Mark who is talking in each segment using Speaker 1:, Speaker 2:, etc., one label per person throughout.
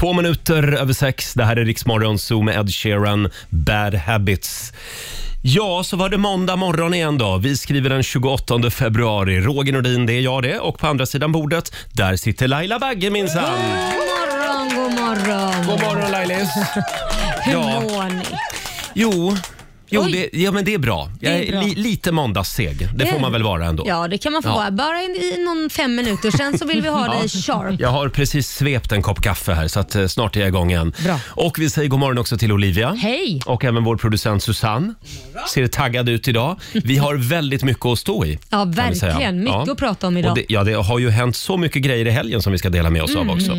Speaker 1: Två minuter över sex. Det här är Riksmorgon Zoo med Ed Sheeran, Bad Habits. Ja, så var det måndag morgon igen då. Vi skriver den 28 februari. Roger Nordin, det är jag det. Och på andra sidan bordet, där sitter Laila Bagge minsann.
Speaker 2: God morgon, god morgon.
Speaker 1: God morgon Lailis.
Speaker 2: Hur
Speaker 1: Ja.
Speaker 2: mår ni?
Speaker 1: Jo, jo
Speaker 2: Oj.
Speaker 1: det, ja, men det är bra. Jag
Speaker 2: Det är
Speaker 1: är
Speaker 2: bra.
Speaker 1: Li, lite måndagsseg. Det får man väl vara ändå.
Speaker 2: Ja, det kan man få
Speaker 1: Ja.
Speaker 2: vara. Bara i, i någon fem minuter. Sen så vill vi ha dig sharp.
Speaker 1: Jag har precis svept en kopp kaffe här så att eh, snart är jag igång igen.
Speaker 2: Bra.
Speaker 1: Och vi säger god morgon också till Olivia.
Speaker 2: Hej!
Speaker 1: Och även vår producent Susanne ser taggad ut idag. Vi har väldigt mycket att stå i.
Speaker 2: Ja,
Speaker 1: kan vi säga.
Speaker 2: verkligen. Mycket att prata om idag.
Speaker 1: Och det, ja, det har ju hänt så mycket grejer i helgen som vi ska dela med oss
Speaker 2: Mm.
Speaker 1: av också.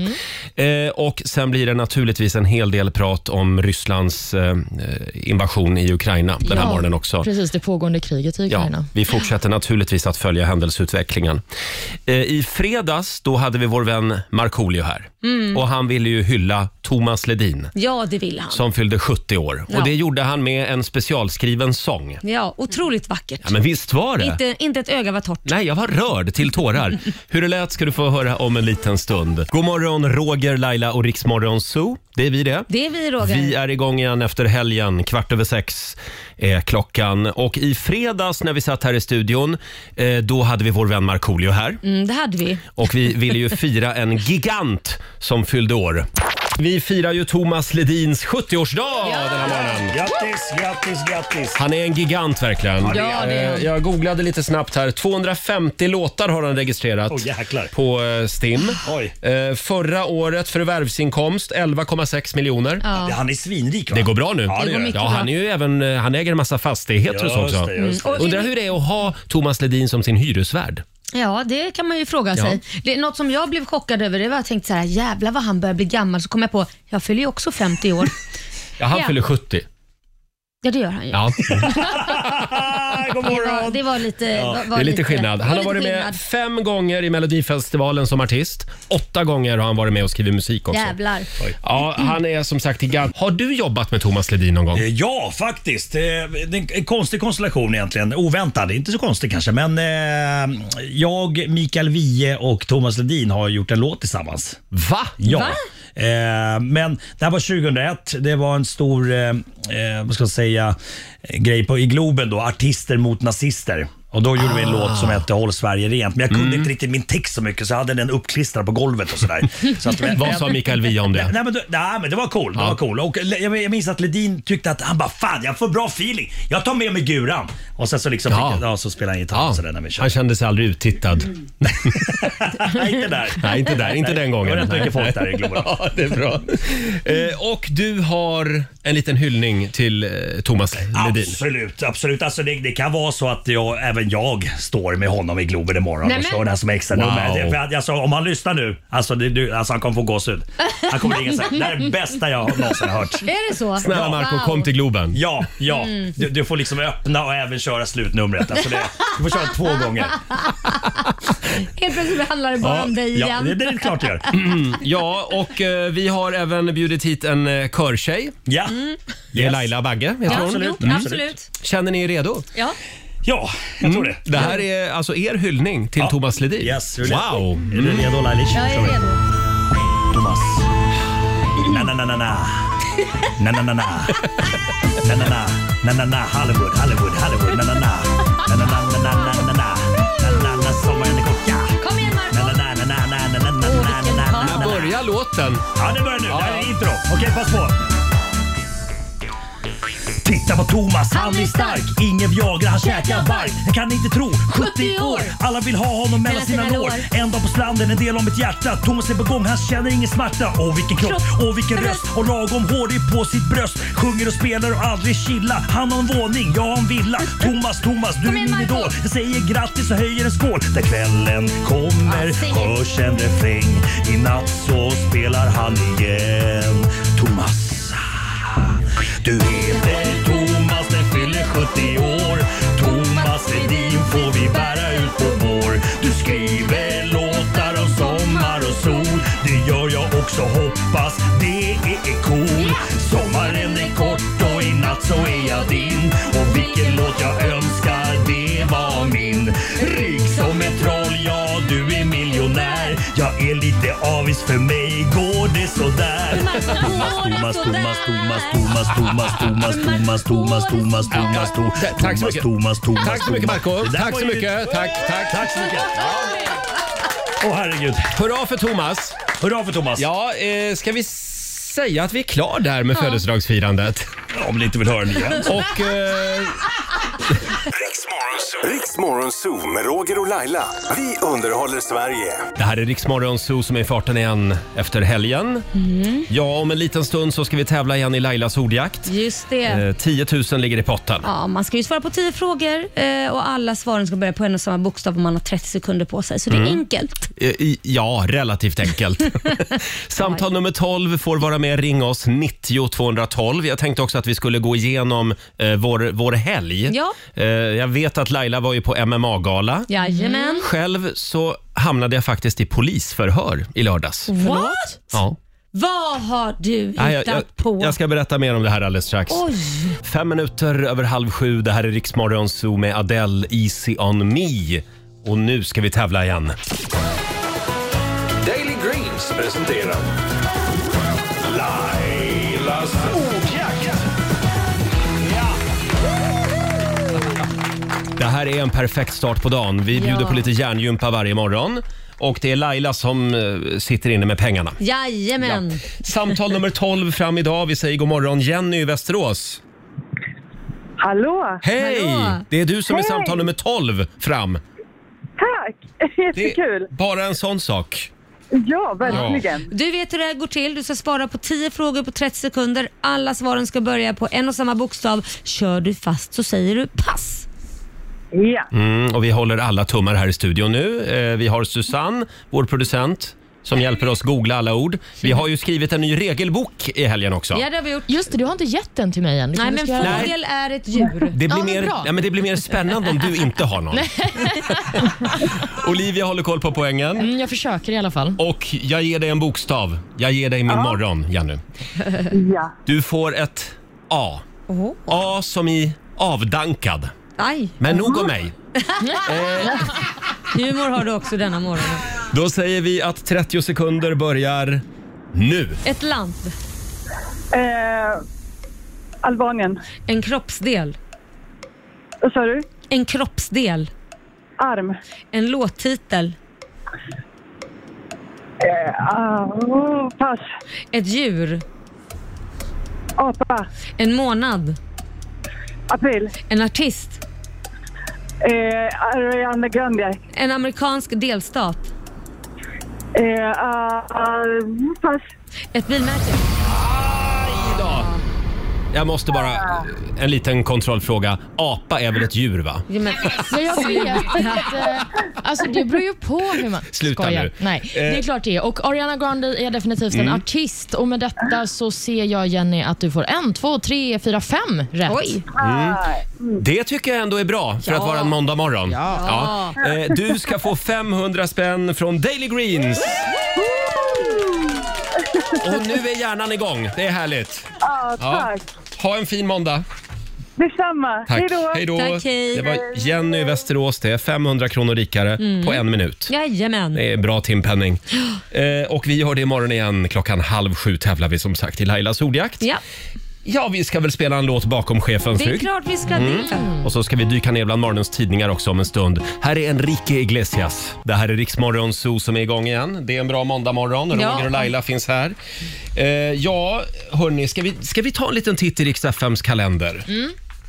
Speaker 1: Eh, och sen blir det naturligtvis en hel del prat om Rysslands eh, invasion i Ukraina den här
Speaker 3: Ja,
Speaker 1: morgonen också.
Speaker 3: Precis, det pågående kriget i
Speaker 1: Ja,
Speaker 3: Ukraina.
Speaker 1: vi fortsätter naturligtvis att följa händelseutvecklingen. Eh, I fredags då hade vi vår vän Markoolio här.
Speaker 2: Mm.
Speaker 1: Och Han ville ju hylla Thomas Ledin
Speaker 2: Ja, det vill han.
Speaker 1: som fyllde 70 år.
Speaker 2: Ja.
Speaker 1: Och Det gjorde han med en specialskriven sång.
Speaker 2: Ja, otroligt vackert.
Speaker 1: Ja, men visst var det?
Speaker 2: inte, inte ett öga var torrt.
Speaker 1: Nej, jag var rörd till tårar. Hur det lät ska du få höra om en liten stund. God morgon, Roger, Laila och Riksmorgon Zoo. Det är vi det.
Speaker 2: Det är vi Roger.
Speaker 1: Vi är igång igen efter helgen. Kvart över sex är klockan. Och i fredags när vi satt här i studion, eh, då hade vi vår vän Markoolio här.
Speaker 2: Mm, det hade vi.
Speaker 1: Och vi ville ju fira en gigant som fyllde år. Vi firar ju Thomas Ledins 70-årsdag den här morgonen.
Speaker 4: Grattis, grattis, grattis!
Speaker 1: Han är en gigant verkligen.
Speaker 3: Ja, det är han.
Speaker 1: Eh, Jag googlade lite snabbt här. 250 låtar har han registrerat
Speaker 4: Åh, jäklar.
Speaker 1: på eh, Stim.
Speaker 4: Oj.
Speaker 1: Eh, Förra året förvärvsinkomst 11,6 miljoner.
Speaker 4: Ja, Han är svinrik va?
Speaker 1: Det går bra nu.
Speaker 4: Ja, det gör det.
Speaker 1: Ja, han, är ju även, eh, han äger en massa fastigheter och så
Speaker 4: Just
Speaker 1: också.
Speaker 4: det, just det.
Speaker 2: Mm. Och-
Speaker 1: Undrar hur det är att ha Thomas Ledin som sin hyresvärd.
Speaker 2: Ja, det kan man ju fråga
Speaker 1: Ja.
Speaker 2: sig. Det, något som jag blev chockad över det var att jag tänkte så här, jävlar vad han börjar bli gammal. Så kom jag på, jag fyller ju också 50 år.
Speaker 1: Ja, han
Speaker 2: Ja.
Speaker 1: fyller 70.
Speaker 2: ja, det gör han ju.
Speaker 1: Ja,
Speaker 4: Ah, god
Speaker 2: Det, var,
Speaker 4: morgon!
Speaker 2: det var lite... var, var
Speaker 1: det är lite
Speaker 2: det
Speaker 1: skillnad.
Speaker 2: var
Speaker 1: Han har
Speaker 2: lite
Speaker 1: varit
Speaker 2: skillnad.
Speaker 1: med fem gånger i Melodifestivalen som artist. Åtta gånger har han varit med och skrivit musik också.
Speaker 2: Jävlar.
Speaker 1: Ja, han är som sagt gigant. Har du jobbat med Thomas Ledin någon gång?
Speaker 4: Eh, Ja, faktiskt. Eh, Det är en konstig konstellation egentligen. Oväntad. Inte så konstig kanske, men eh, jag, Mikael Wiehe och Thomas Ledin har gjort en låt tillsammans.
Speaker 1: Va?
Speaker 4: Ja.
Speaker 2: Va?
Speaker 4: Eh, men det här var 2001. Det var en stor, eh, eh, vad ska jag säga, eh, grej på, i Globen då. Artister mot nazister. Och då gjorde vi en låt
Speaker 1: Ah.
Speaker 4: som hette Håll Sverige rent. Men jag
Speaker 1: Mm.
Speaker 4: kunde inte riktigt min text så mycket så jag hade den uppklistrad på golvet och sådär. Så att, men,
Speaker 1: Vad sa Mikael Wiehe om det?
Speaker 4: Nej men, det- nej men det var cool. Det
Speaker 1: Ja.
Speaker 4: var cool. Och le- jag jag minns att Ledin tyckte att han bara fan jag får bra feeling. Jag tar med mig guran. Och sen så liksom
Speaker 1: Ja.
Speaker 4: fick jag, ja, så spelade han gitarr
Speaker 1: Ja,
Speaker 4: och sådär när vi körde.
Speaker 1: han kände sig aldrig uttittad.
Speaker 4: Mm. nej inte där.
Speaker 1: Nej, inte där. Inte den gången.
Speaker 4: Det var rätt mycket folk där i Globen.
Speaker 1: Ja, det är bra. Eh, och du har en liten hyllning till eh, Thomas Ledin.
Speaker 4: Absolut, absolut. Alltså det, det kan vara så att jag, även jag står med honom i Globen imorgon
Speaker 2: Nej,
Speaker 4: och
Speaker 2: men-
Speaker 4: kör den här som extra nummer.
Speaker 1: Wow.
Speaker 4: Det- för att, Alltså, om han lyssnar nu, alltså, det, du, alltså han kommer få gåshud. Han kommer ringa sig. Det här är det bästa jag någonsin har hört.
Speaker 2: Är det så?
Speaker 1: Snälla
Speaker 2: Ja.
Speaker 1: Marco,
Speaker 2: Wow.
Speaker 1: kom till Globen.
Speaker 4: Ja, ja.
Speaker 2: Mm.
Speaker 4: Du, du får liksom öppna och även köra slutnumret. Alltså det, du får köra två gånger.
Speaker 2: Helt plötsligt handlar det bara om dig
Speaker 4: ja,
Speaker 2: igen.
Speaker 4: det, det är klart jag gör. Mm.
Speaker 1: Mm. Ja, och eh, vi har även bjudit hit en eh, körtjej.
Speaker 4: Ja.
Speaker 2: Mm.
Speaker 1: Det är
Speaker 4: Yes.
Speaker 1: Laila Bagge, heter
Speaker 2: Ja,
Speaker 1: hon.
Speaker 4: absolut,
Speaker 2: jo,
Speaker 4: absolut.
Speaker 2: absolut.
Speaker 1: Känner ni er redo?
Speaker 2: Ja.
Speaker 4: ja, jag tror det.
Speaker 1: Det här är alltså er hyllning till
Speaker 4: Ja.
Speaker 1: Thomas Ledin.
Speaker 4: Yes, hur lät det?
Speaker 1: wow!
Speaker 4: Är du redo Lailish?
Speaker 2: Jag är redo.
Speaker 4: Thomas. Na na na na na. Na na na na. Na na na. Na na na Hollywood, Hollywood, Hollywood. Na na na. Na na na na na na na na. Na na na sommaren är kort ja.
Speaker 2: Kom igen
Speaker 4: Na
Speaker 2: Marco.
Speaker 4: na na na na na na na na na na na
Speaker 1: När
Speaker 4: na.
Speaker 1: börjar låten?
Speaker 4: Ja, det börjar nu. Det här är intro. Okej, pass på. Titta på Thomas, han är stark. Ingen Viagra, han käkar varg. Jag kan inte tro, 70 år. Alla vill ha honom mellan sina lår. En dag på stranden, en del om ett hjärta. Thomas är på gång, han känner ingen smärta. Åh vilken kropp, åh vilken röst. Och lagom hårig på sitt bröst. Sjunger och spelar och aldrig chilla. Han har en våning, jag har en villa. Thomas, Thomas, du är min idol. Jag säger grattis och höjer en skål. Där kvällen kommer hörs en refräng. I natt så spelar han igen. Thomas. Du heter Thomas, den fyller 70 år Thomas Ledin får vi bära ut på vår Du skriver låtar om sommar och sol Det gör jag också, hoppas det är cool Sommaren är kort och i natt så är jag din Och vilken låt jag önskar, det var min Rik som ett troll, ja du är miljonär Jag är lite avis, för mig går det sådär. Thomas, Thomas, Thomas, Thomas, Thomas, Thomas, Thomas, Thomas, Thomas, Thomas, Thomas, Thomas,
Speaker 1: Tack så
Speaker 4: Thomas,
Speaker 1: mycket.
Speaker 4: Thomas, Thomas.
Speaker 1: Tack så mycket Marco.
Speaker 4: Det där
Speaker 1: Tack
Speaker 4: var
Speaker 1: så
Speaker 4: ju-
Speaker 1: mycket. Tack, tack.
Speaker 4: Tack så mycket. Åh herregud.
Speaker 1: Hurra för Thomas.
Speaker 4: Hurra för Thomas.
Speaker 1: Ja, eh, ska vi säga att vi är klar där med födelsedagsfirandet?
Speaker 4: Om ni inte vill höra den igen.
Speaker 1: Och eh,
Speaker 3: Riksmorgon Zoo med Roger och Laila. Vi underhåller Sverige.
Speaker 1: det här är Riksmorgon Zoo som är i farten igen efter helgen.
Speaker 2: Mm.
Speaker 1: Ja, om en liten stund så ska vi tävla igen i Lailas ordjakt.
Speaker 2: Just det.
Speaker 1: Eh, 10 000 ligger i potten.
Speaker 2: Ja, man ska ju svara på 10 frågor eh, och alla svaren ska börja på en och samma bokstav och man har 30 sekunder på sig. Så det är enkelt.
Speaker 1: Eh, i- Ja, relativt enkelt. Samtal nummer 12 får vara med. Ring oss 90 212. Jag tänkte också att vi skulle gå igenom eh, vår, vår helg.
Speaker 2: Ja.
Speaker 1: Eh, jag vet att Laila var ju på MMA-gala.
Speaker 2: Jajamän.
Speaker 1: Själv så hamnade jag faktiskt i polisförhör i lördags.
Speaker 2: What?
Speaker 1: Ja.
Speaker 2: Vad har du hittat
Speaker 1: Nej, jag, jag,
Speaker 2: på?
Speaker 1: jag ska berätta mer om det här alldeles strax.
Speaker 2: Oj!
Speaker 1: Fem minuter över halv sju. Det här är Riksmorgon Zoo med Adele, Easy on me. Och nu ska vi tävla igen.
Speaker 5: Daily Greens presenterar Lailas ordjakt.
Speaker 1: Det här är en perfekt start på dagen. Vi bjuder
Speaker 2: Ja.
Speaker 1: på lite hjärngympa varje morgon. Och det är Laila som eh, sitter inne med pengarna.
Speaker 2: Jajamän.
Speaker 1: Samtal nummer 12 fram idag. Vi säger god morgon Jenny i Västerås.
Speaker 6: Hallå!
Speaker 1: Hej!
Speaker 2: Hallå.
Speaker 1: Det är du som är
Speaker 6: Hej.
Speaker 1: samtal nummer 12 fram.
Speaker 6: Tack!
Speaker 1: Det
Speaker 6: Jättekul!
Speaker 1: är bara en sån sak.
Speaker 6: Ja, verkligen.
Speaker 2: Du vet hur det här går till. Du ska svara på 10 frågor på 30 sekunder. Alla svaren ska börja på en och samma bokstav. Kör du fast så säger du pass.
Speaker 6: Ja.
Speaker 1: Mm, och vi håller alla tummar här i studion nu. Eh, vi har Susanne, vår producent, som hjälper oss googla alla ord. Vi har ju skrivit en ny regelbok i helgen också.
Speaker 2: Ja, det har vi gjort.
Speaker 7: Just det, du har inte gett den till mig än. Du
Speaker 2: Nej,
Speaker 7: kanske
Speaker 2: men
Speaker 7: ska göra det.
Speaker 2: fågel är ett djur.
Speaker 1: Det blir,
Speaker 7: Ja, men
Speaker 1: mer,
Speaker 7: bra.
Speaker 1: ja, men det blir mer spännande om du inte har någon. Olivia håller koll på poängen.
Speaker 7: Mm, jag försöker i alla fall.
Speaker 1: Och jag ger dig en bokstav. Jag ger dig min morgon, Jenny.
Speaker 6: ja.
Speaker 1: Du får ett A.
Speaker 2: Oho.
Speaker 1: A som i avdankad.
Speaker 2: Aj,
Speaker 1: Men nog om mig.
Speaker 2: humor har du också denna morgon.
Speaker 1: Då säger vi att 30 sekunder börjar nu.
Speaker 2: Ett land,
Speaker 6: Eh, Albanien.
Speaker 2: en kroppsdel,
Speaker 6: Vad sa du?
Speaker 2: en kroppsdel,
Speaker 6: Arm.
Speaker 2: en låttitel,
Speaker 6: Ah, oh, pass.
Speaker 2: ett djur,
Speaker 6: Apa.
Speaker 2: en månad,
Speaker 6: April.
Speaker 2: en artist,
Speaker 6: Eh, Ariana Grande.
Speaker 2: en amerikansk delstat,
Speaker 6: Eh, ah, ah, pass.
Speaker 2: ett bilmärke.
Speaker 1: Jag måste bara... En liten kontrollfråga. Apa är väl ett djur, va?
Speaker 2: Ja, men-
Speaker 7: Men jag vet inte. Alltså det beror ju på hur man...
Speaker 1: Sluta nu. Eh. Mm.
Speaker 7: Nej, det är klart det är. Och Ariana Grande är definitivt en artist. Och med detta så ser jag Jenny att du får en, två, tre, fyra, fem rätt.
Speaker 2: Oj,
Speaker 1: Det tycker jag ändå är bra för att vara en måndag morgon. Ja. Eh, Du ska få 500 spänn från Daily Greens. Och nu är hjärnan igång. Det är härligt.
Speaker 6: Ah, tack.
Speaker 1: Ha en fin måndag.
Speaker 6: Detsamma.
Speaker 1: Tack.
Speaker 6: Hej då.
Speaker 2: Tack, hej.
Speaker 1: Det var Jenny i Västerås. Det är 500 kronor rikare på en minut.
Speaker 2: jajamän.
Speaker 1: Det är bra timpenning. Eh, och vi gör det imorgon igen. Klockan halv sju tävlar vi som sagt i Lailas ordjakt.
Speaker 2: Ja,
Speaker 1: Ja, vi ska väl spela en låt bakom chefens
Speaker 2: det är
Speaker 1: rygg.
Speaker 2: klart vi ska
Speaker 1: Mm.
Speaker 2: det.
Speaker 1: Och så ska vi dyka ner bland morgonens tidningar också om en stund. Här är Enrique Iglesias. Det här är Riksmorgon Zoo som är igång igen. Det är en bra måndagmorgon. Roger
Speaker 2: Ja.
Speaker 1: och Laila finns här. Eh, ja, hörni, ska vi, ska vi ta en liten titt i Rix FMs kalender?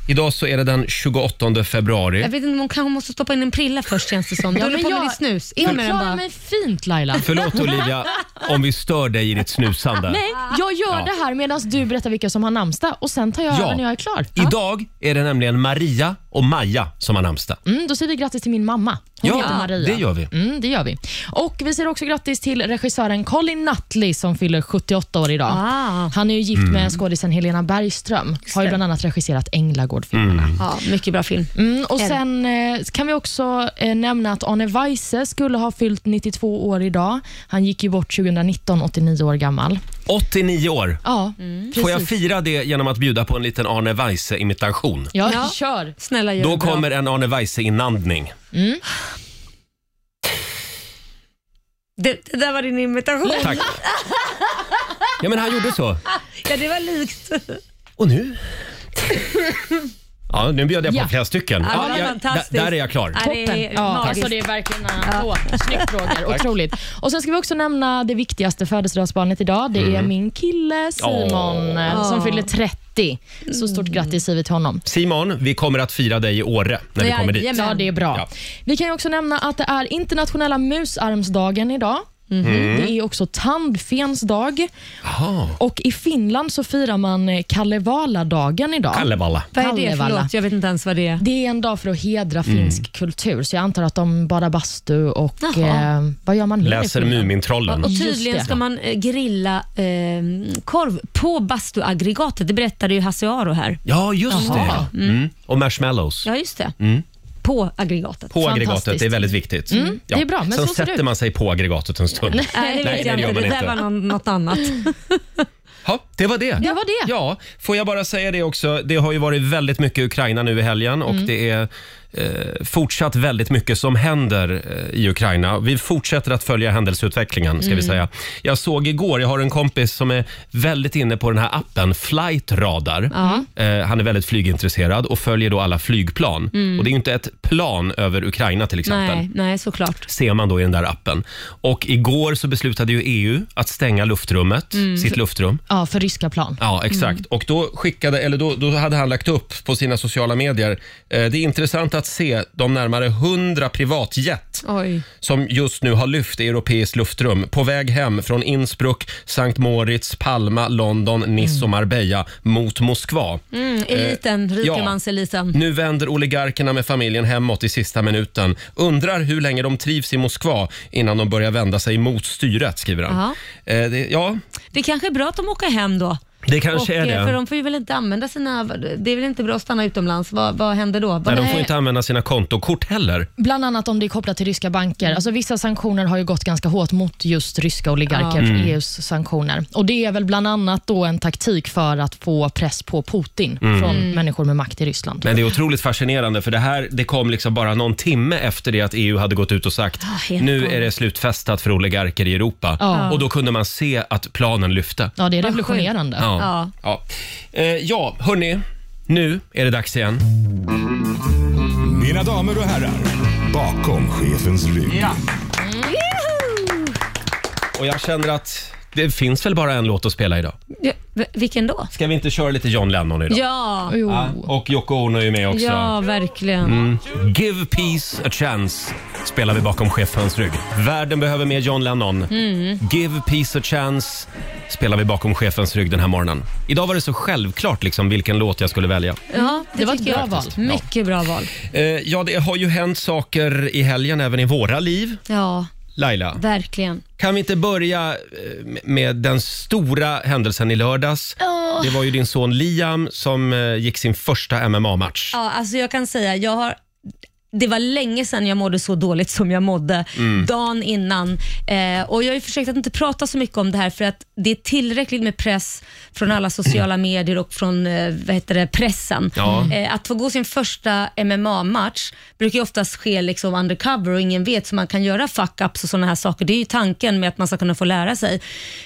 Speaker 1: Idag så är det den 28 februari.
Speaker 2: Mm. Jag vet inte, hon kanske måste stoppa in en prilla först känns det som. Du
Speaker 7: Ja,
Speaker 2: håller
Speaker 7: men
Speaker 2: på med
Speaker 7: jag,
Speaker 2: ditt snus. In
Speaker 7: jag
Speaker 2: med den
Speaker 7: klarar
Speaker 2: bara.
Speaker 7: mig fint Laila.
Speaker 1: Förlåt Olivia om vi stör dig i ditt snusande.
Speaker 7: Nej, jag gör
Speaker 1: Ja.
Speaker 7: det här medan du berättar vilka som har namnsdag och sen tar jag
Speaker 1: Ja.
Speaker 7: över när jag är klar.
Speaker 1: Idag är det nämligen Maria och Maja som har namnsdag.
Speaker 7: Mm, då säger vi grattis till min mamma. Hon
Speaker 1: Ja,
Speaker 7: heter Maria.
Speaker 1: det gör vi.
Speaker 7: Mm, det gör vi. Och vi säger också grattis till regissören Colin Nutley som fyller 78 år idag.
Speaker 2: Ah.
Speaker 7: Han är ju gift med skådisen Helena Bergström. Har ju bland annat regisserat Änglagård-filmerna.
Speaker 2: Ja, mycket bra film.
Speaker 7: Mm, och sen eh, kan vi också eh, nämna att Arne Weise skulle ha fyllt 92 år idag. Han gick ju bort 2019, 89 år gammal. Mm.
Speaker 1: 89 år.
Speaker 7: Ja, precis.
Speaker 1: Får jag fira det genom att bjuda på en liten Arne Weise-imitation?
Speaker 7: Ja,
Speaker 2: Ja.
Speaker 7: kör.
Speaker 2: Snälla gör
Speaker 1: Då
Speaker 2: det bra.
Speaker 1: kommer en Arne Weise-inandning.
Speaker 2: Det, det där var din imitation.
Speaker 1: Tack. Ja, men han gjorde så.
Speaker 2: Ja, det var likt.
Speaker 1: Och nu? Ja, nu bjöd jag på
Speaker 7: Ja.
Speaker 1: flera stycken.
Speaker 2: Ja, det var
Speaker 1: jag-
Speaker 2: fantastiskt.
Speaker 1: där där är jag klar.
Speaker 2: Ja, det är
Speaker 7: Toppen. Ja,
Speaker 2: magiskt.
Speaker 7: alltså det är verkligen eh, åh, snyggt Roger. Otroligt. Och sen ska vi också nämna det viktigaste födelsedagsbarnet idag. Det är min kille Simon eh, som fyller 30. Så stort grattis säger vi till honom.
Speaker 1: Simon, vi kommer att fira dig i Åre när vi
Speaker 2: Ja,
Speaker 1: kommer dit.
Speaker 2: jajamän.
Speaker 7: Ja, det är bra.
Speaker 1: Ja.
Speaker 7: Vi kan ju också nämna att det är internationella musarmsdagen idag. Mm. Det är också tandfens dag
Speaker 1: Jaha.
Speaker 7: och i Finland så firar man eh, Kalevala-dagen idag.
Speaker 1: Kallevalla.
Speaker 2: Vad är det?
Speaker 7: Kallevalla.
Speaker 2: Förlåt, jag vet inte ens vad det är.
Speaker 7: Det är en dag för att hedra finsk kultur, så jag antar att de badar bastu och
Speaker 2: Jaha.
Speaker 7: eh, vad gör man mer i
Speaker 1: Läser
Speaker 7: Finland?
Speaker 1: Mumintrollen.
Speaker 2: Och
Speaker 7: Just
Speaker 2: tydligen
Speaker 7: det.
Speaker 2: ska man eh, grilla eh, korv på bastuaggregatet. Det berättade ju Hasse Aro här.
Speaker 1: Ja, just
Speaker 7: Jaha.
Speaker 1: det. Mm. Och marshmallows.
Speaker 2: Ja, just det. På aggregatet.
Speaker 1: Mm. På aggregatet,
Speaker 7: Fantastiskt. Mm,
Speaker 1: det är väldigt viktigt.
Speaker 7: det är bra, men
Speaker 1: Sen
Speaker 7: så ser det
Speaker 1: sätter
Speaker 7: ut.
Speaker 1: man sig på aggregatet en stund.
Speaker 2: Nej, det vet
Speaker 1: Nej,
Speaker 2: jag
Speaker 1: det gör
Speaker 2: inte.
Speaker 1: man
Speaker 2: Det
Speaker 1: inte.
Speaker 2: där var någon, något annat.
Speaker 1: Ja, det var det.
Speaker 7: Det var det.
Speaker 1: Ja, får jag bara säga det också. Det har ju varit väldigt mycket Ukraina nu i helgen och
Speaker 7: Mm.
Speaker 1: det är eh, fortsatt väldigt mycket som händer eh, i Ukraina. Vi fortsätter att följa händelseutvecklingen ska vi
Speaker 7: Mm.
Speaker 1: säga. Jag såg igår, jag har en kompis som är väldigt inne på den här appen Flight Radar.
Speaker 7: Mm.
Speaker 1: Eh, han är väldigt flygintresserad och följer då alla flygplan. Och det är ju inte ett plan över Ukraina till exempel
Speaker 2: Nej, nej, såklart.
Speaker 1: ser man då i den där appen. Och igår så beslutade ju EU att stänga luftrummet, sitt luftrum.
Speaker 7: Ja, för ryska plan.
Speaker 1: Ja, exakt. Och då, skickade, eller då, då hade han lagt upp på sina sociala medier. Eh, det är intressant att se de närmare 100 privatjet
Speaker 2: Oj.
Speaker 1: som just nu har lyft i europeiskt luftrum på väg hem från Innsbruck, Sankt Moritz, Palma, London, Nice och Marbella mot Moskva.
Speaker 2: Mm, eliten, rikemanseliten.
Speaker 1: Nu vänder oligarkerna med familjen hemåt i sista minuten. Undrar hur länge de trivs i Moskva innan de börjar vända sig mot styret, skriver han. Eh, det, ja,
Speaker 2: Det kanske är bra att de åker hem då.
Speaker 1: det kanske
Speaker 2: och,
Speaker 1: är
Speaker 2: eh, För
Speaker 1: det.
Speaker 2: de får ju väl inte använda sina... Det är väl inte bra att stanna utomlands? Vad, vad händer då? Vad-
Speaker 1: Nej, de får inte använda sina kontokort heller.
Speaker 7: Bland annat om det är kopplat till ryska banker.
Speaker 1: Mm.
Speaker 7: Alltså, vissa sanktioner har ju gått ganska hårt mot just ryska oligarker,
Speaker 1: Mm.
Speaker 7: EUs sanktioner. Och Det är väl bland annat då en taktik för att få press på Putin från människor med makt i Ryssland.
Speaker 1: Mm. Men det är otroligt fascinerande för det här det kom liksom bara någon timme efter det att EU hade gått ut och sagt
Speaker 2: Ah, helt
Speaker 1: nu
Speaker 2: galet."
Speaker 1: är det slutfestat för oligarker i Europa.
Speaker 7: Ja.
Speaker 1: Och då kunde man se att planen lyfte.
Speaker 7: Ja, det är revolutionerande.
Speaker 1: Ja. Ja.
Speaker 2: Ja.
Speaker 1: Ja. Eh, ja, hörni. Nu är det dags igen.
Speaker 5: Mina damer och herrar,
Speaker 3: Bakom chefens rygg.
Speaker 1: Och jag känner att det finns väl bara en låt att spela idag.
Speaker 2: Ja, v- vilken då?
Speaker 1: Ska vi inte köra lite John Lennon idag?
Speaker 2: Ja,
Speaker 7: Jo.
Speaker 1: Ja, Och Yoko Ono är ju med också. Mm.
Speaker 2: ja verkligen.
Speaker 1: Give peace a chance spelar vi bakom chefens rygg. Världen behöver mer John Lennon. Give peace a chance spelar vi bakom chefens rygg den här morgonen. Idag var det så självklart liksom vilken låt jag skulle välja.
Speaker 2: Ja, det,
Speaker 7: Mm. var ett
Speaker 2: tycker
Speaker 7: bra
Speaker 2: jag.
Speaker 7: val.
Speaker 2: Mycket bra val.
Speaker 1: Eh, ja, det har ju hänt saker i helgen även i våra liv.
Speaker 2: Ja,
Speaker 1: Laila,
Speaker 2: verkligen.
Speaker 1: kan vi inte börja eh, med den stora händelsen i lördags? Det var ju din son Liam som eh, gick sin första MMA-match.
Speaker 2: Ja, alltså jag kan säga, jag har det var länge sedan jag mådde så dåligt som jag mådde dagen innan. Eh, och Jag har ju försökt att inte prata så mycket om det här för att det är tillräckligt med press från alla sociala medier och från eh, vad heter det, pressen.
Speaker 1: Ja.
Speaker 2: Eh, att få gå sin första MMA-match brukar ju oftast ske liksom undercover och ingen vet, så man kan göra fuck-ups och sådana här saker. Det är ju tanken med att man ska kunna få lära sig.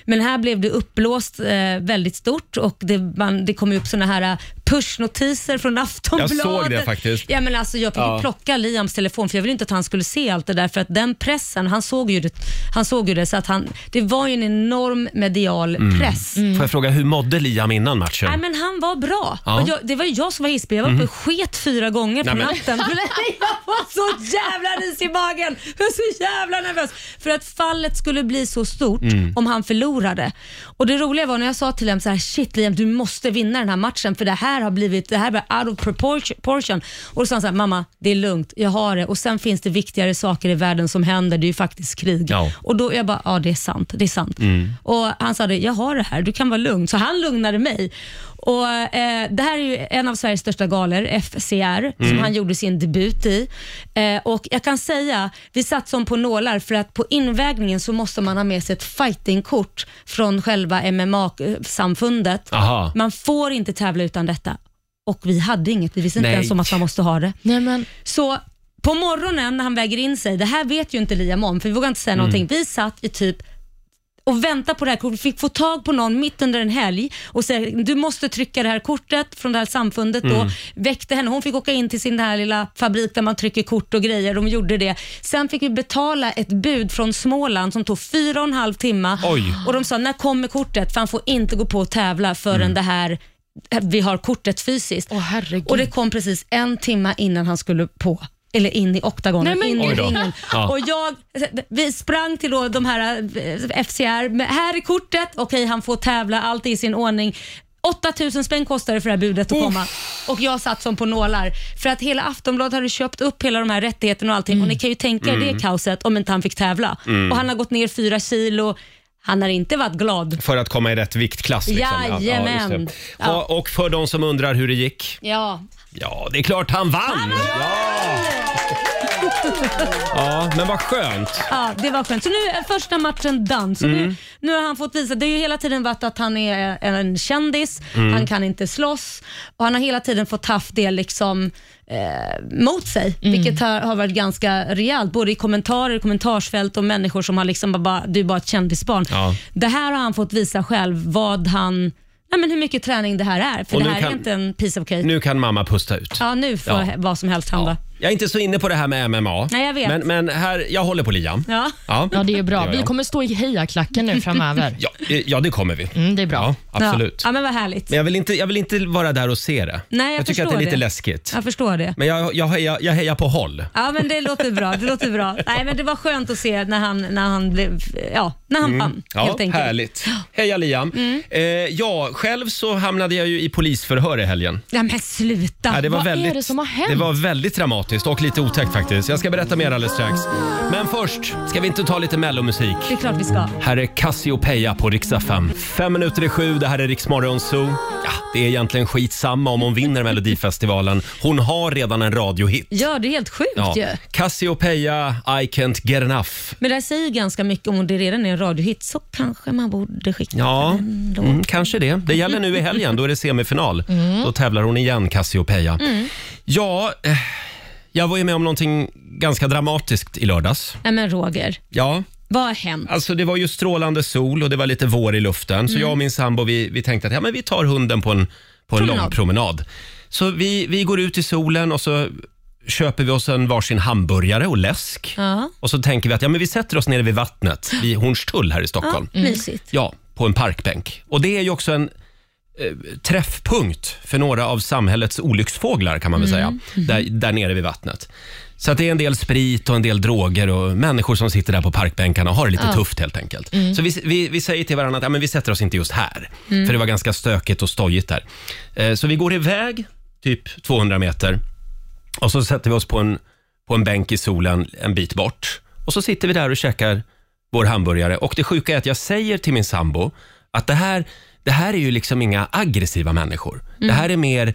Speaker 2: Men här blev det uppblåst eh, väldigt stort och det, man, det kom ju upp sådana här eh, push-notiser från Aftonbladet.
Speaker 1: såg det faktiskt.
Speaker 2: Ja, men alltså, jag fick ju plocka Liams telefon för jag ville inte att han skulle se allt det där för att den pressen, han såg ju det. Han såg ju det så att han, det var ju en enorm medial
Speaker 1: Mm.
Speaker 2: press.
Speaker 1: Får jag fråga, hur mådde Liam innan matchen?
Speaker 2: Mm. Nej, men han var bra.
Speaker 1: Ja. Mm.
Speaker 2: Och jag, det var ju jag som var hispig. Jag var uppe och sket fyra gånger på
Speaker 1: Nej,
Speaker 2: natten.
Speaker 1: men-
Speaker 2: För att jag var så jävla ris i magen. Jag var så jävla nervös. För att fallet skulle bli så stort
Speaker 1: Mm.
Speaker 2: om han förlorade. Och Det roliga var när jag sa till Liam så här, shit Liam du måste vinna den här matchen för det här har blivit det här var out of proportion. Och då sa han så här, mamma det är lugnt, jag har det. Och Sen finns det viktigare saker i världen som händer, det är ju faktiskt krig.
Speaker 1: Ja.
Speaker 2: Och då jag bara, ja det är sant. Det är sant. Och Han sa det, jag har det här, du kan vara lugn. Så han lugnade mig. Och eh, Det här är ju en av Sveriges största galor, FCR, som han gjorde sin debut i. Eh, och Jag kan säga, vi satt som på nålar för att på invägningen så måste man ha med sig ett fightingkort från själva MMA-samfundet.
Speaker 1: Aha.
Speaker 2: Man får inte tävla utan detta. Och vi hade inget, vi visste inte
Speaker 1: Nej.
Speaker 2: ens om att man måste ha det.
Speaker 7: Nej, men,
Speaker 2: Så på morgonen när han väger in sig, det här vet ju inte Liam om, för vi vågar inte säga någonting. Vi satt i typ och vänta på det här kortet. Fick få tag på någon mitt under en helg och säga du måste trycka det här kortet från det här samfundet. Då väckte henne. Hon fick åka in till sin där lilla fabrik där man trycker kort och grejer. De gjorde det. Sen fick vi betala ett bud från Småland som tog fyra och en halv timme.
Speaker 1: Oj.
Speaker 2: Och de sa när kommer kortet? För han får inte gå på och tävla förrän det här vi har kortet fysiskt.
Speaker 7: Åh, herregud.
Speaker 2: Och det kom precis en timme innan han skulle på eller in i
Speaker 7: Nej,
Speaker 2: oktagonen,
Speaker 7: men
Speaker 2: in i
Speaker 7: Oj då.
Speaker 2: ringen.
Speaker 1: Ja.
Speaker 2: Och jag, vi sprang till då de här eh, FCR. Men Här är kortet, okej han får tävla, allt är i sin ordning. 8000 spänn kostade det för det här budet att komma och jag satt som på nålar. För att hela Aftonbladet hade köpt upp hela de här rättigheterna och allting och
Speaker 7: Mm.
Speaker 2: ni kan ju tänka er det kaoset om inte han fick tävla. Och han har gått ner fyra kilo. Han har inte varit glad.
Speaker 1: För att komma i rätt viktklass. Liksom.
Speaker 2: Jajamän.
Speaker 1: just det.
Speaker 2: Ja.
Speaker 1: Ja, och för de som undrar hur det gick.
Speaker 2: Ja,
Speaker 1: Ja, det är klart han vann! Ja. ja, men vad skönt.
Speaker 2: Ja, det var skönt. Så nu är första matchen done. Så
Speaker 1: Mm.
Speaker 2: nu, nu har han fått visa. Det har ju hela tiden varit att han är en kändis,
Speaker 1: Mm.
Speaker 2: han kan inte slåss och han har hela tiden fått haft det liksom eh, mot sig, vilket har, har varit ganska rejält. Både i kommentarer, kommentarsfält och människor som har liksom bara, bara, du är bara ett kändisbarn.
Speaker 1: Ja.
Speaker 2: Det här har han fått visa själv, vad han, nej men hur mycket träning det här är. För
Speaker 1: Och
Speaker 2: det
Speaker 1: nu
Speaker 2: här
Speaker 1: kan-
Speaker 2: är inte en piece of cake.
Speaker 1: Nu kan mamma pusta ut.
Speaker 2: Ja, nu får
Speaker 1: Ja.
Speaker 2: vad som helst hända.
Speaker 1: Jag är inte så inne på det här med MMA.
Speaker 2: Nej, jag vet.
Speaker 1: Men, men här, jag håller på Liam.
Speaker 2: Ja.
Speaker 7: Ja, det är bra.
Speaker 1: gör
Speaker 7: Vi
Speaker 1: jag.
Speaker 7: kommer stå i hejaklacken nu framöver.
Speaker 1: Ja, eh, ja, det kommer vi.
Speaker 7: Mm, det är bra.
Speaker 1: Ja, absolut.
Speaker 2: Ja. ja, men vad härligt.
Speaker 1: Men jag vill, inte, jag vill inte vara där och se det.
Speaker 2: Nej, jag
Speaker 1: tycker att det är
Speaker 2: förstår
Speaker 1: lite
Speaker 2: det.
Speaker 1: läskigt.
Speaker 2: Jag förstår det.
Speaker 1: Men jag, jag, hejar, jag hejar på håll.
Speaker 2: Ja men det låter bra. Det låter bra. Nej men det var skönt att se när han, när han blev, ja, när han vann
Speaker 1: Mm. Ja,
Speaker 2: helt enkelt.
Speaker 1: härligt. Heja Liam.
Speaker 7: Mm.
Speaker 1: Eh, ja, själv så hamnade jag ju i polisförhör i helgen.
Speaker 2: Ja men sluta.
Speaker 1: Ja, det var
Speaker 7: Ah, Vad är
Speaker 1: väldigt,
Speaker 7: det som har hänt?
Speaker 1: Det var väldigt dramatiskt och lite otäckt faktiskt. Jag ska berätta mer alldeles strax. Men först, ska vi inte ta lite mellomusik?
Speaker 2: Det är klart vi ska.
Speaker 1: Här är Cassiopeia på riksdag 5. Fem minuter i sju, det här är Riksmorgon Zoo. Ja, det är egentligen skitsamma om hon vinner Melodifestivalen. Hon har redan en radiohit.
Speaker 2: Ja det är helt sjukt
Speaker 1: Ja.
Speaker 2: ju.
Speaker 1: Cassiopeia, I can't get enough.
Speaker 2: Men det här säger ju ganska mycket om det redan är en radiohit så kanske man borde skicka
Speaker 1: Ja,
Speaker 2: den då.
Speaker 1: mm, kanske det. Det gäller nu i helgen, då är det semifinal.
Speaker 2: Mm.
Speaker 1: Då tävlar hon igen, Cassiopeia. Ja, eh, jag var ju med om någonting ganska dramatiskt i lördags.
Speaker 2: Nej men Roger,
Speaker 1: Ja,
Speaker 2: vad har hänt?
Speaker 1: Alltså det var ju strålande sol och det var lite vår i luften.
Speaker 2: Mm.
Speaker 1: Så jag och min sambo vi, vi tänkte att ja, men vi tar hunden på en, på en
Speaker 2: Promenad.
Speaker 1: lång promenad. Så vi, vi går ut i solen och så köper vi oss en varsin hamburgare och läsk.
Speaker 2: Ja,
Speaker 1: Och så tänker vi att ja, men vi sätter oss nere vid vattnet vid Hornstull här i Stockholm.
Speaker 2: mysigt.
Speaker 1: Ja, på en parkbänk. Och det är ju också en eh, träffpunkt för några av samhällets olycksfåglar kan man väl säga. Där, där nere vid vattnet. Så att det är en del sprit och en del droger och människor som sitter där på parkbänkarna och har det lite tufft helt enkelt. Så vi, vi, vi säger till varandra att ja, men vi sätter oss inte just här. För det var ganska stökigt och stojigt där. Eh, Så vi går iväg typ 200 meter och så sätter vi oss på en, på en bänk i solen en bit bort. Och så sitter vi där och käkar vår hamburgare. Och det sjuka är att jag säger till min sambo att det här, det här är ju liksom inga aggressiva människor.
Speaker 2: Mm.
Speaker 1: Det här är mer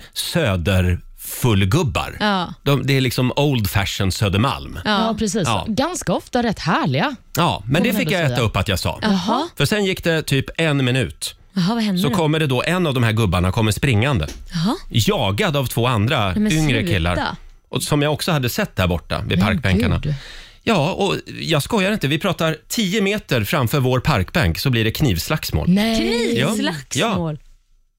Speaker 1: söderfullgubbar.
Speaker 2: Ja.
Speaker 1: De, det är liksom old fashion Södermalm. Ja,
Speaker 7: Ja, precis.
Speaker 1: Ja.
Speaker 7: Ganska ofta rätt härliga.
Speaker 1: men det
Speaker 7: man ändå
Speaker 1: fick jag äta
Speaker 7: säga.
Speaker 1: upp att jag sa.
Speaker 2: Jaha,
Speaker 1: För sen gick det typ en minut.
Speaker 2: Jaha vad hände
Speaker 1: Så
Speaker 2: då?
Speaker 1: kommer det då en av de här gubbarna kommer springande.
Speaker 2: Jaha.
Speaker 1: Jagad av två andra
Speaker 2: men
Speaker 1: yngre
Speaker 2: sluta.
Speaker 1: killar. Och som jag också hade sett där borta vid parkbänkarna.
Speaker 7: Gud.
Speaker 1: Ja, och jag skojar inte. Vi pratar 10 meter framför vår parkbänk så blir det knivslagsmål.
Speaker 7: Nej,
Speaker 1: Ja.
Speaker 2: Knivslagsmål?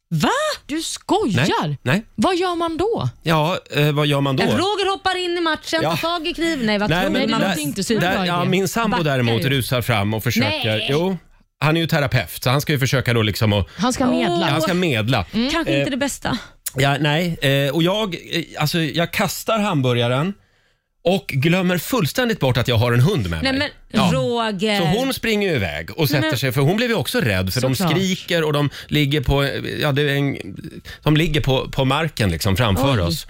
Speaker 2: Va?
Speaker 7: du
Speaker 1: Nej.
Speaker 7: skojar!
Speaker 1: Nej.
Speaker 7: Vad gör man då?
Speaker 1: Ja, eh, vad gör man då?
Speaker 2: Roger hoppar in i matchen,
Speaker 1: Ja.
Speaker 2: tar tag i kniven. Nej vad
Speaker 1: Nej,
Speaker 2: tror
Speaker 1: men
Speaker 2: du? Man
Speaker 1: där-
Speaker 2: måste inte
Speaker 7: så
Speaker 1: där,
Speaker 7: bra
Speaker 1: ja,
Speaker 7: idé.
Speaker 1: min sambo
Speaker 2: Backar
Speaker 1: däremot
Speaker 2: ju.
Speaker 1: rusar fram och försöker.
Speaker 2: Nej.
Speaker 1: Jo, han är ju terapeut så han ska ju försöka då liksom att
Speaker 7: Han ska medla.
Speaker 1: Ja, han ska medla.
Speaker 2: Kanske inte det bästa.
Speaker 1: Ja, nej, eh, och jag, eh, alltså, jag kastar hamburgaren och glömmer fullständigt bort att jag har en hund med
Speaker 2: Nej
Speaker 1: mig.
Speaker 2: men
Speaker 1: Ja.
Speaker 2: Roger.
Speaker 1: Så hon springer ju iväg och sätter sig, för hon blev ju också rädd för de
Speaker 7: Såklart.
Speaker 1: skriker och de ligger på, ja, det är en, de ligger på, på marken liksom framför
Speaker 7: Oj.
Speaker 1: oss.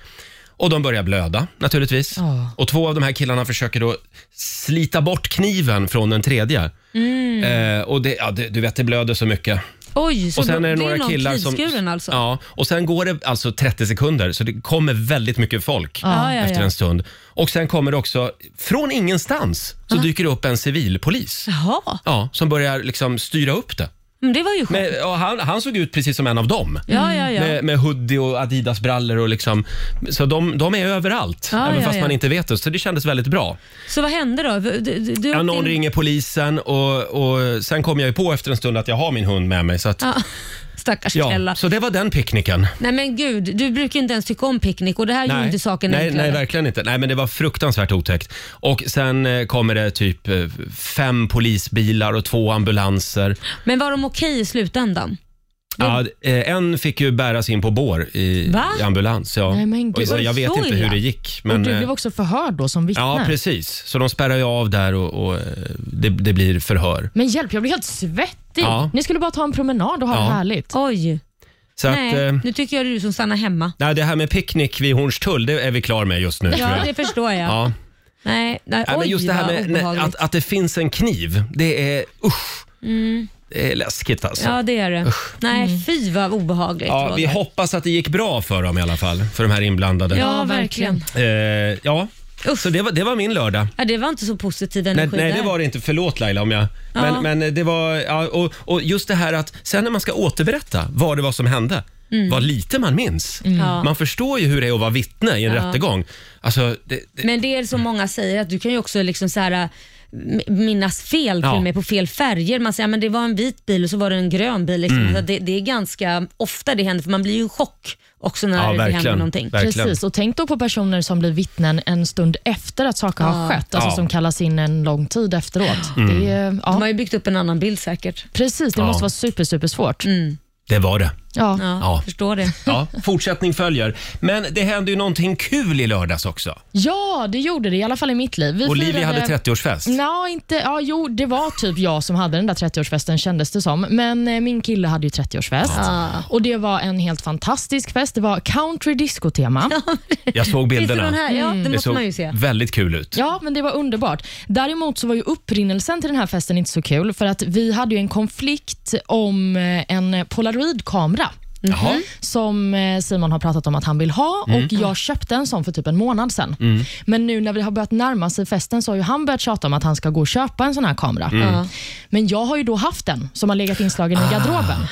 Speaker 1: Och de börjar blöda naturligtvis.
Speaker 7: Ja.
Speaker 1: Och två av de här killarna försöker då slita bort kniven från den tredje. Eh, och det, ja, det, du vet, det blöder så mycket.
Speaker 2: Oj, Mm. så
Speaker 1: Och sen
Speaker 2: då-
Speaker 1: är det
Speaker 2: ju
Speaker 1: några
Speaker 2: någon
Speaker 1: killar som...
Speaker 2: knivskuren alltså?
Speaker 1: Ja, och sen går det alltså 30 sekunder så det kommer väldigt mycket folk
Speaker 2: Ja, ja,
Speaker 1: efter
Speaker 2: ja.
Speaker 1: en stund. Och sen kommer det också, från
Speaker 2: Ah.
Speaker 1: ingenstans, så dyker det upp en civilpolis.
Speaker 2: Jaha,
Speaker 1: Ja, som börjar liksom styra upp det.
Speaker 2: Men det var ju skönt.
Speaker 1: Men, ja, han, han såg ut precis som en av dem.
Speaker 2: Ja, ja, ja.
Speaker 1: Med, med hoodie och Adidas-brallor. Och liksom. Så de, de är överallt,
Speaker 2: Ja,
Speaker 1: även
Speaker 2: ja,
Speaker 1: fast
Speaker 2: ja.
Speaker 1: man inte vet det. Så det kändes väldigt bra.
Speaker 2: Så vad hände då? Du, du, du
Speaker 1: Ja,
Speaker 2: åkte
Speaker 1: någon
Speaker 2: in-
Speaker 1: ringer polisen och, och sen kom jag ju på efter en stund att jag har min hund med mig. Så, att,
Speaker 2: Ja, stackars
Speaker 1: ja,
Speaker 2: Kella.
Speaker 1: så det var den picknicken.
Speaker 2: Nej men gud, du brukar ju inte ens tycka om picknick och det här gjorde inte saken
Speaker 1: nej,
Speaker 2: enklare.
Speaker 1: nej, verkligen inte. Nej, men det var fruktansvärt otäckt. Och sen eh, kommer det typ eh, fem polisbilar och två ambulanser.
Speaker 2: Men var de okej i slutändan?
Speaker 1: Ja, eh, en fick ju bäras in på bår i,
Speaker 2: Mm. Va?
Speaker 1: i ambulans. Ja.
Speaker 7: Nej, men
Speaker 1: och så,
Speaker 7: gud,
Speaker 1: jag vet
Speaker 2: så
Speaker 1: inte hur
Speaker 2: illa.
Speaker 1: det gick.
Speaker 7: Och
Speaker 1: Men,
Speaker 7: du
Speaker 1: eh,
Speaker 7: blev också förhörd då som vittne.
Speaker 1: ja, precis. Så de spärrar ju av där och, och eh, det, det blir förhör.
Speaker 7: Men hjälp, jag blir helt svettig.
Speaker 1: Ja.
Speaker 7: Ni skulle bara ta en promenad och ha
Speaker 1: Ja.
Speaker 7: det härligt.
Speaker 2: Oj,
Speaker 1: Så att,
Speaker 2: nej.
Speaker 1: eh,
Speaker 2: Nu tycker jag det är du som stannar hemma.
Speaker 1: nej, det här med picknick vid Hornstull, det är vi klar med just nu. tror
Speaker 2: Ja,
Speaker 1: jag.
Speaker 2: det förstår jag.
Speaker 1: Ja.
Speaker 2: Nej, nej,
Speaker 1: Nej,
Speaker 2: oj,
Speaker 1: men just det här
Speaker 2: vad
Speaker 1: med nej,
Speaker 2: obehagligt.
Speaker 1: att, att det finns en kniv, det är usch. Det är läskigt alltså.
Speaker 2: Mm. Ja, det är det. Nej, fy vad obehagligt.
Speaker 1: Ja,
Speaker 2: Roger.
Speaker 1: vi hoppas att det gick bra för dem i alla fall, för de här inblandade.
Speaker 2: ja, verkligen.
Speaker 1: Eh, ja. Så det var, det var min lördag.
Speaker 2: Ja, det var inte så positiv
Speaker 1: Nej,
Speaker 2: energi
Speaker 1: nej,
Speaker 2: där.
Speaker 1: det var det inte. Förlåt Laila om jag... Men,
Speaker 2: Ja.
Speaker 1: men det var... Ja, och, och just det här att sen när man ska återberätta vad det var som hände, vad lite man minns.
Speaker 2: Mm. Ja.
Speaker 1: Man förstår ju hur det är att vara vittne i en rättegång. Alltså, det, det,
Speaker 2: Men det är som många säger, att du kan ju också liksom så här, äh, m- minnas fel till
Speaker 1: Ja.
Speaker 2: och med på fel färger. Man säger att det var en vit bil och så var det en grön bil.
Speaker 1: Mm.
Speaker 2: Liksom. Så det, det är ganska ofta det händer, för man blir ju i chock också när
Speaker 1: ja,
Speaker 2: det händer
Speaker 1: verkligen.
Speaker 2: någonting.
Speaker 1: verkligen.
Speaker 7: Precis, och tänk då på personer som blir vittnen en stund efter att saker har skett, alltså
Speaker 1: Ja. Mm.
Speaker 7: som kallas in en lång tid efteråt. Det är,
Speaker 2: De har
Speaker 7: ja,
Speaker 2: ju byggt upp en annan bild säkert.
Speaker 7: precis, det
Speaker 1: Ja.
Speaker 7: måste vara super, super svårt.
Speaker 1: Det var det.
Speaker 7: Ja.
Speaker 2: Ja,
Speaker 1: Ja.
Speaker 2: Förstår det.
Speaker 1: Ja, fortsättning följer. Men det hände ju någonting kul i lördags också.
Speaker 7: ja, det gjorde det, i alla fall i mitt liv. Vi
Speaker 1: Olivia
Speaker 7: firade-
Speaker 1: hade 30-årsfest.
Speaker 7: Nå, inte, ja, jo, det var typ jag som hade den där 30-årsfesten kändes det som. Men eh, min kille hade ju 30-årsfest och det var en helt fantastisk fest. Det var country disco-tema.
Speaker 1: Jag såg
Speaker 2: Sitter
Speaker 1: bilderna.
Speaker 2: hon här? Ja, det
Speaker 1: Det
Speaker 2: måste
Speaker 1: såg
Speaker 2: man ju se.
Speaker 1: väldigt kul ut.
Speaker 7: Ja, men det var underbart. Däremot så var ju upprinnelsen till den här festen inte så kul för att vi hade ju en konflikt om eh, en polaroidkamera
Speaker 2: Mm.
Speaker 1: Jaha.
Speaker 7: som eh, Simon har pratat om att han vill ha
Speaker 1: Mm.
Speaker 7: och jag köpte en sån för typ en månad sedan. Men nu när vi har börjat närma sig festen så har ju han börjat tjata om att han ska gå och köpa en sån här kamera.
Speaker 1: Mm.
Speaker 2: Ja.
Speaker 7: Men jag har ju då haft den som har legat inslagen
Speaker 1: Ah.
Speaker 7: i garderoben.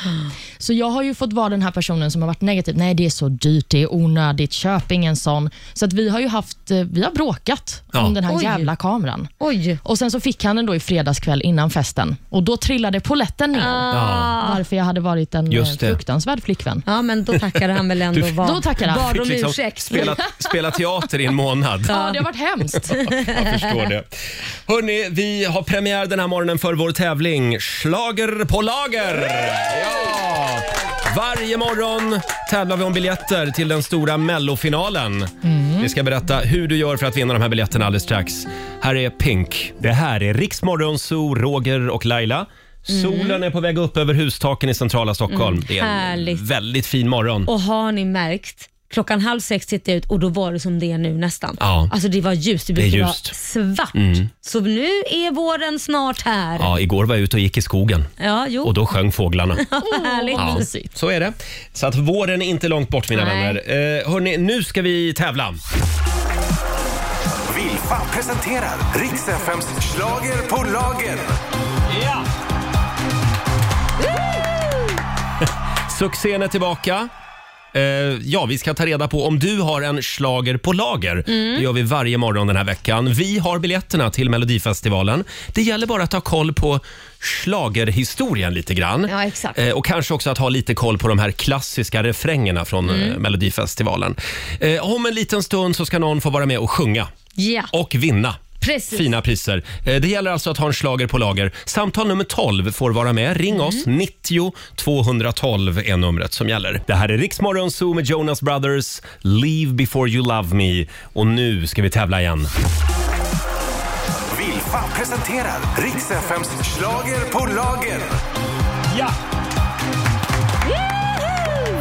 Speaker 7: Så jag har ju fått vara den här personen som har varit negativ. Nej, det är så dyrt, det är onödigt, köp ingen sån. Så att vi har ju haft, eh, vi har bråkat
Speaker 1: Ja.
Speaker 7: om den här
Speaker 2: Oj.
Speaker 7: jävla kameran.
Speaker 2: Oj.
Speaker 7: Och Sen så fick han den då i fredagskväll innan festen och då trillade poletten ner.
Speaker 2: Ah.
Speaker 1: Ja.
Speaker 7: Varför jag hade varit en eh,
Speaker 1: Just det.
Speaker 7: fruktansvärd flickvän.
Speaker 2: Ja, men då tackade han väl ändå.
Speaker 1: Du-
Speaker 2: var,
Speaker 7: Då tackade han.
Speaker 2: Bad om
Speaker 1: Fick liksom
Speaker 2: ursäkt.
Speaker 1: spela, spela teater i en månad.
Speaker 7: Ja, det har varit hemskt.
Speaker 1: Jag förstår det. Hörni, vi har premiär den här morgonen för vår tävling Slager på lager. Ja! Varje morgon tävlar vi om biljetter till den stora mellofinalen. Vi ska berätta hur du gör för att vinna de här biljetterna alldeles strax. Här är Pink. Det här är Riksmorgon Zoo, Roger och Laila. Solen är på väg upp över hustaken i centrala Stockholm. det är en
Speaker 2: härligt.
Speaker 1: väldigt fin morgon.
Speaker 2: Och har ni märkt? Klockan halv sex tittade jag ut och då var det som det är nu nästan.
Speaker 1: Ja.
Speaker 2: Alltså det var ljust, det
Speaker 1: är
Speaker 2: brukar vara
Speaker 1: ljust. Mm.
Speaker 2: svart. Så nu är våren snart här. Ja,
Speaker 1: Ja, igår var jag ute och gick i skogen
Speaker 2: jo,
Speaker 1: och då sjöng fåglarna.
Speaker 2: vad härligt.
Speaker 1: Ja, så är det. Så att våren är inte långt bort mina
Speaker 2: Nej.
Speaker 1: vänner. Eh, hörni, nu ska vi tävla.
Speaker 3: Vilfa presenterar Riks FMs schlager på lager.
Speaker 1: Ja! Succén är tillbaka. Eh, ja, vi ska ta reda på om du har en slager på
Speaker 2: Mm.
Speaker 1: lager. Det gör vi varje morgon den här veckan. Vi har biljetterna till Melodifestivalen. Det gäller bara att ta koll på schlagerhistorien lite grann.
Speaker 2: Ja, exakt.
Speaker 1: Eh, och kanske också att ha lite koll på de här klassiska refrängerna från eh,
Speaker 2: Mm.
Speaker 1: Melodifestivalen. Eh, om en liten stund så ska någon få vara med och sjunga
Speaker 2: Ja,
Speaker 1: och vinna.
Speaker 2: Precis.
Speaker 1: Fina priser. Eh, Det gäller alltså att ha en slager på lager. Samtal nummer 12 får vara med. Ring oss. 90 212 är numret som gäller. Det här är Riksmorgon Zoo med Jonas Brothers. Leave before you love me. Och nu ska vi tävla igen.
Speaker 3: Vilfa presenterar Riks FMs schlager på lager.
Speaker 1: Ja!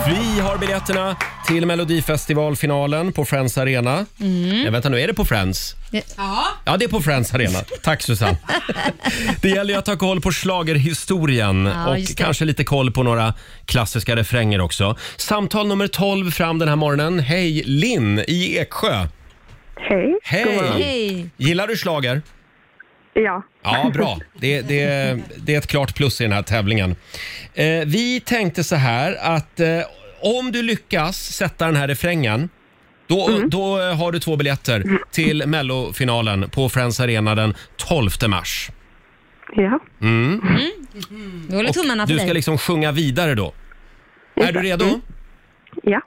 Speaker 1: Vi har biljetterna till Melodifestivalfinalen på Friends
Speaker 2: Mm.
Speaker 1: Arena. Nej, vänta nu, är det på Friends? Ja, det är på Friends Arena. Tack Susanne. Det gäller ju att ta koll på schlagerhistorien
Speaker 2: Ja,
Speaker 1: och
Speaker 2: just det.
Speaker 1: kanske lite koll på några klassiska refränger också. Samtal nummer 12 fram den här morgonen. Hej, Linn i Eksjö.
Speaker 6: Hej.
Speaker 1: Hej!
Speaker 2: hej.
Speaker 1: Gillar du schlager?
Speaker 6: Ja.
Speaker 1: Ja, bra. Det, det, det är ett klart plus i den här tävlingen. Eh, vi tänkte så här att eh, om du lyckas sätta den här refrängen då, då eh, har du två biljetter till Mellofinalen på Friends Arena den 12 mars.
Speaker 6: Ja.
Speaker 2: Vi håller tummarna för
Speaker 1: Du ska
Speaker 2: dig.
Speaker 1: liksom sjunga vidare då. Är du redo?
Speaker 6: Ja.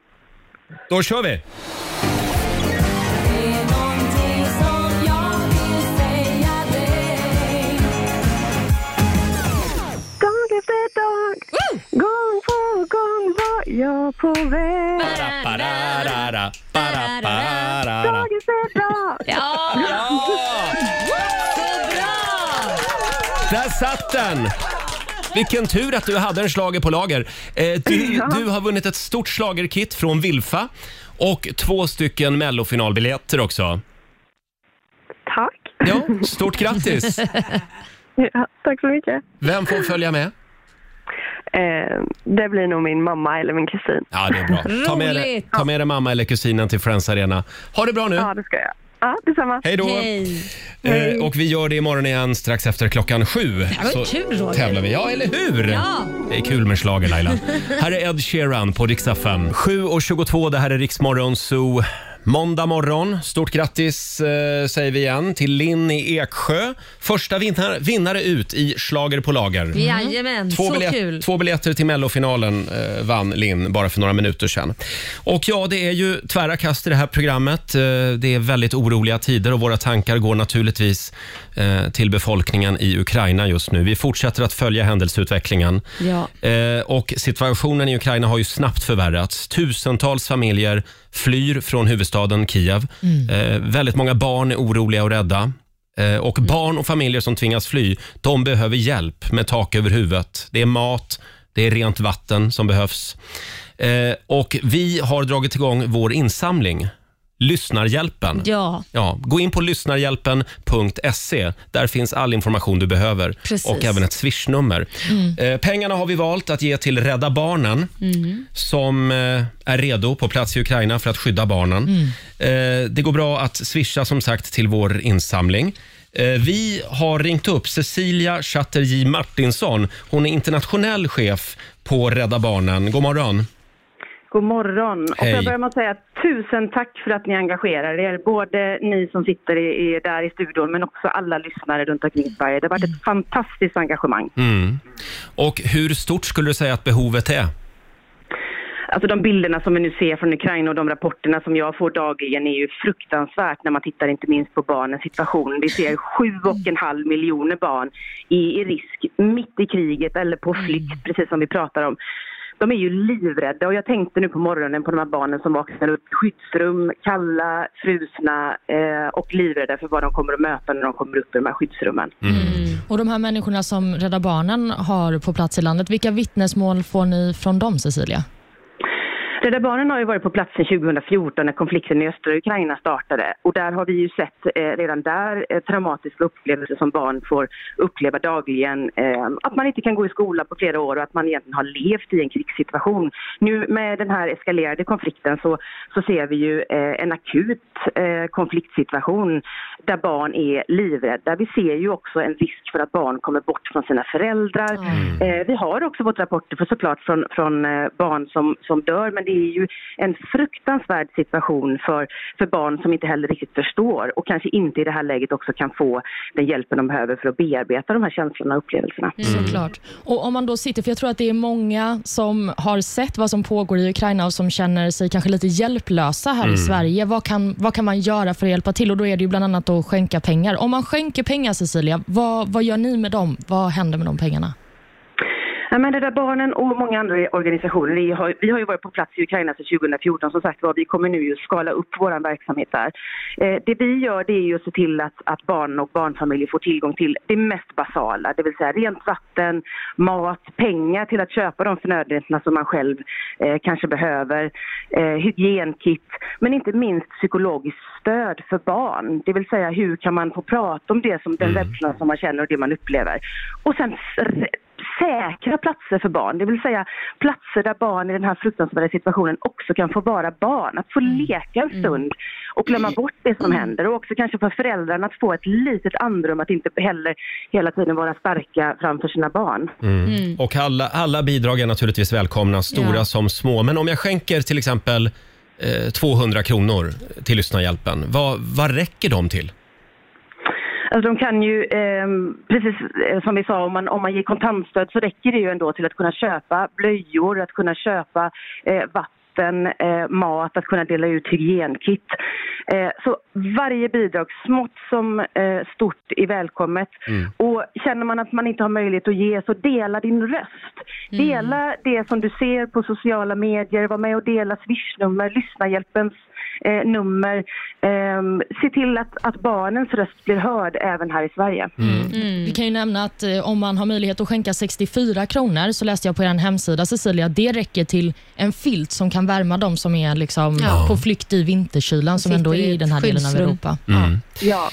Speaker 1: Då kör vi!
Speaker 6: Dag efter dag, gång på gång var jag på väg.
Speaker 1: Pararara, paraparara.
Speaker 6: Dag efter dag.
Speaker 2: Ja,
Speaker 1: Ja!
Speaker 2: så bra!
Speaker 1: Där satt den! Vilken tur att du hade en slager på lager. Eh, du, du har vunnit ett stort slagerkit från Vilfa och två stycken mellofinalbiljetter också.
Speaker 6: Tack.
Speaker 1: Ja, stort grattis!
Speaker 6: Ja, tack så mycket.
Speaker 1: Vem får följa med?
Speaker 6: Eh, det blir nog min mamma eller min kusin.
Speaker 1: Ja, det är bra. Ta med, dig-
Speaker 2: Roligt.
Speaker 1: ta med dig mamma eller kusinen till Friends Arena. Ha det bra nu!
Speaker 6: Ja, det ska jag. Ja, detsamma.
Speaker 1: Hej då!
Speaker 2: Hej. Mm.
Speaker 1: Eh, och vi gör det imorgon igen strax efter klockan sju. Det
Speaker 2: var ju kul, Roger.
Speaker 1: tävlar vi. Ja, eller hur?
Speaker 2: Ja.
Speaker 1: Det är kul med schlager Laila. här är Ed Sheeran på Rix FM. 7.22, det här är Riksmorgon Zoo. Måndag morgon. Stort grattis eh, säger vi igen till Linn i Eksjö. Första vinnare, vinnare ut i Schlager på lager.
Speaker 2: Jajamän,
Speaker 1: Mm. Två,
Speaker 2: så
Speaker 1: biljet-
Speaker 2: kul.
Speaker 1: två biljetter till mellofinalen eh, vann Linn bara för några minuter sedan. Och ja, det är ju tvära kast i det här programmet. Eh, det är väldigt oroliga tider och våra tankar går naturligtvis eh, till befolkningen i Ukraina just nu. Vi fortsätter att följa händelseutvecklingen.
Speaker 2: Ja.
Speaker 1: Eh, och situationen i Ukraina har ju snabbt förvärrats. Tusentals familjer flyr från huvudstaden Kiev. Eh, väldigt många barn är oroliga och rädda. Eh, Och Barn och familjer som tvingas fly de behöver hjälp med tak över huvudet. Det är mat, det är rent vatten som behövs. Eh, och Vi har dragit igång vår insamling, Lyssnarhjälpen.
Speaker 2: Ja,
Speaker 1: Ja, gå in på lyssnarhjälpen.se. Där finns all information du behöver
Speaker 2: Precis.
Speaker 1: och även ett swishnummer. Eh, pengarna har vi valt att ge till Rädda Barnen som eh, är redo på plats i Ukraina för att skydda barnen. Eh, det går bra att swisha som sagt till vår insamling. Eh, Vi har ringt upp Cecilia Chatterjee Martinsson. Hon är internationell chef på Rädda Barnen. God morgon.
Speaker 6: God morgon. Och
Speaker 1: Hej.
Speaker 6: jag börjar med att säga tusen tack för att ni engagerar er. Både ni som sitter i, i, där i studion men också alla lyssnare runt omkring i Sverige. Det har varit ett
Speaker 1: Mm.
Speaker 6: fantastiskt engagemang.
Speaker 1: Och hur stort skulle du säga att behovet är?
Speaker 6: Alltså de bilderna som vi nu ser från Ukraina och de rapporterna som jag får dagligen är ju fruktansvärt när man tittar inte minst på barnens situation. Vi ser sju och en halv miljoner barn i, i risk mitt i kriget eller på flykt, precis som vi pratar om. De är ju livrädda och jag tänkte nu på morgonen på de här barnen som vaknar upp i skyddsrum, kalla, frusna eh, och livrädda för vad de kommer att möta när de kommer upp i de här skyddsrummen.
Speaker 1: Mm.
Speaker 7: Och De här människorna som Rädda Barnen har på plats i landet, vilka vittnesmål får ni från dem, Cecilia?
Speaker 6: Rädda Barnen har ju varit på plats sedan 2014 när konflikten i östra Ukraina startade och där har vi ju sett eh, redan där eh, traumatiska upplevelser som barn får uppleva dagligen. Eh, att man inte kan gå i skola på flera år och att man egentligen har levt i en krigssituation. Nu med den här eskalerade konflikten så, så ser vi ju eh, en akut eh, konfliktsituation där barn är livrädda. Vi ser ju också en risk för att barn kommer bort från sina föräldrar. Eh, vi har också fått rapporter för såklart från, från eh, barn som, som dör men det är ju en fruktansvärd situation för, för barn som inte heller riktigt förstår och kanske inte i det här läget också kan få den hjälpen de behöver för att bearbeta de här känslorna och upplevelserna.
Speaker 7: Såklart. Och om man då sitter, för jag tror att det är många som har sett vad som pågår i Ukraina och som känner sig kanske lite hjälplösa här i Sverige. Vad kan, vad kan man göra för att hjälpa till? Och Då är det ju bland annat att skänka pengar. Om man skänker pengar, Cecilia, vad, vad gör ni med dem? Vad händer med de pengarna?
Speaker 6: Ja, men Rädda Barnen och många andra organisationer, vi har, vi har ju varit på plats i Ukraina sedan 2014 som sagt var. Vi kommer nu ju skala upp vår verksamhet där. Eh, det vi gör det är ju att se till att, att barn och barnfamiljer får tillgång till det mest basala, det vill säga rent vatten, mat, pengar till att köpa de förnödenheterna som man själv eh, kanske behöver, eh, hygienkit, men inte minst psykologiskt stöd för barn. Det vill säga hur kan man få prata om det som den rädslan som man känner och det man upplever. Och sen s- säkra platser för barn. Det vill säga platser där barn i den här fruktansvärda situationen också kan få vara barn. Att få leka en stund och glömma bort det som händer. Och också kanske för föräldrarna att få ett litet andrum att inte heller hela tiden vara starka framför sina barn.
Speaker 1: Mm. Och alla, alla bidrag är naturligtvis välkomna, stora
Speaker 2: Ja.
Speaker 1: som små. Men om jag skänker till exempel eh, 200 kronor till Lyssnarhjälpen, vad, vad räcker de till?
Speaker 6: Alltså de kan ju, ehm, precis eh, som vi sa, om man, om man ger kontantstöd så räcker det ju ändå till att kunna köpa blöjor, att kunna köpa eh, vatten, eh, mat, att kunna dela ut hygienkit. Eh, så varje bidrag, smått som eh, stort, är välkommet. Och känner man att man inte har möjlighet att ge så dela din röst. Dela det som du ser på sociala medier, var med och dela swishnummer, Lyssnarhjälpens eh, nummer. Ehm, se till att, att barnens röst blir hörd även här i Sverige.
Speaker 7: Vi kan ju nämna att eh, om man har möjlighet att skänka 64 kronor så läste jag på er hemsida Cecilia, det räcker till en filt som kan värma de som är liksom på flykt i vinterkylan som
Speaker 2: Sitter
Speaker 7: ändå är
Speaker 2: i
Speaker 7: i
Speaker 2: ett
Speaker 7: den här delen av
Speaker 2: skyddsrum.
Speaker 7: Europa.
Speaker 6: Ja.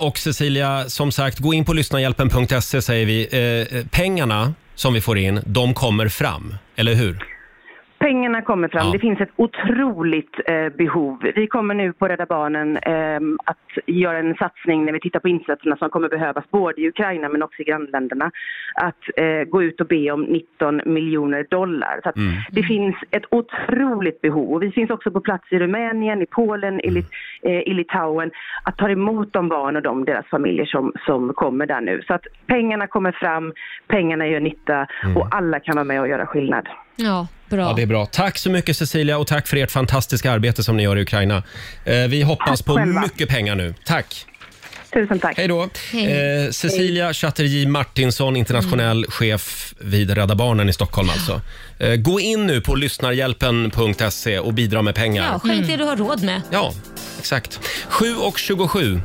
Speaker 1: Och, och Cecilia, som sagt, gå in på lyssnarhjälpen.se säger vi. Eh, pengarna som vi får in, de kommer fram, eller hur?
Speaker 6: Pengarna kommer fram.
Speaker 1: Ja.
Speaker 6: Det finns ett otroligt eh, behov. Vi kommer nu på Rädda Barnen ehm, att göra en satsning när vi tittar på insatserna som kommer behövas både i Ukraina men också i grannländerna. Att eh, gå ut och be om 19 miljoner dollar. Så att Det finns ett otroligt behov. Och vi finns också på plats i Rumänien, i Polen, i, Lit- eh, i Litauen. Att ta emot de barn och de, deras familjer som, som kommer där nu. Så att pengarna kommer fram, pengarna gör nytta och alla kan vara med och göra skillnad.
Speaker 2: Ja, bra.
Speaker 1: Ja, det är bra. Tack så mycket Cecilia och tack för ert fantastiska arbete som ni gör i Ukraina. Eh, vi hoppas
Speaker 6: Tack
Speaker 1: på
Speaker 6: själva.
Speaker 1: mycket pengar nu. Tack!
Speaker 6: Tusen tack.
Speaker 1: Hej då! Eh, Cecilia Chatterjee Martinsson, internationell chef vid Rädda Barnen i Stockholm alltså. Eh, gå in nu på lyssnarhjälpen.se och bidra med pengar.
Speaker 2: Ja, skänk det du har råd med.
Speaker 1: Ja, exakt. 7 och 27.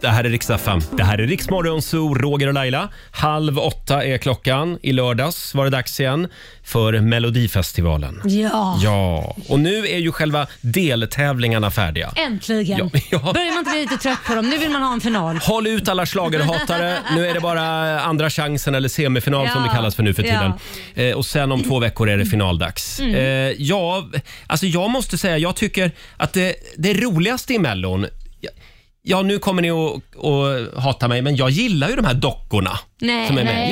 Speaker 1: Det här är riksdag 5. Det här är Riksmorgon Zoo, Roger och Laila. Halv åtta är klockan. I lördags var det dags igen för Melodifestivalen.
Speaker 2: Ja,
Speaker 1: Ja, och nu är ju själva deltävlingarna färdiga.
Speaker 2: äntligen.
Speaker 1: Ja, ja.
Speaker 2: Börjar man inte bli lite trött på dem? Nu vill man ha en final.
Speaker 1: Håll ut alla schlagerhatare. Nu är det bara andra chansen eller semifinal som det
Speaker 2: Ja.
Speaker 1: kallas för nu för tiden. Eh, och sen om två veckor är det finaldags. Eh, ja, alltså jag måste säga, jag tycker att det, det roligaste i Mellon, ja, ja nu kommer ni att, att hata mig, men jag gillar ju de här dockorna
Speaker 2: Nej,
Speaker 1: som är med.
Speaker 7: nej.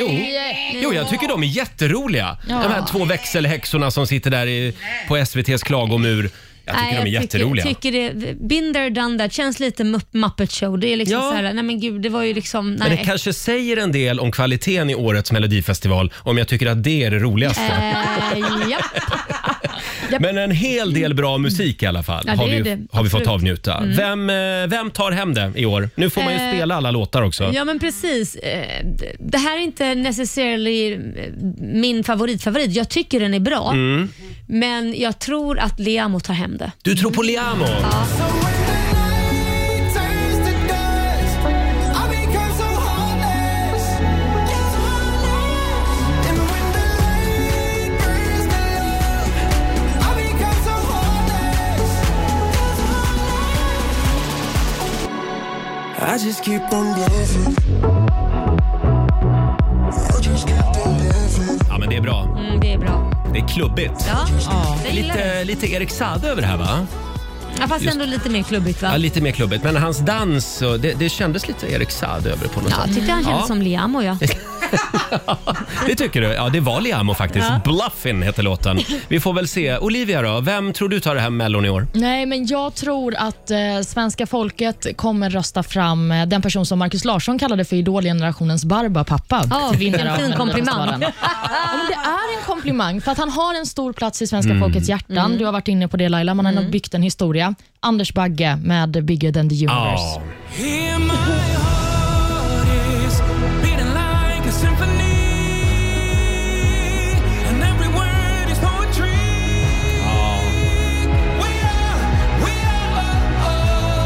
Speaker 1: Jo, jo, jag tycker de är jätteroliga. De här två växelhäxorna som sitter där i, på SVTs klagomur. Jag tycker de är jätteroliga.
Speaker 2: Tycker, tycker det, binder done that känns lite Mupp- Muppet show. Det är liksom
Speaker 1: Ja.
Speaker 2: så här, nej men gud, det var ju liksom, nej.
Speaker 1: Men det kanske säger en del om kvaliteten i årets melodifestival om jag tycker att det är det roligaste.
Speaker 2: Eh, ja.
Speaker 1: Men en hel del bra musik i alla fall
Speaker 2: Ja, det
Speaker 1: har,
Speaker 2: är
Speaker 1: vi,
Speaker 2: det.
Speaker 1: har vi fått
Speaker 2: Absolut. Mm.
Speaker 1: avnjuta. Vem, eh, vem tar hem det i år? Nu får man ju
Speaker 2: Eh,
Speaker 1: spela alla låtar också.
Speaker 2: ja men precis. Eh, d- Det här är inte necessarily eh, min favoritfavorit. Jag tycker den är bra.
Speaker 1: Mm.
Speaker 2: Men jag tror att Leamo tar hem det.
Speaker 1: Du tror på Liamo?
Speaker 8: I just keep on loving. I just keep on loving.
Speaker 1: Ja, men det är bra.
Speaker 2: Mm, det är bra.
Speaker 1: Det är klubbigt.
Speaker 2: Ja, jag gillar det.
Speaker 1: Lite, lite Erik Saade över det här va?
Speaker 2: Ja, fast ändå lite mer klubbigt va?
Speaker 1: Ja, lite mer klubbigt. Men hans dans, och det, det kändes lite Erik Saade över det på något
Speaker 2: Ja, jag
Speaker 1: sätt.
Speaker 2: tyckte han kändes
Speaker 1: Ja.
Speaker 2: som Liamo ja.
Speaker 1: Det tycker du? Ja, det var Liamo faktiskt. Bluffin heter låten. Vi får väl se. Olivia då, vem tror du tar det här Mellon i år?
Speaker 7: Nej, men jag tror att eh, svenska folket kommer rösta fram eh, den person som Markus Larsson kallade för idolgenerationens Barbapappa.
Speaker 2: Ja,
Speaker 7: till
Speaker 2: vilken fin
Speaker 7: av
Speaker 2: komplimang.
Speaker 7: Melodifestivalen. ja, men det är en komplimang, för att han har en stor plats i
Speaker 1: Mm.
Speaker 7: svenska folkets hjärtan.
Speaker 2: Mm.
Speaker 7: Du har varit inne på det Laila, man har nog byggt en historia. Anders Bagge med Bigger than the universe.
Speaker 1: Ja.
Speaker 8: Here my heart is beating like a symphony, and every word is poetry. We are, we are, oh,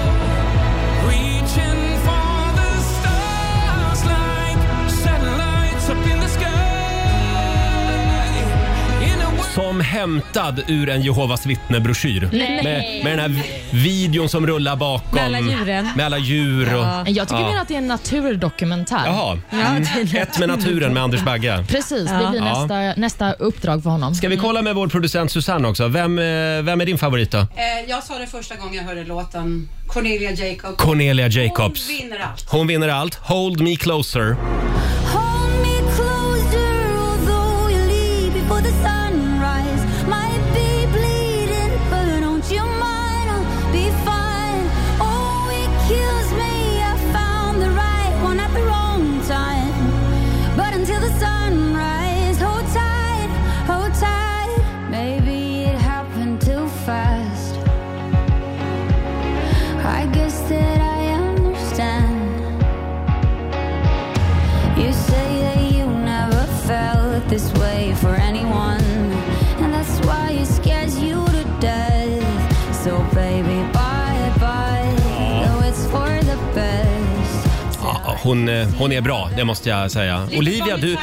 Speaker 8: oh, reaching for the stars like satellites up in the sky. In a world
Speaker 1: som hämtad ur en Jehovas vittne-broschyr.
Speaker 2: Nej.
Speaker 1: Med, med den här videon som rullar bakom.
Speaker 2: Med alla djuren.
Speaker 1: Med alla djur och...
Speaker 2: Ja.
Speaker 7: Jag tycker
Speaker 1: Ja.
Speaker 7: mer att det är en naturdokumentär.
Speaker 1: Jaha. Mm. Ett med naturen med Anders Bagge.
Speaker 7: Precis, det blir
Speaker 1: Ja.
Speaker 7: nästa, nästa uppdrag för honom.
Speaker 1: Ska vi kolla med vår producent Susanne också? Vem, eh, vem är din favorit då?
Speaker 9: Eh, jag sa det första gången jag hörde låten, Cornelia Jacobs.
Speaker 1: Cornelia Jacobs.
Speaker 9: Hon vinner allt.
Speaker 1: Hon vinner allt. Hold me closer.
Speaker 10: Oh, I guess that I understand. You say that you never felt this way for anyone, and that's why it scares you to death. So, baby, bye bye, though it's for the best.
Speaker 1: Ja, hon, eh, hon är bra, det måste jag säga. Olivia, du,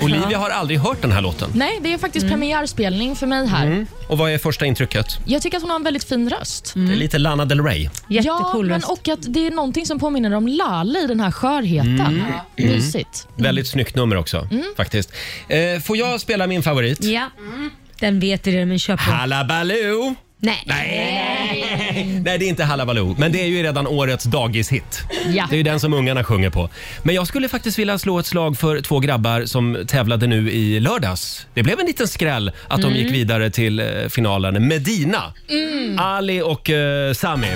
Speaker 1: Olivia har aldrig hört den här låten.
Speaker 7: Nej, det är faktiskt
Speaker 2: Mm.
Speaker 7: premiärspelning för mig här.
Speaker 1: Och vad är första intrycket?
Speaker 7: Jag tycker att hon har en väldigt fin röst.
Speaker 2: Mm.
Speaker 1: Det är lite Lana Del Rey.
Speaker 7: ja,
Speaker 2: Jättecool
Speaker 7: men
Speaker 2: röst.
Speaker 7: och att det är någonting som påminner om Lale i den här skörheten.
Speaker 1: Mm.
Speaker 7: Mysigt.
Speaker 1: Väldigt snyggt nummer också
Speaker 2: Mm.
Speaker 1: faktiskt. Eh, får jag spela min favorit?
Speaker 2: Ja. Den vet du redan, men köp den.
Speaker 1: Hallabaloo!
Speaker 2: Nej.
Speaker 1: Nej, det är inte Hallabaloo, men det är ju redan årets dagishit.
Speaker 7: Ja.
Speaker 1: Det är ju den som ungarna sjunger på. Men jag skulle faktiskt vilja slå ett slag för två grabbar som tävlade nu i lördags. Det blev en liten skräll att de gick vidare till eh, finalen. Medina, Ali och eh, Sami.
Speaker 8: Nu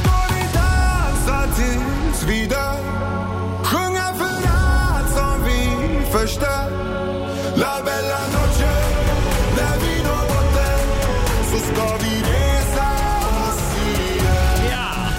Speaker 8: ska vi dansa tills vi dör Sjunga för allt som vi förstör La bella noche När vi når botten så ska vi resa oss igen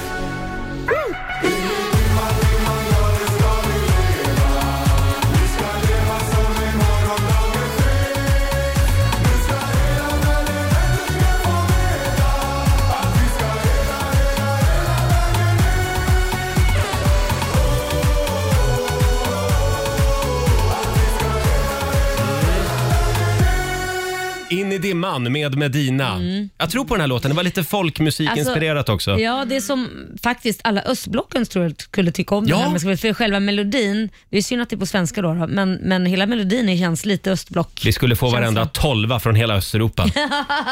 Speaker 1: In i dimman med Medina. Jag tror på den här låten. Det var lite folkmusikinspirerat också.
Speaker 2: Alltså, Ja, det är som faktiskt alla östblocken tror jag skulle tycka om.
Speaker 1: Ja.
Speaker 2: Den här, men ska vi- för själva melodin, det är synd att det är på svenska då, då, men, men hela melodin känns lite östblock.
Speaker 1: Vi skulle få
Speaker 2: Känslan.
Speaker 1: varenda tolva från hela Östeuropa.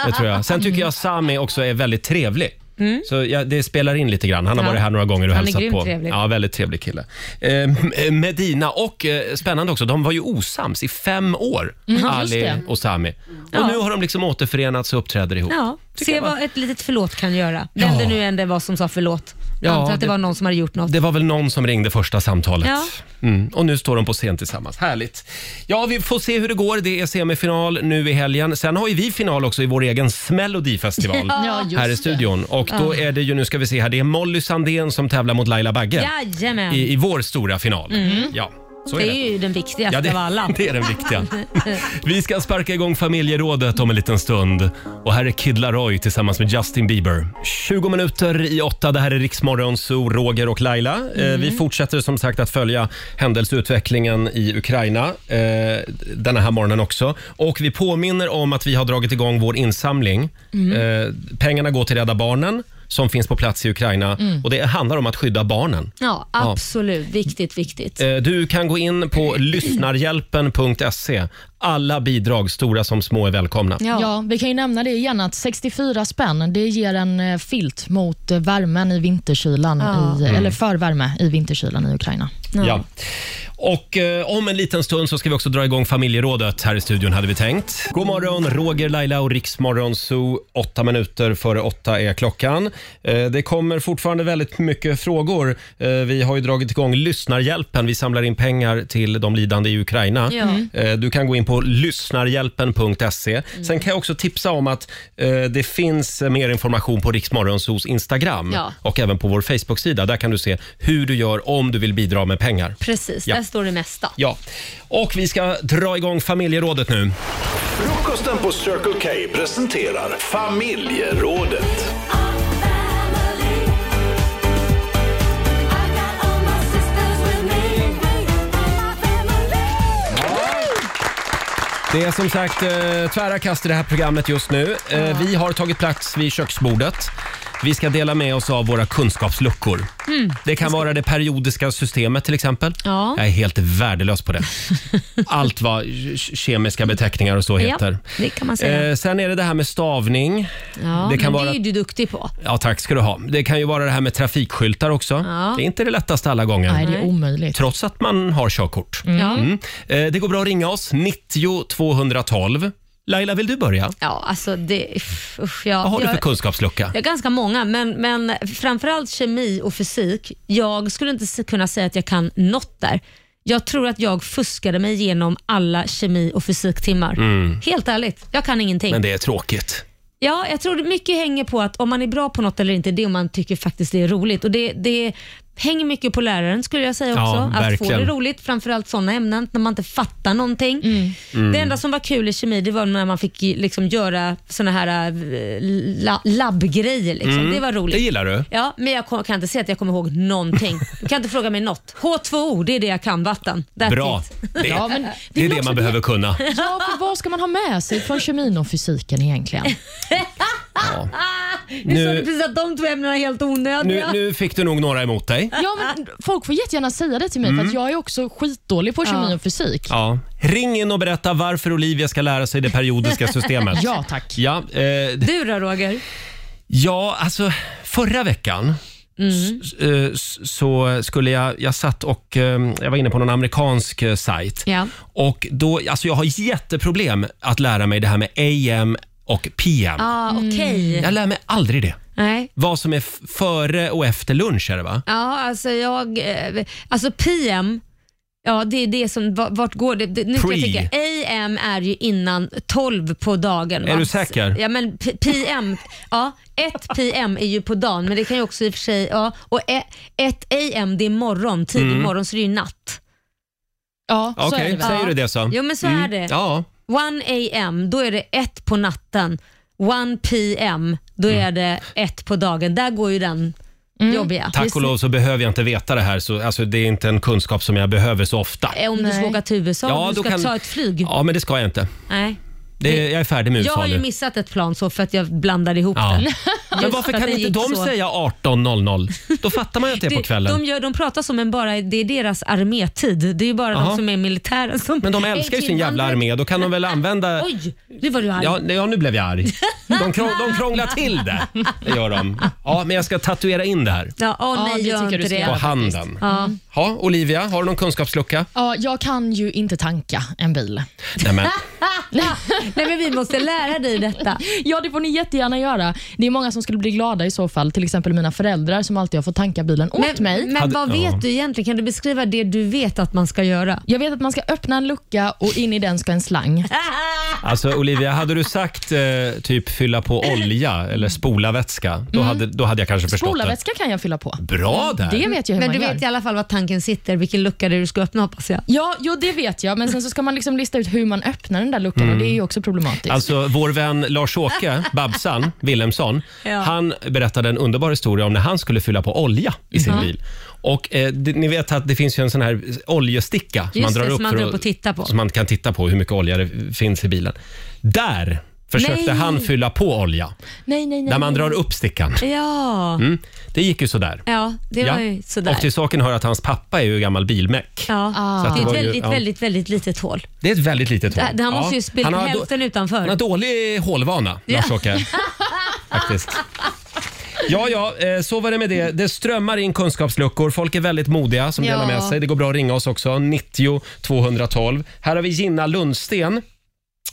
Speaker 1: Det tror jag. Sen tycker jag Sami också är väldigt trevlig. Så ja, det spelar in lite grann. Han
Speaker 2: Mm.
Speaker 1: har
Speaker 2: Ja.
Speaker 1: varit här några gånger och
Speaker 2: Han är
Speaker 1: hälsat
Speaker 2: grymt
Speaker 1: på.
Speaker 2: trevlig.
Speaker 1: Ja, väldigt trevlig kille. Eh, Medina och, eh, spännande också, de var ju osams i fem år,
Speaker 2: Mm.
Speaker 7: just
Speaker 1: Ali
Speaker 7: det.
Speaker 1: och Sami. Och
Speaker 2: Ja.
Speaker 1: nu har de liksom återförenats och uppträder ihop.
Speaker 2: Ja,
Speaker 1: Tycker
Speaker 2: se
Speaker 1: jag var-
Speaker 2: vad ett litet förlåt kan göra. Vem
Speaker 1: Ja.
Speaker 2: det nu än det var som sa förlåt.
Speaker 1: Ja,
Speaker 2: Jag antar att det,
Speaker 1: det-
Speaker 2: var någon som hade gjort något.
Speaker 1: Det var väl någon som ringde första samtalet.
Speaker 2: Ja.
Speaker 1: Mm. Och nu står de på scen tillsammans. Härligt. Ja, vi får se hur det går. Det är semifinal nu i helgen. Sen har ju vi final också i vår egen Smelodifestival
Speaker 7: Ja, just
Speaker 1: här i
Speaker 7: det.
Speaker 1: studion. Och då är det ju, nu ska vi se här, det är Molly Sandén som tävlar mot Laila Bagge
Speaker 2: Jajamän.
Speaker 1: i, i vår stora final. Ja, så är
Speaker 2: det
Speaker 1: det.
Speaker 2: är ju den viktigaste
Speaker 1: Ja, det,
Speaker 2: av alla.
Speaker 1: det är den viktiga. Vi ska sparka igång familjerådet om en liten stund. Och här är Kid Laroi tillsammans med Justin Bieber. 20 minuter i åtta. Det här är Riksmorgon Zoo, Roger och Laila.
Speaker 2: Mm.
Speaker 1: Eh, vi fortsätter som sagt att följa händelseutvecklingen i Ukraina eh, denna här morgonen också. Och vi påminner om att vi har dragit igång vår insamling.
Speaker 2: Mm.
Speaker 1: Eh, pengarna går till Rädda Barnen som finns på plats i Ukraina
Speaker 2: Mm.
Speaker 1: och det handlar om att skydda barnen.
Speaker 2: Ja, absolut. Viktigt, viktigt.
Speaker 1: Eh, Du kan gå in på lyssnarhjälpen.se. Alla bidrag, stora som små, är välkomna.
Speaker 7: Ja. vi kan ju nämna det igen att 64 spänn det ger en eh, filt mot eh, värmen i vinterkylan, i, eh,
Speaker 1: Mm.
Speaker 7: eller för värme i vinterkylan i Ukraina.
Speaker 1: Ja. Och eh, om en liten stund så ska vi också dra igång familjerådet här i studion hade vi tänkt. God morgon, Roger, Laila och Riksmorgon Zoo. Åtta minuter före åtta är klockan. Eh, det kommer fortfarande väldigt mycket frågor. Eh, vi har ju dragit igång Lyssnarhjälpen. Vi samlar in pengar till de lidande i Ukraina.
Speaker 2: Ja. Mm.
Speaker 1: Eh, Du kan gå in på lyssnarhjälpen.se. Sen kan jag också tipsa om att eh, det finns eh, mer information på Riksmorgonsos Instagram
Speaker 2: Ja.
Speaker 1: och även på vår Facebook-sida. Där kan du se hur du gör om du vill bidra med pengar.
Speaker 2: Precis,
Speaker 1: Ja.
Speaker 2: där står det mesta.
Speaker 1: Ja, och vi ska dra igång familjerådet nu.
Speaker 11: Frukosten på Circle K presenterar Familjerådet.
Speaker 1: Det Det är som sagt eh, tvära kast i det här programmet just nu. Eh, Vi har tagit plats vid köksbordet. Vi ska dela med oss av våra kunskapsluckor.
Speaker 2: Mm.
Speaker 1: Det kan vara det periodiska systemet till exempel.
Speaker 2: Ja.
Speaker 1: Jag är helt värdelös på det. Allt vad ke- kemiska beteckningar och så
Speaker 2: Ja,
Speaker 1: heter.
Speaker 2: det kan man säga.
Speaker 1: Eh, sen är det det här med stavning.
Speaker 2: Ja,
Speaker 1: det kan
Speaker 2: men
Speaker 1: vara...
Speaker 2: det är ju du duktig på.
Speaker 1: Ja, tack ska du ha. Det kan ju vara det här med trafikskyltar också.
Speaker 2: Ja.
Speaker 1: Det är inte det lättaste alla gånger.
Speaker 7: Nej, det är omöjligt.
Speaker 1: Trots att man har körkort.
Speaker 7: Mm. Ja.
Speaker 1: Eh, Det går bra att ringa oss, 90 212. Laila, vill du börja?
Speaker 2: Ja, alltså det... Usch, usch, jag,
Speaker 1: Vad har du
Speaker 2: jag,
Speaker 1: för kunskapslucka?
Speaker 2: Jag har ganska många, men, men framförallt kemi och fysik. Jag skulle inte se- kunna säga att jag kan något där. Jag tror att jag fuskade mig igenom alla kemi och fysiktimmar.
Speaker 1: Mm.
Speaker 2: Helt ärligt, jag kan ingenting.
Speaker 1: Men det är tråkigt.
Speaker 2: Ja, jag tror det mycket hänger på att om man är bra på något eller inte, det är om man tycker faktiskt det är roligt. Och det, det hänger mycket på läraren skulle jag säga också.
Speaker 1: Ja,
Speaker 2: att få
Speaker 1: verkligen.
Speaker 2: det roligt, framförallt sådana ämnen när man inte fattar någonting.
Speaker 1: Mm.
Speaker 2: Det enda som var kul i kemi det var när man fick liksom göra såna här eh, la, labbgrejer. Liksom.
Speaker 1: Mm.
Speaker 2: Det var roligt.
Speaker 1: Det gillar du?
Speaker 2: Ja, men jag kom- kan inte säga att jag kommer ihåg någonting. Du kan inte fråga mig något. H2O, det är det jag kan. Vatten. That's
Speaker 1: Bra.
Speaker 2: It.
Speaker 1: Det, det är det man behöver kunna.
Speaker 7: Ja, för vad ska man ha med sig från kemin och fysiken egentligen?
Speaker 2: Nu sa
Speaker 1: Nu-
Speaker 2: du precis att de två ämnena är helt
Speaker 1: Nu,
Speaker 2: onödiga.
Speaker 1: nu fick du nog några emot dig.
Speaker 7: Ja, men folk får jättegärna säga det till mig, för att jag är också skitdålig på kemi och fysik.
Speaker 1: Mm. Ja. Ring in och berätta varför Olivia ska lära sig det periodiska systemet.
Speaker 7: Ja, tack.
Speaker 1: Ja, eh,
Speaker 2: Du då Roger?
Speaker 1: Ja, alltså förra veckan
Speaker 2: Mm.
Speaker 1: s- eh, s- så skulle jag, jag satt och eh, jag var inne på någon amerikansk eh, sajt.
Speaker 2: Ja.
Speaker 1: Och då, alltså jag har jätteproblem att lära mig det här med AM och PM.
Speaker 2: Ah, okej.
Speaker 1: Jag lär mig aldrig det.
Speaker 2: Nej.
Speaker 1: Vad som är f- före och efter lunch är det va?
Speaker 2: Ja, alltså jag... eh, Alltså PM, ja det är det som... va- Vart går det? det nu ska jag
Speaker 1: Pre.
Speaker 2: tänka, AM är ju innan 12 på dagen.
Speaker 1: Är du säker?
Speaker 2: Ja, men P- PM, ja. 1 PM är ju på dagen, men det kan ju också i och för sig... Ja, och 1 AM det är morgon, tidig
Speaker 1: Mm.
Speaker 2: morgon, så det är ju natt.
Speaker 7: Ja,
Speaker 1: så Okej, är det väl. säger du det så?
Speaker 2: Jo, men så
Speaker 1: Mm.
Speaker 2: är det.
Speaker 1: Ja.
Speaker 2: 1 AM, då är det 1 på natten. 1 PM, då
Speaker 1: Mm.
Speaker 2: är det 1 på dagen. Där går ju den jobbiga.
Speaker 1: Tack och lov så behöver jag inte veta det här. Så, alltså, det är inte en kunskap som jag behöver så ofta.
Speaker 2: Eh, Om du ska åka till USA,
Speaker 1: Ja,
Speaker 2: om du
Speaker 1: då
Speaker 2: ska
Speaker 1: kan-
Speaker 2: ta ett flyg.
Speaker 1: Ja, men det ska jag inte.
Speaker 2: Nej.
Speaker 1: Det, jag är färdig med
Speaker 2: Jag
Speaker 1: USA
Speaker 2: har ju
Speaker 1: nu.
Speaker 2: missat ett plan så för att jag blandade ihop
Speaker 1: Ja.
Speaker 2: det.
Speaker 1: Men
Speaker 2: Just
Speaker 1: varför
Speaker 2: för att
Speaker 1: kan
Speaker 2: det
Speaker 1: inte
Speaker 2: gick
Speaker 1: de
Speaker 2: så.
Speaker 1: säga 18.00? Då fattar man ju att det är på
Speaker 2: De,
Speaker 1: kvällen.
Speaker 2: gör, de pratar som en bara, det är deras armétid. Det är ju bara
Speaker 1: Jaha.
Speaker 2: de som är militära som...
Speaker 1: Men de älskar ju sin jävla armé. Då kan de väl använda...
Speaker 2: Oj, nu var du arg.
Speaker 1: Ja, nej, ja, nu blev jag arg. De, krång, de krånglar till det. Det gör de. Ja, men jag ska tatuera in det här.
Speaker 2: Ja, åh
Speaker 7: Ja,
Speaker 2: nej,
Speaker 7: det
Speaker 2: gör
Speaker 7: tycker
Speaker 2: inte
Speaker 7: du ska Mm.
Speaker 2: det.
Speaker 1: På handen.
Speaker 2: Ja.
Speaker 1: Ja, Olivia, har du någon kunskapslucka?
Speaker 7: Ja, jag kan ju inte tanka en bil.
Speaker 1: Nej, men,
Speaker 2: Nej, men vi måste lära dig detta.
Speaker 7: Ja, det får ni jättegärna göra. Det är många som skulle bli glada i så fall. Till exempel mina föräldrar som alltid har fått tanka bilen åt
Speaker 2: Men,
Speaker 7: mig.
Speaker 2: men
Speaker 1: Hade-
Speaker 2: vad vet
Speaker 1: ja.
Speaker 2: du egentligen? Kan du beskriva det du vet att man ska göra?
Speaker 7: Jag vet att man ska öppna en lucka och in i den ska en slang.
Speaker 1: alltså, Olivia, hade du sagt eh, typ fylla på olja eller spola vätska,
Speaker 2: Mm.
Speaker 1: då, hade, då hade jag kanske förstått det.
Speaker 7: Spolarvätska kan jag fylla på.
Speaker 1: Bra där!
Speaker 7: Det vet jag hur
Speaker 2: Men
Speaker 7: man
Speaker 2: du
Speaker 7: gör.
Speaker 2: vet i alla fall var tanken sitter, vilken lucka det är du ska öppna hoppas jag.
Speaker 7: Ja, jo, det vet jag. Men sen så ska man liksom lista ut hur man öppnar den där luckan och det är ju också problematiskt.
Speaker 1: Alltså vår vän Lars-Åke Babsan Willemsson,
Speaker 2: Ja.
Speaker 1: han berättade en underbar historia om när han skulle fylla på olja i sin
Speaker 2: Mhm.
Speaker 1: bil. Och eh, det, Ni vet att det finns ju en sån här oljesticka som
Speaker 2: Just
Speaker 1: man
Speaker 2: det,
Speaker 1: drar
Speaker 2: som
Speaker 1: upp
Speaker 2: man
Speaker 1: för
Speaker 2: drar
Speaker 1: att-
Speaker 2: upp och tittar på.
Speaker 1: Som man kan titta på hur mycket olja det finns i bilen. Där försökte
Speaker 2: Nej.
Speaker 1: han fylla på olja,
Speaker 7: nej, nej, nej.
Speaker 1: när man drar upp stickan.
Speaker 2: Ja,
Speaker 1: Mm. Det gick ju sådär.
Speaker 2: ja det var ju sådär.
Speaker 1: Och till saken hör att hans pappa är ju gammal bilmek.
Speaker 2: Ja.
Speaker 7: Ah.
Speaker 1: Så att
Speaker 2: Det är
Speaker 1: det
Speaker 2: ett
Speaker 1: var ju-
Speaker 2: väldigt,
Speaker 1: ja.
Speaker 2: väldigt, väldigt litet hål.
Speaker 1: Det är ett väldigt litet hål.
Speaker 2: Äh, Det- han måste ju spilla
Speaker 1: har då-
Speaker 2: hälften utanför.
Speaker 1: Han har dålig hålvana, Lars-Åke. Faktiskt. Ja, ja, eh, så var det med det. Det strömmar in kunskapsluckor. Folk är väldigt modiga som delar
Speaker 7: Ja.
Speaker 1: med sig. Det går bra att ringa oss också. 90 212. Här har vi Gina Lundsten.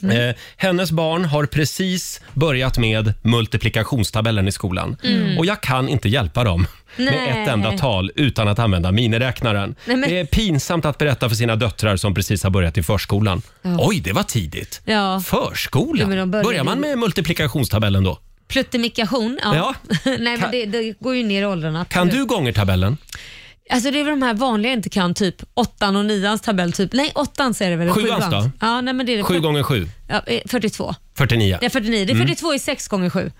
Speaker 2: Mm.
Speaker 1: Eh, hennes barn har precis börjat med multiplikationstabellen i skolan. Och jag kan inte hjälpa dem med
Speaker 2: Mm. Nej.
Speaker 1: ett enda tal utan att använda miniräknaren.
Speaker 2: Nej, men-
Speaker 1: Det är pinsamt att berätta för sina döttrar som precis har börjat i förskolan. Oj, det var tidigt.
Speaker 2: Ja. Ja,
Speaker 1: Förskolan?
Speaker 2: men de började
Speaker 1: Börjar man
Speaker 2: ju-
Speaker 1: med multiplikationstabellen då?
Speaker 2: Pluttemikation, ja.
Speaker 1: Ja.
Speaker 2: Nej, men det, det går ju ner i åldrarna.
Speaker 1: Kan du gångertabellen?
Speaker 2: Alltså det är väl de här vanliga jag inte kan, typ åttan och nians tabell. Typ. Nej, åttan säger det väl?
Speaker 1: Sjuans då?
Speaker 2: Ja, nej, men det är det.
Speaker 1: Sju gånger sju,
Speaker 2: Ja, eh, 42.
Speaker 1: 49.
Speaker 2: Ja, 49. Det är
Speaker 1: Mm.
Speaker 2: 42 i 6 gånger 7.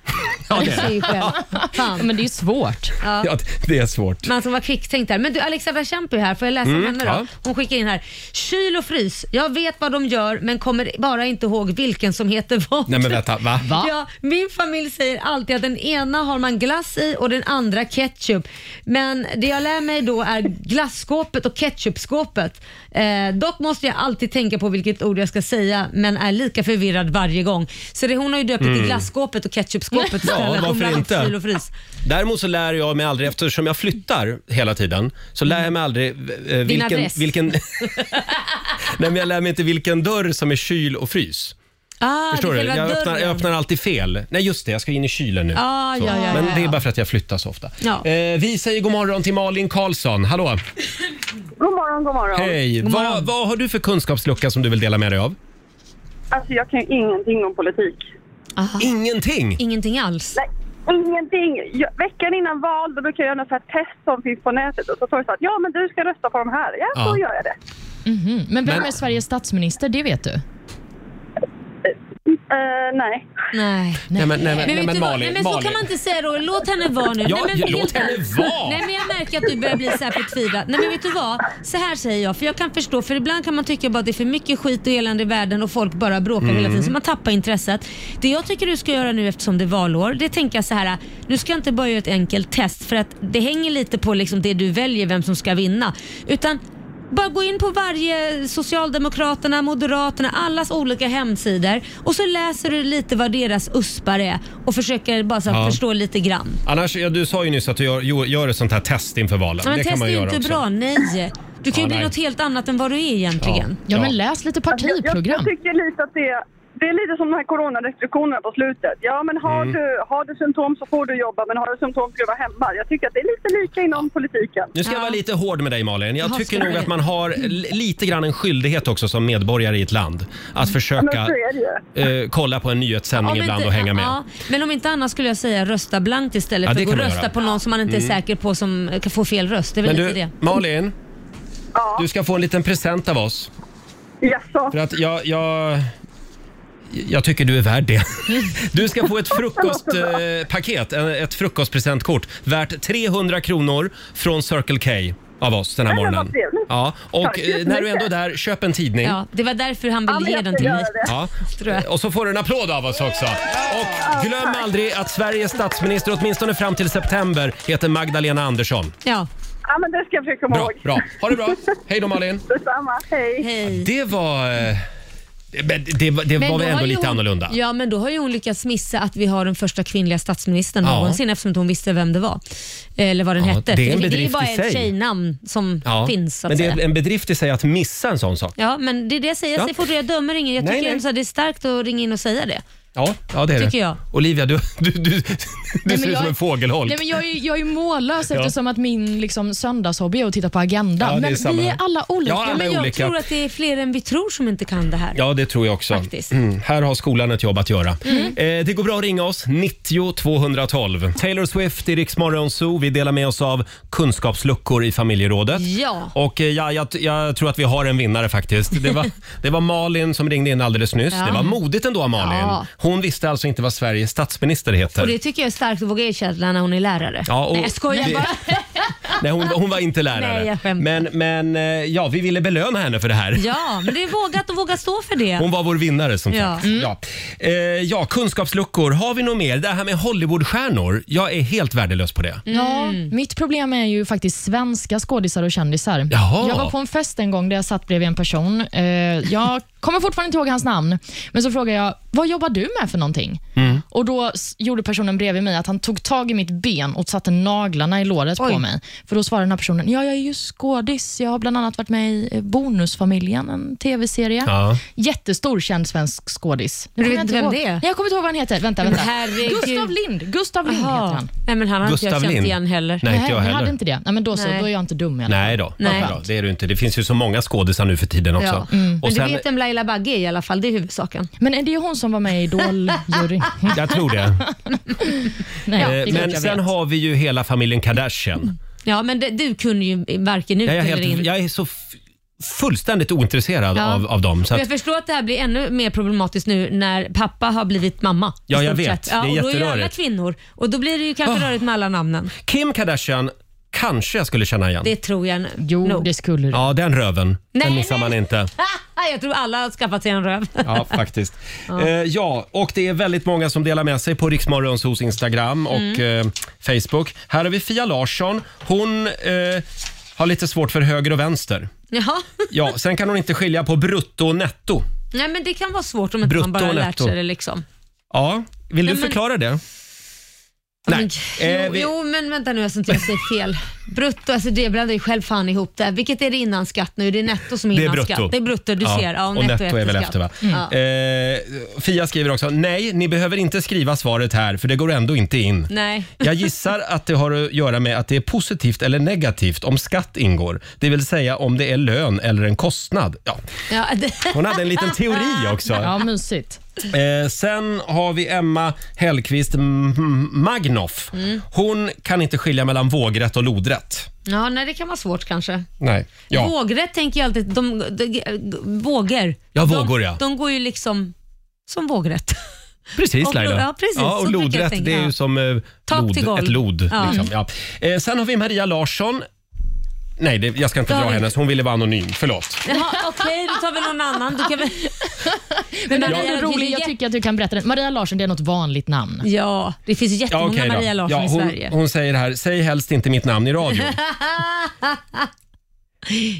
Speaker 1: Ja, det
Speaker 2: Du
Speaker 1: är
Speaker 2: ser ju
Speaker 1: det.
Speaker 2: själv. Fan.
Speaker 7: Men det är ju svårt. Mm.
Speaker 1: Ja, det- det är svårt.
Speaker 2: Man ska vara kvicktänkt där. Men du, Alexandra Kämp är här. Får jag läsa
Speaker 1: Mm,
Speaker 2: om henne då?
Speaker 1: ja.
Speaker 2: Hon skickar in här. Kyl och frys. Jag vet vad de gör men kommer bara inte ihåg vilken som heter vad.
Speaker 1: Nej men vänta, va?
Speaker 2: Ja, min familj säger alltid att den ena har man glass i och den andra ketchup. Men det jag lär mig då är glasskåpet och ketchupskåpet. Eh, dock måste jag alltid tänka på vilket ord jag ska säga men är lika förvirrad varje gång. Så det, hon har ju döpt det
Speaker 1: Mm.
Speaker 2: till glasskåpet och ketchupskåpet
Speaker 1: Ja,
Speaker 2: istället. Hon
Speaker 1: varför
Speaker 2: blandar
Speaker 1: inte?
Speaker 2: kyl och frys.
Speaker 1: Däremot så lär jag mig aldrig, eftersom jag flyttar hela tiden, så lär jag mig aldrig eh, vilken...
Speaker 2: adress.
Speaker 1: vilken Nej, men jag lär mig inte vilken dörr som är kyl och frys.
Speaker 2: Ah,
Speaker 1: Förstår
Speaker 2: det
Speaker 1: du?
Speaker 2: är själva
Speaker 1: Jag öppnar, jag
Speaker 2: dörren.
Speaker 1: öppnar alltid fel. Nej, just det, jag ska in i kylen nu.
Speaker 2: Ah,
Speaker 1: Så.
Speaker 2: ja, ja,
Speaker 1: men
Speaker 2: ja,
Speaker 1: det är
Speaker 2: ja.
Speaker 1: bara för att jag flyttar så ofta.
Speaker 2: Ja.
Speaker 1: Eh, vi säger god morgon till Malin Karlsson. Hallå!
Speaker 12: God morgon, god morgon.
Speaker 1: Hej!
Speaker 12: God
Speaker 1: Vad,
Speaker 12: morgon.
Speaker 1: vad har du för kunskapslucka som du vill dela med dig av?
Speaker 12: Alltså, jag kan ju ingenting om politik.
Speaker 1: Ingenting?
Speaker 2: Ingenting alls?
Speaker 12: Nej, ingenting. Jag, veckan innan val då brukar jag göra något så här test som finns på nätet och så står det så att ja, men du ska rösta på de här. Ja,
Speaker 7: Ja.
Speaker 12: så gör jag det.
Speaker 7: Mhm. Men vem
Speaker 12: Men-
Speaker 7: är Sveriges statsminister? Det vet du?
Speaker 12: Eh, nej.
Speaker 2: Nej.
Speaker 1: Nej, men, nej, men, nej,
Speaker 2: vet
Speaker 1: men
Speaker 2: du vad?
Speaker 1: Malin,
Speaker 2: nej, men
Speaker 1: Malin.
Speaker 2: så kan man inte säga då. Låt henne vara nu.
Speaker 1: Ja,
Speaker 2: nej, men,
Speaker 1: ja, låt
Speaker 2: helt ärligt.
Speaker 1: henne vara.
Speaker 2: Nej, men jag märker att du börjar bli så här förtvivlad. Nej, men vet du vad? Så här säger jag, för jag kan förstå. För ibland kan man tycka bara att det är för mycket skit och elände i världen och folk bara bråkar
Speaker 13: Mm.
Speaker 2: hela tiden så man tappar intresset. Det jag tycker du ska göra nu eftersom det är valår, det tänker jag så här. Du ska inte bara göra ett enkelt test för att det hänger lite på liksom det du väljer, vem som ska vinna. Utan bara gå in på varje Socialdemokraterna, Moderaterna, allas olika hemsidor och så läser du lite vad deras uspar är och försöker bara så här
Speaker 1: Ja.
Speaker 2: förstå lite grann.
Speaker 1: Annars, ja, du sa ju nyss att du gör, jo- gör ett sånt här test inför valen.
Speaker 2: Ja, men
Speaker 1: det kan
Speaker 2: test
Speaker 1: man
Speaker 2: är ju
Speaker 1: göra
Speaker 2: inte
Speaker 1: också.
Speaker 2: bra, nej. Du kan
Speaker 1: Ja,
Speaker 2: ju bli
Speaker 1: nej.
Speaker 2: något helt annat än vad du är egentligen.
Speaker 1: Ja, Ja, men ja.
Speaker 7: läs lite
Speaker 12: Alltså, Jag, jag tycker lite att det, det är lite som de här coronarestriktionerna på slutet. Ja, men har,
Speaker 1: Mm.
Speaker 12: du, har du symptom så får du jobba, men har du symptom ska du vara hemma. Jag tycker att det är lite lika inom politiken.
Speaker 1: Nu ska jag vara lite hård med dig Malin. Jag
Speaker 12: Jaha,
Speaker 1: tycker
Speaker 12: ska
Speaker 1: nog
Speaker 12: du?
Speaker 1: att man har li- lite grann en skyldighet också som medborgare i ett land att försöka
Speaker 2: Men så är
Speaker 1: eh, kolla på en nyhetssändning
Speaker 2: Om
Speaker 1: ibland
Speaker 2: inte-
Speaker 1: och hänga med.
Speaker 2: ja, men om inte annat skulle jag säga rösta blankt istället
Speaker 1: Ja,
Speaker 2: för
Speaker 1: det
Speaker 2: att gå och
Speaker 1: kan man
Speaker 2: rösta
Speaker 1: göra.
Speaker 2: på någon som man inte
Speaker 1: Mm.
Speaker 2: är säker på som kan få fel röst. Det är väl
Speaker 1: Men
Speaker 2: lite
Speaker 1: du,
Speaker 2: det.
Speaker 1: Malin. Du ska få en liten present av oss.
Speaker 12: Jaså?
Speaker 1: För att jag, jag, jag tycker du är värd det. Du ska få ett frukostpaket, eh, ett frukostpresentkort värt 300 kronor från Circle K av oss den här
Speaker 2: Nej, men vad
Speaker 1: morgonen.
Speaker 2: trevligt.
Speaker 1: Ja, och
Speaker 2: Tack så
Speaker 1: eh, när du
Speaker 2: mycket.
Speaker 1: ändå är där, köp en tidning.
Speaker 2: Ja, det var därför han
Speaker 12: Ja,
Speaker 2: ville
Speaker 12: men
Speaker 2: ge
Speaker 12: jag
Speaker 2: den
Speaker 12: ska
Speaker 2: till mig.
Speaker 12: göra det.
Speaker 1: Ja.
Speaker 2: Tror jag.
Speaker 1: Och så får du en applåd av oss också. Och glöm aldrig att Sveriges statsminister, åtminstone fram till september, heter Magdalena Andersson.
Speaker 2: Ja.
Speaker 12: Ja, men det ska jag försöka komma
Speaker 1: Bra,
Speaker 12: ihåg.
Speaker 1: bra. Ha det bra. Hej då Malin.
Speaker 12: Detsamma. Hej.
Speaker 1: Det var... eh, men Det, var- det
Speaker 2: Men då
Speaker 1: var väl
Speaker 2: har
Speaker 1: ändå
Speaker 2: ju
Speaker 1: lite
Speaker 2: hon,
Speaker 1: annorlunda?
Speaker 2: Ja, men då har ju hon lyckats missa att vi har den första kvinnliga statsministern
Speaker 1: Ja.
Speaker 2: någonsin eftersom inte hon visste vem det var. Eller vad den
Speaker 1: Ja,
Speaker 2: hette.
Speaker 1: det är en
Speaker 2: För det är ju
Speaker 1: bedrift
Speaker 2: bara
Speaker 1: i
Speaker 2: ett
Speaker 1: sig.
Speaker 2: tjejnamn som
Speaker 1: Ja,
Speaker 2: finns. Så att
Speaker 1: men det är
Speaker 2: säga.
Speaker 1: en bedrift i sig att missa en sån sak.
Speaker 2: Ja, men det är det jag säger. Jag
Speaker 1: Ja.
Speaker 2: säger fort jag dömer ingen. Jag
Speaker 1: Nej,
Speaker 2: tycker
Speaker 1: nej.
Speaker 2: ändå så här, det är starkt att ringa in och säga det.
Speaker 1: Ja, ja det är det.
Speaker 2: Tycker jag.
Speaker 1: Olivia, du, du, du, du
Speaker 7: men
Speaker 1: ser ut som
Speaker 7: jag-
Speaker 1: en fågelholk.
Speaker 7: Nej, men jag, är, ju- jag är ju mållös
Speaker 1: Ja.
Speaker 7: eftersom att min liksom, söndagshobby är att titta på Agenda.
Speaker 1: Ja, det är
Speaker 7: men
Speaker 1: samma
Speaker 7: vi är
Speaker 1: här.
Speaker 7: alla olika.
Speaker 1: Ja, alla är
Speaker 7: men jag
Speaker 1: olika.
Speaker 7: tror
Speaker 2: Jag tror att det är fler än vi tror som inte kan det här.
Speaker 1: Ja, det tror jag också. Mm, här har skolan ett jobb att göra.
Speaker 2: Mm.
Speaker 1: Eh, det går bra att ringa oss, 90 212. Taylor Swift i Rix Morgon Zoo. Vi delar med oss av kunskapsluckor i familjerådet.
Speaker 2: Ja.
Speaker 1: Och eh, ja, jag, jag tror att vi har en vinnare faktiskt. Det var, det var Malin som ringde in alldeles nyss.
Speaker 2: Ja.
Speaker 1: Det var modigt ändå av Malin.
Speaker 2: Ja.
Speaker 1: Hon visste alltså inte vad Sveriges statsminister heter.
Speaker 2: Och det tycker jag är starkt att våga erkänna när hon är lärare.
Speaker 1: Ja, och-
Speaker 2: Nej, jag skojar
Speaker 1: det-
Speaker 2: bara.
Speaker 1: Nej, hon, hon var inte lärare.
Speaker 2: Nej, jag
Speaker 1: men men eh, ja, vi ville belöna henne för det här.
Speaker 2: Ja, men det är vågat och våga stå för det.
Speaker 1: Hon var vår vinnare som
Speaker 2: Ja.
Speaker 1: sagt.
Speaker 2: Mm.
Speaker 1: Ja. Eh, ja, kunskapsluckor. Har vi något mer? Det här med Hollywoodstjärnor. Jag är helt värdelös på
Speaker 2: Mm.
Speaker 1: det.
Speaker 7: Ja, mitt problem är ju faktiskt svenska skådisar och kändisar.
Speaker 1: Jaha.
Speaker 7: Jag var på en fest en gång där jag satt bredvid en person. Eh, jag kommer fortfarande inte ihåg hans namn, men så frågade jag, vad jobbar du med för någonting?
Speaker 2: Mm.
Speaker 7: Och Då s- gjorde personen bredvid mig att han tog tag i mitt ben och satte naglarna i låret
Speaker 13: Oj.
Speaker 7: på mig. För Då svarade den här personen, ja, jag är ju skådis. Jag har bland annat varit med i eh, Bonusfamiljen, en tv-serie.
Speaker 13: Ja.
Speaker 7: Jättestor känd svensk skådis. Nu
Speaker 2: Men du
Speaker 7: kommer
Speaker 2: vet
Speaker 7: jag
Speaker 2: vem
Speaker 7: inte
Speaker 2: det
Speaker 7: ihåg.
Speaker 2: är?
Speaker 7: Nej, Jag kommer inte ihåg vad han heter. Vänta,
Speaker 2: Men
Speaker 7: vänta.
Speaker 2: herregud.
Speaker 7: Gustav Lind. Gustav Lind
Speaker 2: Jaha.
Speaker 7: heter han.
Speaker 2: Nej, men han har inte
Speaker 1: Gustav
Speaker 2: jag känt
Speaker 1: Lind.
Speaker 2: igen heller.
Speaker 1: Nej, inte
Speaker 7: jag
Speaker 1: jag
Speaker 7: hade
Speaker 1: heller.
Speaker 7: inte det. Nej, men då, så,
Speaker 2: Nej.
Speaker 7: då är jag inte dum i alla fall.
Speaker 1: Nej då,
Speaker 2: Nej. Mm.
Speaker 1: Nej. då, det är du inte. Det finns ju så många skådisar nu för tiden också.
Speaker 2: Men
Speaker 1: Och sen,
Speaker 2: du vet vem Laila Bagge är i alla fall, det är huvudsaken.
Speaker 7: Men är det hon som var med i Idol-juryn?
Speaker 1: jag tror det.
Speaker 7: Nej,
Speaker 1: Eh,
Speaker 7: det är klart
Speaker 1: men
Speaker 7: jag
Speaker 1: sen
Speaker 7: vet.
Speaker 1: har vi ju hela familjen Kardashian.
Speaker 2: Ja, men det, du kunde ju varken ut
Speaker 1: Jag är,
Speaker 2: eller Mm. in.
Speaker 1: helt, jag är så f- fullständigt ointresserad
Speaker 2: Ja.
Speaker 1: av, av dem. Så att,
Speaker 2: Jag förstår att det här blir ännu mer problematiskt nu när pappa har blivit mamma. i
Speaker 1: Ja, jag
Speaker 2: stort
Speaker 1: vet.
Speaker 2: sett.
Speaker 1: Det är
Speaker 2: och då är ju alla
Speaker 1: jätterörigt. Ah.
Speaker 2: kvinnor och då blir det ju kanske rörigt med alla namnen.
Speaker 1: Kim Kardashian kanske jag skulle känna igen.
Speaker 2: Det tror jag
Speaker 7: Jo,
Speaker 2: nog.
Speaker 7: det skulle du.
Speaker 1: Ja, den röven. den
Speaker 2: Nej,
Speaker 1: missar man inte.
Speaker 2: jag tror alla har skaffat sig en röv.
Speaker 1: Ja, faktiskt.
Speaker 2: Ja.
Speaker 1: Eh, ja, och det är väldigt många som delar med sig på Riksmorgons hos Instagram och
Speaker 2: Mm.
Speaker 1: eh, Facebook. Här har vi Fia Larsson. Hon eh, har lite svårt för höger och vänster.
Speaker 2: Jaha.
Speaker 1: Ja, sen kan hon inte skilja på brutto och netto.
Speaker 2: Nej, men det kan vara svårt om inte man
Speaker 1: Brutto
Speaker 2: bara har
Speaker 1: och
Speaker 2: lärt
Speaker 1: netto.
Speaker 2: sig det. Liksom.
Speaker 1: Ja, vill du
Speaker 2: Nej, men-
Speaker 1: förklara det? Nej. Eh,
Speaker 2: Jo,
Speaker 1: vi-
Speaker 2: jo, men vänta nu så inte jag säger fel. Brutto, alltså det blandar ju själv fan ihop det. Vilket är det innan skatt nu? Det är netto som är
Speaker 1: Det är
Speaker 2: innan
Speaker 1: brutto.
Speaker 2: skatt. Det är brutto, du
Speaker 1: Ja,
Speaker 2: ser. Ja,
Speaker 1: och netto är väl
Speaker 2: skatt.
Speaker 1: efter va? Mm.
Speaker 2: Ja. Mm.
Speaker 1: Eh, Fia skriver också, nej ni behöver inte skriva svaret här för det går ändå inte in.
Speaker 2: Nej.
Speaker 1: Jag gissar att det har att göra med att det är positivt eller negativt om skatt ingår. Det vill säga om det är lön eller en kostnad. Ja.
Speaker 2: Ja, det...
Speaker 1: Hon hade en liten teori också.
Speaker 7: Ja, mysigt.
Speaker 1: Eh, sen har vi Emma Hellqvist M- Magnoff.
Speaker 2: Mm.
Speaker 1: Hon kan inte skilja mellan vågrätt och lodrätt.
Speaker 2: Ja, nej, det kan vara svårt kanske.
Speaker 1: Nej. Ja.
Speaker 2: Vågrätt tänker jag alltid, de, de, de, vågor.
Speaker 1: Ja, vågor, ja.
Speaker 2: De går ju liksom som vågrätt.
Speaker 1: Precis
Speaker 2: Och
Speaker 1: Laila.
Speaker 2: lo- ja, precis.
Speaker 1: Ja,
Speaker 2: Så
Speaker 1: och
Speaker 2: brukar jag
Speaker 1: lodrätt
Speaker 2: tänka,
Speaker 1: det är
Speaker 2: ja.
Speaker 1: ju som eh,
Speaker 2: Tak
Speaker 1: lod,
Speaker 2: till golv.
Speaker 1: ett lod.
Speaker 2: Ja.
Speaker 1: Liksom, ja. eh, sen har vi Maria Larsson. Nej, det, jag ska inte
Speaker 2: Ja,
Speaker 1: dra
Speaker 2: det-
Speaker 1: hennes. Hon ville vara anonym. Förlåt.
Speaker 2: Jaha, okej, då tar vi någon annan. Du kan väl...
Speaker 7: Men
Speaker 2: Men
Speaker 7: den
Speaker 2: Maria,
Speaker 7: är ändå
Speaker 2: du
Speaker 7: rolig.
Speaker 2: är
Speaker 7: Jag
Speaker 2: jätte-
Speaker 7: tycker att du kan berätta den. Maria Larsson, det är något vanligt namn.
Speaker 2: Ja, det finns ju jättemånga
Speaker 1: okej då.
Speaker 2: Maria Larsson
Speaker 1: ja,
Speaker 2: i
Speaker 1: hon,
Speaker 2: Sverige.
Speaker 1: Hon säger här, säg helst inte mitt namn i radio.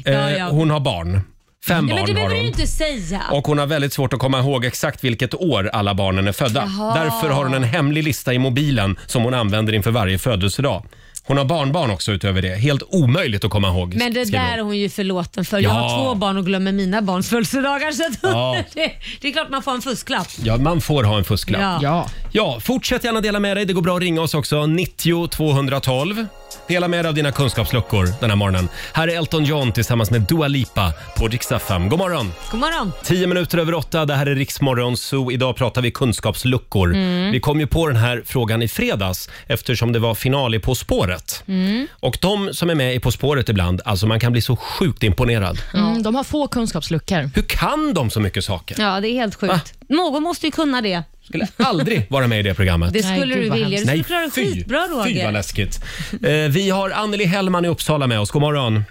Speaker 2: ja,
Speaker 1: Eh,
Speaker 2: ja.
Speaker 1: Hon har barn. Fem
Speaker 2: ja, men det
Speaker 1: barn har
Speaker 2: behöver du
Speaker 1: hon.
Speaker 2: ju inte säga.
Speaker 1: Och hon har väldigt svårt att komma ihåg exakt vilket år alla barnen är födda.
Speaker 2: Jaha.
Speaker 1: Därför har hon en hemlig lista i mobilen som hon använder inför varje födelsedag. Hon har barnbarn också utöver det. Helt omöjligt att komma ihåg.
Speaker 2: Men det
Speaker 1: skriver hon.
Speaker 2: där är hon ju förlåten för. Jag
Speaker 1: Ja.
Speaker 2: har två barn och glömmer mina barns födelsedagar. Så att
Speaker 1: Ja.
Speaker 2: det, det är klart man får en fusklapp.
Speaker 1: Ja, man får ha en fusklapp.
Speaker 2: Ja. Ja.
Speaker 1: Ja, fortsätt gärna dela med dig. Det går bra att ringa oss också. 90 212. Dela med dig av dina kunskapsluckor den här morgonen. Här är Elton John tillsammans med Dua Lipa på Rix FM. God morgon!
Speaker 2: God morgon.
Speaker 1: 10 minuter över åtta, det här är Riksmorgon Zoo. Idag pratar vi kunskapsluckor.
Speaker 2: Mm.
Speaker 1: Vi kom ju på den här frågan i fredags eftersom det var final i På spåret.
Speaker 7: Mm.
Speaker 1: Och de som är med i På spåret ibland, alltså man kan bli så sjukt imponerad.
Speaker 7: Mm, de har få kunskapsluckor.
Speaker 1: Hur kan de så mycket saker?
Speaker 2: Ja, det är helt sjukt. Någon måste ju kunna det.
Speaker 1: skulle aldrig vara med i det programmet.
Speaker 2: Det skulle Nej, gud, du vad vilja. Du skulle
Speaker 1: Nej,
Speaker 2: klara det
Speaker 1: fy,
Speaker 2: skitbra, Roger.
Speaker 1: Fy vad läskigt. Eh, vi har Anneli Hellman i Uppsala med oss. God morgon.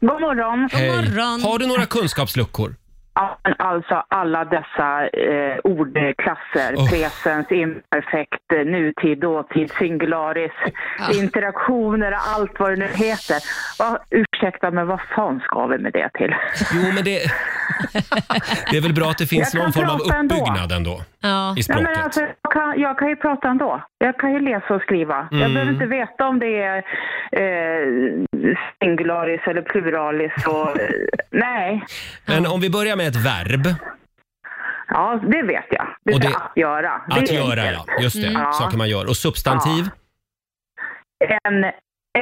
Speaker 13: God morgon.
Speaker 1: Hej. Har du några kunskapsluckor?
Speaker 13: Ja, men Alltså alla dessa eh, ordklasser. Presens, imperfekt, eh, nutid, dåtid, singularis, interaktioner och allt vad det nu heter. Va, ursäkta, men vad fan ska vi med det till?
Speaker 1: Jo, men det... Det är väl bra att det finns
Speaker 13: Jag kan
Speaker 1: någon form av
Speaker 13: prata ändå.
Speaker 1: uppbyggnad ändå.
Speaker 2: Ja.
Speaker 1: I språket.
Speaker 13: Nej, men alltså, jag, kan, jag kan ju prata ändå. Jag kan ju läsa och skriva. Jag
Speaker 1: Mm.
Speaker 13: behöver inte veta om det är eh, singularis eller pluralis. Och, eh, nej,
Speaker 1: Men om vi börjar med ett verb.
Speaker 13: ja, det vet jag. Det,
Speaker 1: Och
Speaker 13: det
Speaker 1: det-
Speaker 13: att göra. Det
Speaker 1: Att
Speaker 13: är
Speaker 1: göra,
Speaker 13: enkelt. Mm.
Speaker 1: ja. Just det.
Speaker 13: Ja.
Speaker 1: Saker man gör. Och substantiv?
Speaker 13: En,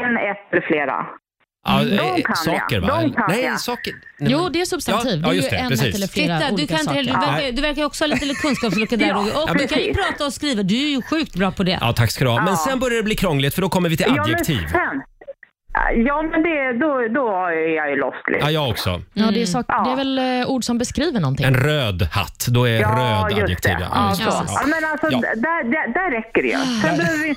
Speaker 13: en, ett eller flera.
Speaker 1: Ja,
Speaker 13: Mm, De
Speaker 1: eh,
Speaker 13: kan
Speaker 1: saker,
Speaker 13: jag.
Speaker 1: va?
Speaker 13: De kan
Speaker 1: Nej,
Speaker 13: jag.
Speaker 1: saker- Nej,
Speaker 7: Jo,
Speaker 1: men-
Speaker 7: det är substantiv.
Speaker 1: Ja, ja,
Speaker 7: det är
Speaker 1: just
Speaker 7: ju
Speaker 1: det,
Speaker 7: en
Speaker 1: precis.
Speaker 7: ett eller flera
Speaker 2: Titta, du,
Speaker 7: olika
Speaker 2: kan inte heller, du,
Speaker 7: saker.
Speaker 2: verkar, du verkar också ha lite lite kunskapslucka där
Speaker 13: Ja.
Speaker 2: Roger. Och
Speaker 1: Ja,
Speaker 2: du kan ju
Speaker 13: precis.
Speaker 2: prata och skriva. Du är ju sjukt bra på det.
Speaker 1: Ja, tack ska du ha. Men
Speaker 13: Ja.
Speaker 1: sen börjar det bli krångligt för då kommer vi till adjektiv.
Speaker 13: Ja, men, sen, ja, men det, då, då är jag ju lost lite.
Speaker 1: Ja, jag också.
Speaker 7: Ja,
Speaker 2: Mm.
Speaker 7: det, är sak, det är väl eh, ord som beskriver någonting.
Speaker 1: En röd hatt, då är röd
Speaker 13: just
Speaker 1: adjektiv.
Speaker 13: det.
Speaker 1: Ja, just det.
Speaker 13: så. Ja, men alltså,
Speaker 1: Ja.
Speaker 13: där, där, där räcker det ju. Sen behöver vi,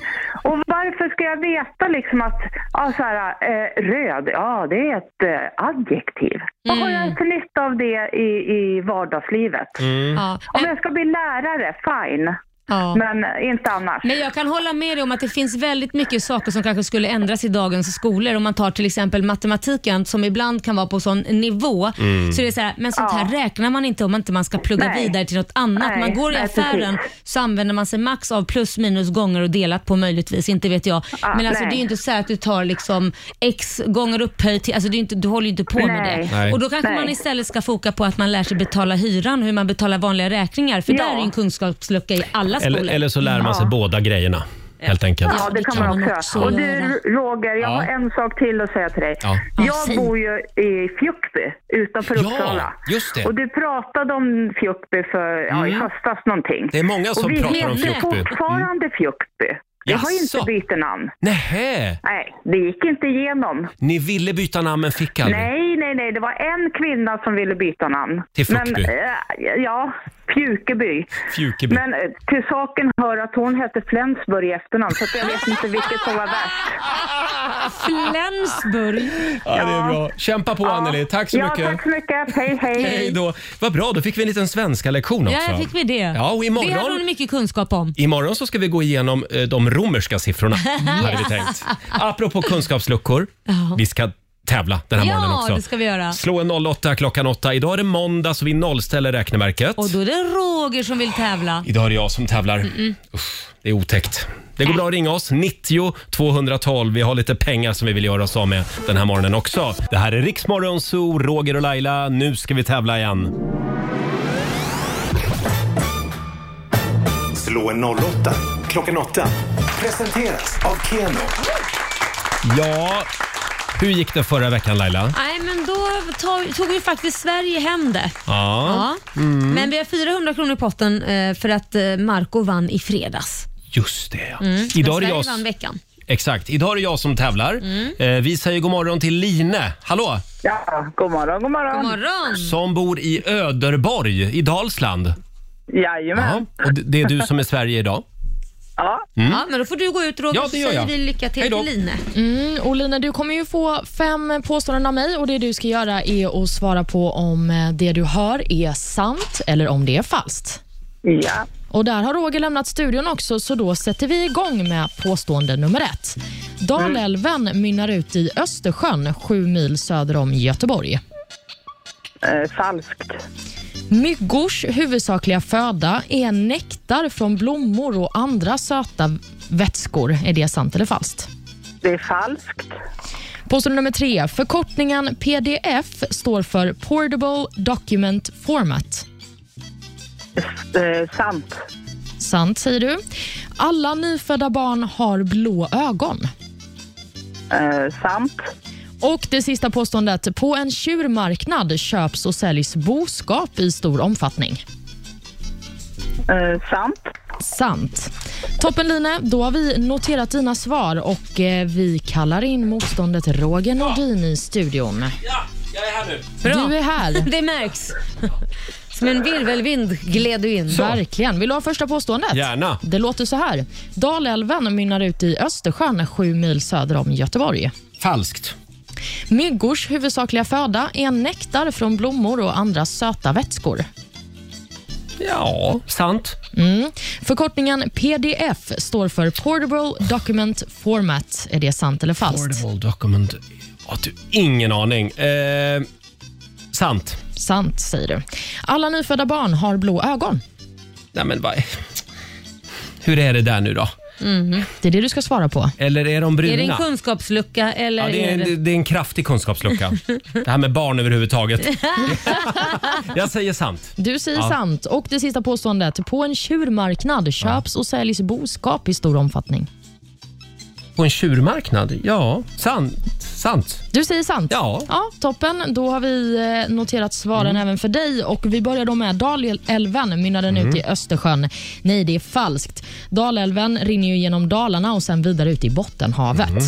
Speaker 13: och varför ska jag veta liksom att ja, så här, eh, röd, ja det är ett eh, adjektiv. Vad har
Speaker 2: Mm.
Speaker 13: jag för nytta av det i, i vardagslivet?
Speaker 1: Mm.
Speaker 13: Om jag ska bli lärare, fine.
Speaker 2: Ja.
Speaker 13: Men inte annars.
Speaker 2: Men jag kan hålla med dig om att det finns väldigt mycket saker som kanske skulle ändras i dagens skolor. Om man tar till exempel matematiken som ibland kan vara på sån nivå.
Speaker 14: Mm.
Speaker 2: Så det är så här, men sånt här räknar man inte om man inte man ska plugga
Speaker 13: Nej.
Speaker 2: vidare till något annat.
Speaker 13: Nej,
Speaker 2: Man går i
Speaker 13: nej,
Speaker 2: affären så använder man sig max av plus minus gånger och delat på möjligtvis, inte vet jag.
Speaker 13: Ja,
Speaker 2: men alltså,
Speaker 13: nej.
Speaker 2: det är ju inte så här att du tar liksom x gånger upphöjt till, alltså, det är ju inte, du håller ju inte på med
Speaker 13: Nej.
Speaker 2: det.
Speaker 13: Nej.
Speaker 2: Och då kanske
Speaker 13: Nej.
Speaker 2: man istället ska foka på att man lär sig betala hyran, hur man betalar vanliga räkningar. För
Speaker 13: Ja.
Speaker 2: där är ju en kunskapslucka i alla skolor.
Speaker 1: Eller, eller så lär man sig
Speaker 13: Ja.
Speaker 1: båda grejerna, helt enkelt.
Speaker 13: Ja, det kan man också göra. Och du Roger, jag
Speaker 1: Ja.
Speaker 13: har en sak till att säga till dig.
Speaker 1: Ja.
Speaker 2: Ja,
Speaker 13: Jag
Speaker 2: säg.
Speaker 13: bor ju i Fjuktby utanför
Speaker 1: Ja,
Speaker 13: Uppsala.
Speaker 1: just det.
Speaker 13: Och du pratade om Fjuktby för, ja, i
Speaker 1: Mm.
Speaker 13: höstas någonting.
Speaker 1: Det är många som
Speaker 13: och vi
Speaker 1: pratar om
Speaker 13: heter
Speaker 1: Fjuktby. Mm.
Speaker 13: fortfarande Fjuktby. Jag har
Speaker 1: Jaså?
Speaker 13: inte bytt namn.
Speaker 1: Nähä!
Speaker 13: Nej, det gick inte igenom.
Speaker 1: Ni ville byta namn men fick aldrig?
Speaker 13: Nej, nej, nej. Det var en kvinna som ville byta namn.
Speaker 1: Till Fuckby?
Speaker 13: Men, eh, ja, Fjukeby.
Speaker 1: Fjukeby.
Speaker 13: Men eh, till saken hör att hon hette Flensburg i efternamn, så att jag vet inte vilket som var värst.
Speaker 2: Flensburg.
Speaker 1: Ja, det är bra. Kämpa på Anneli. Tack så
Speaker 13: ja,
Speaker 1: mycket.
Speaker 13: tack så mycket. Hej, hej.
Speaker 1: Hej då. Vad bra, då fick vi en liten svenska lektion också.
Speaker 2: Ja, fick vi det.
Speaker 1: Ja, och imorgon-
Speaker 2: Det hade hon mycket kunskap om.
Speaker 1: Imorgon så ska vi gå igenom eh, de romerska siffrorna. Hade vi tänkt. Apropå kunskapsluckor.
Speaker 2: Ja.
Speaker 1: Vi ska tävla den här
Speaker 2: ja,
Speaker 1: morgonen också.
Speaker 2: det ska vi göra.
Speaker 1: Slå en 08 klockan 8. Idag är det måndag så vi nollställer räkneverket.
Speaker 2: Och då är det Roger som vill tävla.
Speaker 1: Idag är det jag som tävlar.
Speaker 2: Mm-mm.
Speaker 1: Det är otäckt. Det går bra att ringa oss. 90 212. Vi har lite pengar som vi vill göra oss av med den här morgonen också. Det här är Riksmorgon Zoo, Roger och Laila. Nu ska vi tävla igen.
Speaker 3: Slå en 08 klockan 8. Presenteras av Keno.
Speaker 1: Ja, hur gick det förra veckan Laila?
Speaker 2: Nej, men då tog, tog ju faktiskt Sverige hem det.
Speaker 1: Ja.
Speaker 2: Ja.
Speaker 1: Mm.
Speaker 2: Men vi har 400 kronor i potten eh, för att eh, Marco vann i fredags.
Speaker 1: Just det. ja.
Speaker 2: Mm. Men
Speaker 1: Idag är
Speaker 2: Sverige
Speaker 1: det jag...
Speaker 2: vann veckan. Mm.
Speaker 1: Exakt. Idag är det jag som tävlar. Eh, Vi säger god morgon till Line. Hallå!
Speaker 13: Ja, god morgon, god morgon.
Speaker 2: God morgon.
Speaker 1: Som bor i Öderborg i Dalsland.
Speaker 13: Jajamän.
Speaker 1: Ja, och det- det är du som är Sverige idag.
Speaker 13: Ja.
Speaker 1: Mm.
Speaker 2: Ja, men då får du gå ut Roger,
Speaker 1: Ja, det
Speaker 2: så
Speaker 1: gör
Speaker 2: säger
Speaker 1: jag.
Speaker 2: vi lycka till
Speaker 1: Hej då.
Speaker 2: till Line.
Speaker 7: Mm, och Lina, du kommer ju få fem påståenden av mig och det du ska göra är att svara på om eh, det du hör är sant eller om det är falskt.
Speaker 13: Ja.
Speaker 7: Och där har Roger lämnat studion också, så då sätter vi igång med påstående nummer ett. Dalälven mynnar ut i Östersjön, sju mil söder om Göteborg.
Speaker 13: Eh, falskt.
Speaker 7: Myggors huvudsakliga föda är nektar från blommor och andra söta vätskor. Är det sant eller falskt?
Speaker 13: Det är falskt.
Speaker 7: Påstående nummer tre. Förkortningen PDF står för Portable Document Format.
Speaker 13: Eh, sant.
Speaker 7: Sant, säger du. Alla nyfödda barn har blå ögon.
Speaker 13: Eh, sant.
Speaker 7: Och det sista påståendet. På en tjurmarknad köps och säljs boskap i stor omfattning.
Speaker 13: Eh, sant.
Speaker 7: Sant. Toppen Line, då har vi noterat dina svar och eh, vi kallar in motståndet Roger Nordin i studion.
Speaker 1: Jag är här nu.
Speaker 7: Du är här.
Speaker 2: det märks. Som en virvelvind gled du in.
Speaker 7: Verkligen. Vill du ha första påståendet?
Speaker 1: Gärna.
Speaker 7: Det låter så här. Dalälven mynnar ut i Östersjön sju mil söder om Göteborg.
Speaker 1: Falskt.
Speaker 7: Myggors huvudsakliga föda är nektar från blommor och andra söta vätskor.
Speaker 1: Ja, sant.
Speaker 7: Mm. Förkortningen PDF står för Portable Document Format. Är det sant eller falskt?
Speaker 1: Portable document. Ja, du, ingen aning. Eh, sant.
Speaker 7: Sant, säger du. Alla nyfödda barn har blå ögon.
Speaker 1: Nej, men vad... Hur är det där nu då?
Speaker 7: Det är det du ska svara på.
Speaker 1: Eller är de bruna?
Speaker 2: Är det en kunskapslucka eller
Speaker 1: Ja, det, är en, det är en kraftig kunskapslucka. Det här med barn överhuvudtaget. Jag säger sant.
Speaker 7: Du säger
Speaker 1: Ja.
Speaker 7: sant. Och det sista påståendet. På en tjurmarknad köps och säljs boskap i stor omfattning.
Speaker 1: På en tjurmarknad? Ja, sant. sant.
Speaker 7: Du säger sant.
Speaker 1: Ja. Mm.
Speaker 7: ja toppen. Då har vi eh, noterat svaren även för dig. Och Vi börjar då med Dalälven mynnar den
Speaker 1: Mm.
Speaker 7: ut i Östersjön. Nej, det är falskt. Dalälven rinner ju genom Dalarna och sen vidare ut i Bottenhavet.
Speaker 1: Mm.